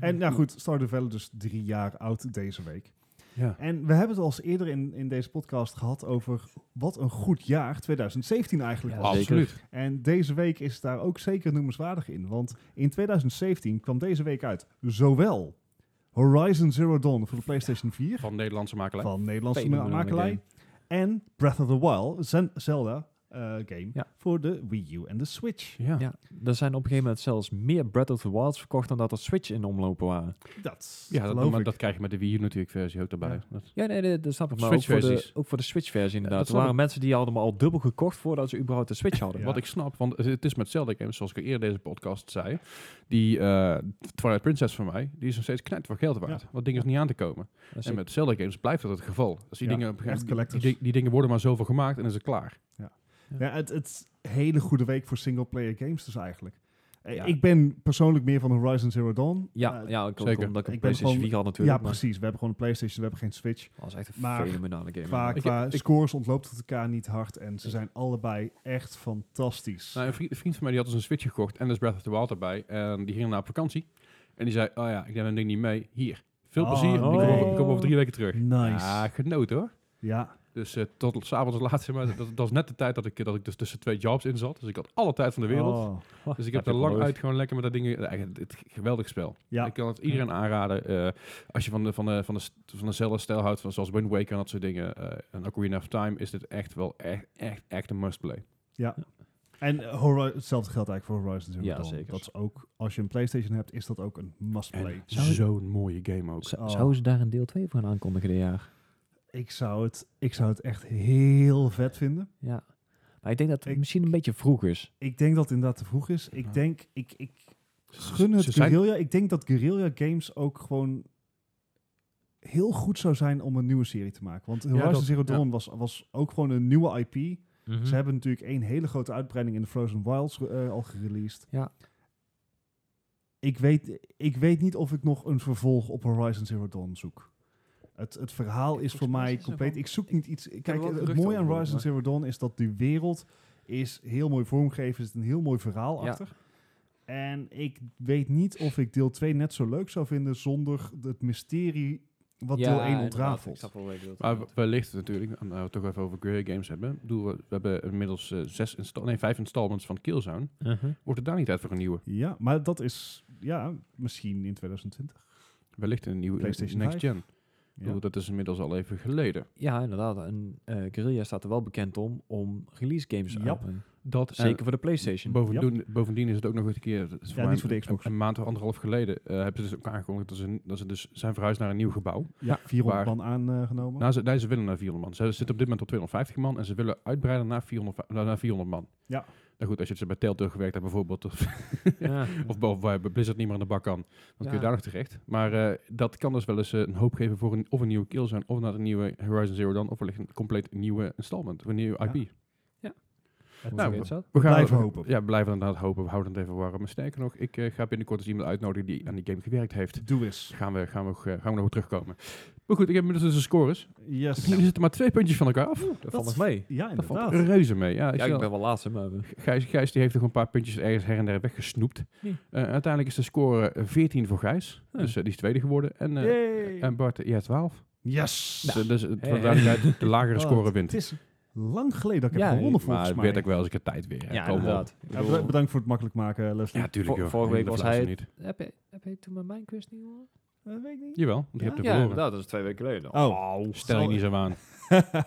En nou goed, Stardew Valley dus drie jaar oud deze week. Ja. En we hebben het al eens eerder in, in deze podcast gehad over wat een goed jaar 2017 eigenlijk Ja, was. zeker. Absoluut. En deze week is daar ook zeker noemenswaardig in. Want in 2017 kwam deze week uit zowel Horizon Zero Dawn voor de PlayStation 4 Van Nederlandse makelij. van Nederlandse Fenomenale makelij. En Breath of the Wild, Zen- Zelda eh, game, Ja. voor de Wii U en de Switch. Ja. Ja, er zijn op een gegeven moment zelfs meer Breath of the Wilds verkocht dan dat er Switch in omlopen waren. Dat Ja, dat, geloof maar ik. dat krijg je met de Wii U natuurlijk versie ook daarbij. Ja. Dat- Ja, nee, nee, dat snap ik. Maar ook voor, de, Switch-versies. ook voor de Switch-versie inderdaad. dat er snap waren mensen die hadden hem al dubbel gekocht voordat ze überhaupt de Switch hadden. Ja. Wat ik snap, want het- het is met Zelda games, zoals ik al eerder deze podcast zei, die eh, Twilight Princess van mij, die is nog steeds knijt voor geld waard. Ja. Dat ding is niet aan te Dat komen. is En Dus ik- met Zelda games blijft dat het geval. Als die Ja, dingen op een echt gegeven moment- die, collectors. die- die dingen worden maar zoveel gemaakt en is het klaar. Ja, het, het is een hele goede week voor single-player games dus eigenlijk. Eh, Ja. Ik ben persoonlijk meer van Horizon Zero Dawn. ja, Eh, ja, ik zeker. zeker. omdat ik een Ik ben PlayStation gewoon- 4 had ja, natuurlijk. maar precies. We hebben gewoon een PlayStation, we hebben geen Switch. Dat was echt een Maar fenomenale game. Qua, Ik- qua ik- scores ontloopt het elkaar niet hard en ze zijn allebei echt fantastisch. Nou, een, vriend, een vriend van mij die had dus een Switch gekocht en dus Breath of the Wild erbij. En die ging naar op vakantie. En die zei, oh ja, ik neem dat ding niet mee. Hier, veel Oh, plezier. Ik, kom nee. over, ik kom over drie weken terug. Nice. Ja, genoten hoor. Ja, Dus eh, tot s'avonds laat, zeg maar. Dat, dat was net de tijd dat ik, dat ik dus tussen twee jobs in zat. Dus ik had alle tijd van de wereld. Oh, Dus dat ik heb er heb ik lang wel uit gewoon lekker met dat ding... eh, Het, het geweldig spel. Ja. Ik kan het iedereen aanraden. eh, als je van de, van de, van de, st- van dezelfde stijl houdt, van, zoals Wind Waker en dat soort dingen... eh en Ocarina of Time, is dit echt wel echt, echt, echt een must-play. En eh, Hori- hetzelfde geldt eigenlijk voor Horizon Zero Ja, Dawn. zeker. Dat is ook, als je een PlayStation hebt, is dat ook een must-play. Zou het- Zo'n mooie game ook. Z- Oh. Zouden ze daar een deel 2 voor gaan aankondigen dit jaar? Ik, zou het, ik zou het echt heel vet vinden. Ja. Maar ik denk dat het Ik- misschien een beetje vroeg is. Ik denk dat het inderdaad te vroeg is. Ik Ja. denk, ik, ik Ze- gun het ze zijn- Guerrilla. Ik denk dat Guerrilla Games ook gewoon heel goed zou zijn om een nieuwe serie te maken. Want Horizon dat- Zero ja. Dawn was, was ook gewoon een nieuwe IP. Mhm. Hm. Ze hebben natuurlijk één hele grote uitbreiding in de Frozen Wilds eh, al gereleased. Ja. Ik weet, ik weet niet of ik nog een vervolg op Horizon Zero Dawn zoek. Het, het verhaal is voor volgens mij mij is er compleet. wel- Ik zoek niet iets. Kijk, wel het, het geruchten mooie aan over, Horizon maar- Zero Dawn is dat die wereld is heel mooi vormgegeven. Er zit een heel mooi verhaal Ja. achter. En ik weet niet of ik deel 2 net zo leuk zou vinden zonder het mysterie wat deel 1 ontrafelt. Maar we- wellicht natuurlijk, nou, we het toch even over Guerrilla Games hebben. Ik bedoel, we, we hebben inmiddels eh, zes insta- nee, vijf installments van Killzone. Uh-huh. Wordt het daar niet tijd voor een nieuwe? Ja, maar dat is ja, misschien in 2020. Wellicht een nieuwe PlayStation next 5. gen. Ik bedoel, dat is inmiddels al even geleden. Ja, inderdaad. En eh Guerrilla staat er wel bekend om, om release games Ja. uit te brengen. Dat en Zeker voor de PlayStation. Bovendien, bovendien is het ook nog eens een keer. dat is voor niet mij voor de Xbox. Een, een maand of anderhalf geleden eh, hebben ze dus ook aangekondigd dat ze, dat ze dus zijn verhuisd naar een nieuw gebouw. Ja, 400 waar- man aangenomen. Nou, ze, nee, ze willen naar 400 eh, man. Ze zitten op dit moment op 250 man en ze willen uitbreiden naar 400, fa- naar- naar 400 man. Ja. Nou goed, als je dus bij Telltale gewerkt hebt bijvoorbeeld, of, Ja. of boven waar Blizzard niet meer aan de bak kan, dan kun Ja. je daar nog terecht. Maar eh, dat kan dus wel eens eh, een hoop geven voor een, of een nieuwe Killzone, of naar een nieuwe Horizon Zero Dawn, of wellicht een compleet nieuwe installment, of een nieuwe IP. Nou, Hoe heet dat? We Blijven hopen. Ja, we blijven inderdaad hopen. We houden het even warm. Maar sterker nog, ik eh, ga binnenkort eens iemand uitnodigen die aan die game gewerkt heeft. Doe eens. Gaan we, gaan we, nog, eh, gaan we nog op terugkomen. Maar goed, ik heb inmiddels dus de scores. Yes. Er zitten maar twee puntjes van elkaar af. dat dat valt nog mee. Ja, Dat valt inderdaad. reuze mee. Ja, ik Ja, zie ik al- ben wel laatste, maar... we- Gijs, Gijs die heeft toch een paar puntjes ergens her en der weggesnoept. Ja. Eh, uiteindelijk is de score eh, 14 voor Gijs. Ja. Dus eh, die is tweede geworden. En, eh, Yay. en Bart, eh, ja, 12. Yes. Dus, Nou, eh, Dus het Hey. wordt duidelijkheid, de lagere Wat? score wint. Het is lang geleden dat ik Ja, heb gewonnen, maar volgens het mij. werd ook wel eens een keer tijd weer. hè. Ja, Kom op. inderdaad. Ik Ja, bedoel- beda- bedankt voor het makkelijk maken, eh, Leslie. Ja, tuurlijk. Vor- joh. vorige week Dat was laatste hij- Niet. Heb je, heb je toen mijn Minecraft niet gehoord? Dat weet ik niet. Jawel, want je Ja? hebt er Ja, verloren. inderdaad, dat is twee weken geleden. Oh. Stel je niet zo aan.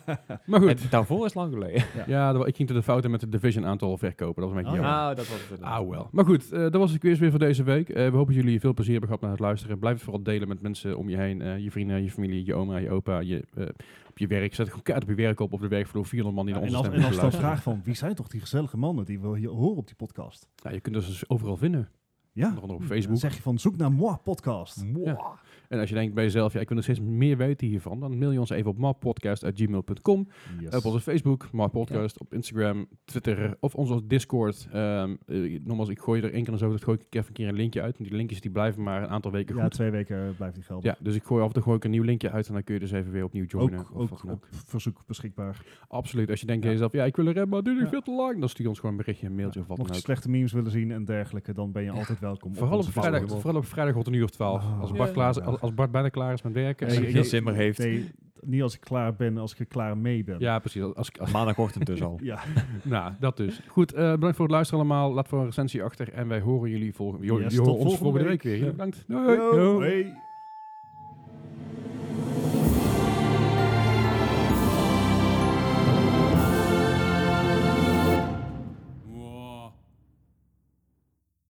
maar goed. Het- daarvoor is lang geleden. Ja, dat wa- ik ging tot de fouten met het Division aantal verkopen. Dat was een beetje jammer. Nou, dat was het inderdaad. Ah, wel. Maar goed, eh, dat was de quiz weer voor deze week. Eh, we hopen dat jullie veel plezier hebben gehad naar het luisteren. Blijf het vooral delen met mensen om je heen. eh, je vrienden, je familie, je oma, je opa, je, eh, op je werk. Zet gewoon kaart op je werk op, op de werkvloer. 400 man die Ja, naar en onze als, stem en als willen dan luisteren. vraag van wie zijn toch die gezellige mannen die we hier horen op die podcast? Nou, je kunt ons dus overal vinden. Ja, Onder andere op dan Facebook. zeg je van zoek naar moi podcast. Ja. En als je denkt bij jezelf, ja, ik wil nog steeds meer weten hiervan, dan mail je ons even op mappodcast.gmail.com. Yes. Op onze Facebook, mappodcast, op Instagram, Twitter of onze Discord. Ehm eh, nogmaals, ik gooi er één keer zo, dat gooi ik even een keer een linkje uit. Want die linkjes die blijven maar een aantal weken Ja, goed. twee weken eh, blijft die gelden. Ja, dus ik gooi af en toe gooi ik een nieuw linkje uit en dan kun je dus even weer opnieuw joinen. ook of ook wat dan op verzoek beschikbaar. Absoluut. Als je denkt aan jezelf, ja, ik wil er hebben, maar het duurt nog Ja. veel te lang. Dan stuur je ons gewoon een berichtje, een mailtje of wat Mocht dan ook. je slechte memes willen zien en dergelijke, dan ben je altijd welkom. Vooral op, onze vrijdag, Facebook. vooral op vrijdag rond een uur of twaalf. Oh. Als, Bart Ja. klaar, is- als als Bart bijna klaar is met werken. Als Nee, je ik- geen ik- zin meer heeft. Nee, niet als ik klaar ben, als ik er klaar mee ben. Ja, precies. Als, ik- als, Maandagochtend dus al. Ja. nou, dat dus. Goed, eh, bedankt voor het luisteren allemaal. Laat voor een recensie achter. En wij horen jullie volgende, Yes, jullie tot horen ons volgende volgende week, week. weer. Ja, bedankt. Doei. Yo, Doei. hey.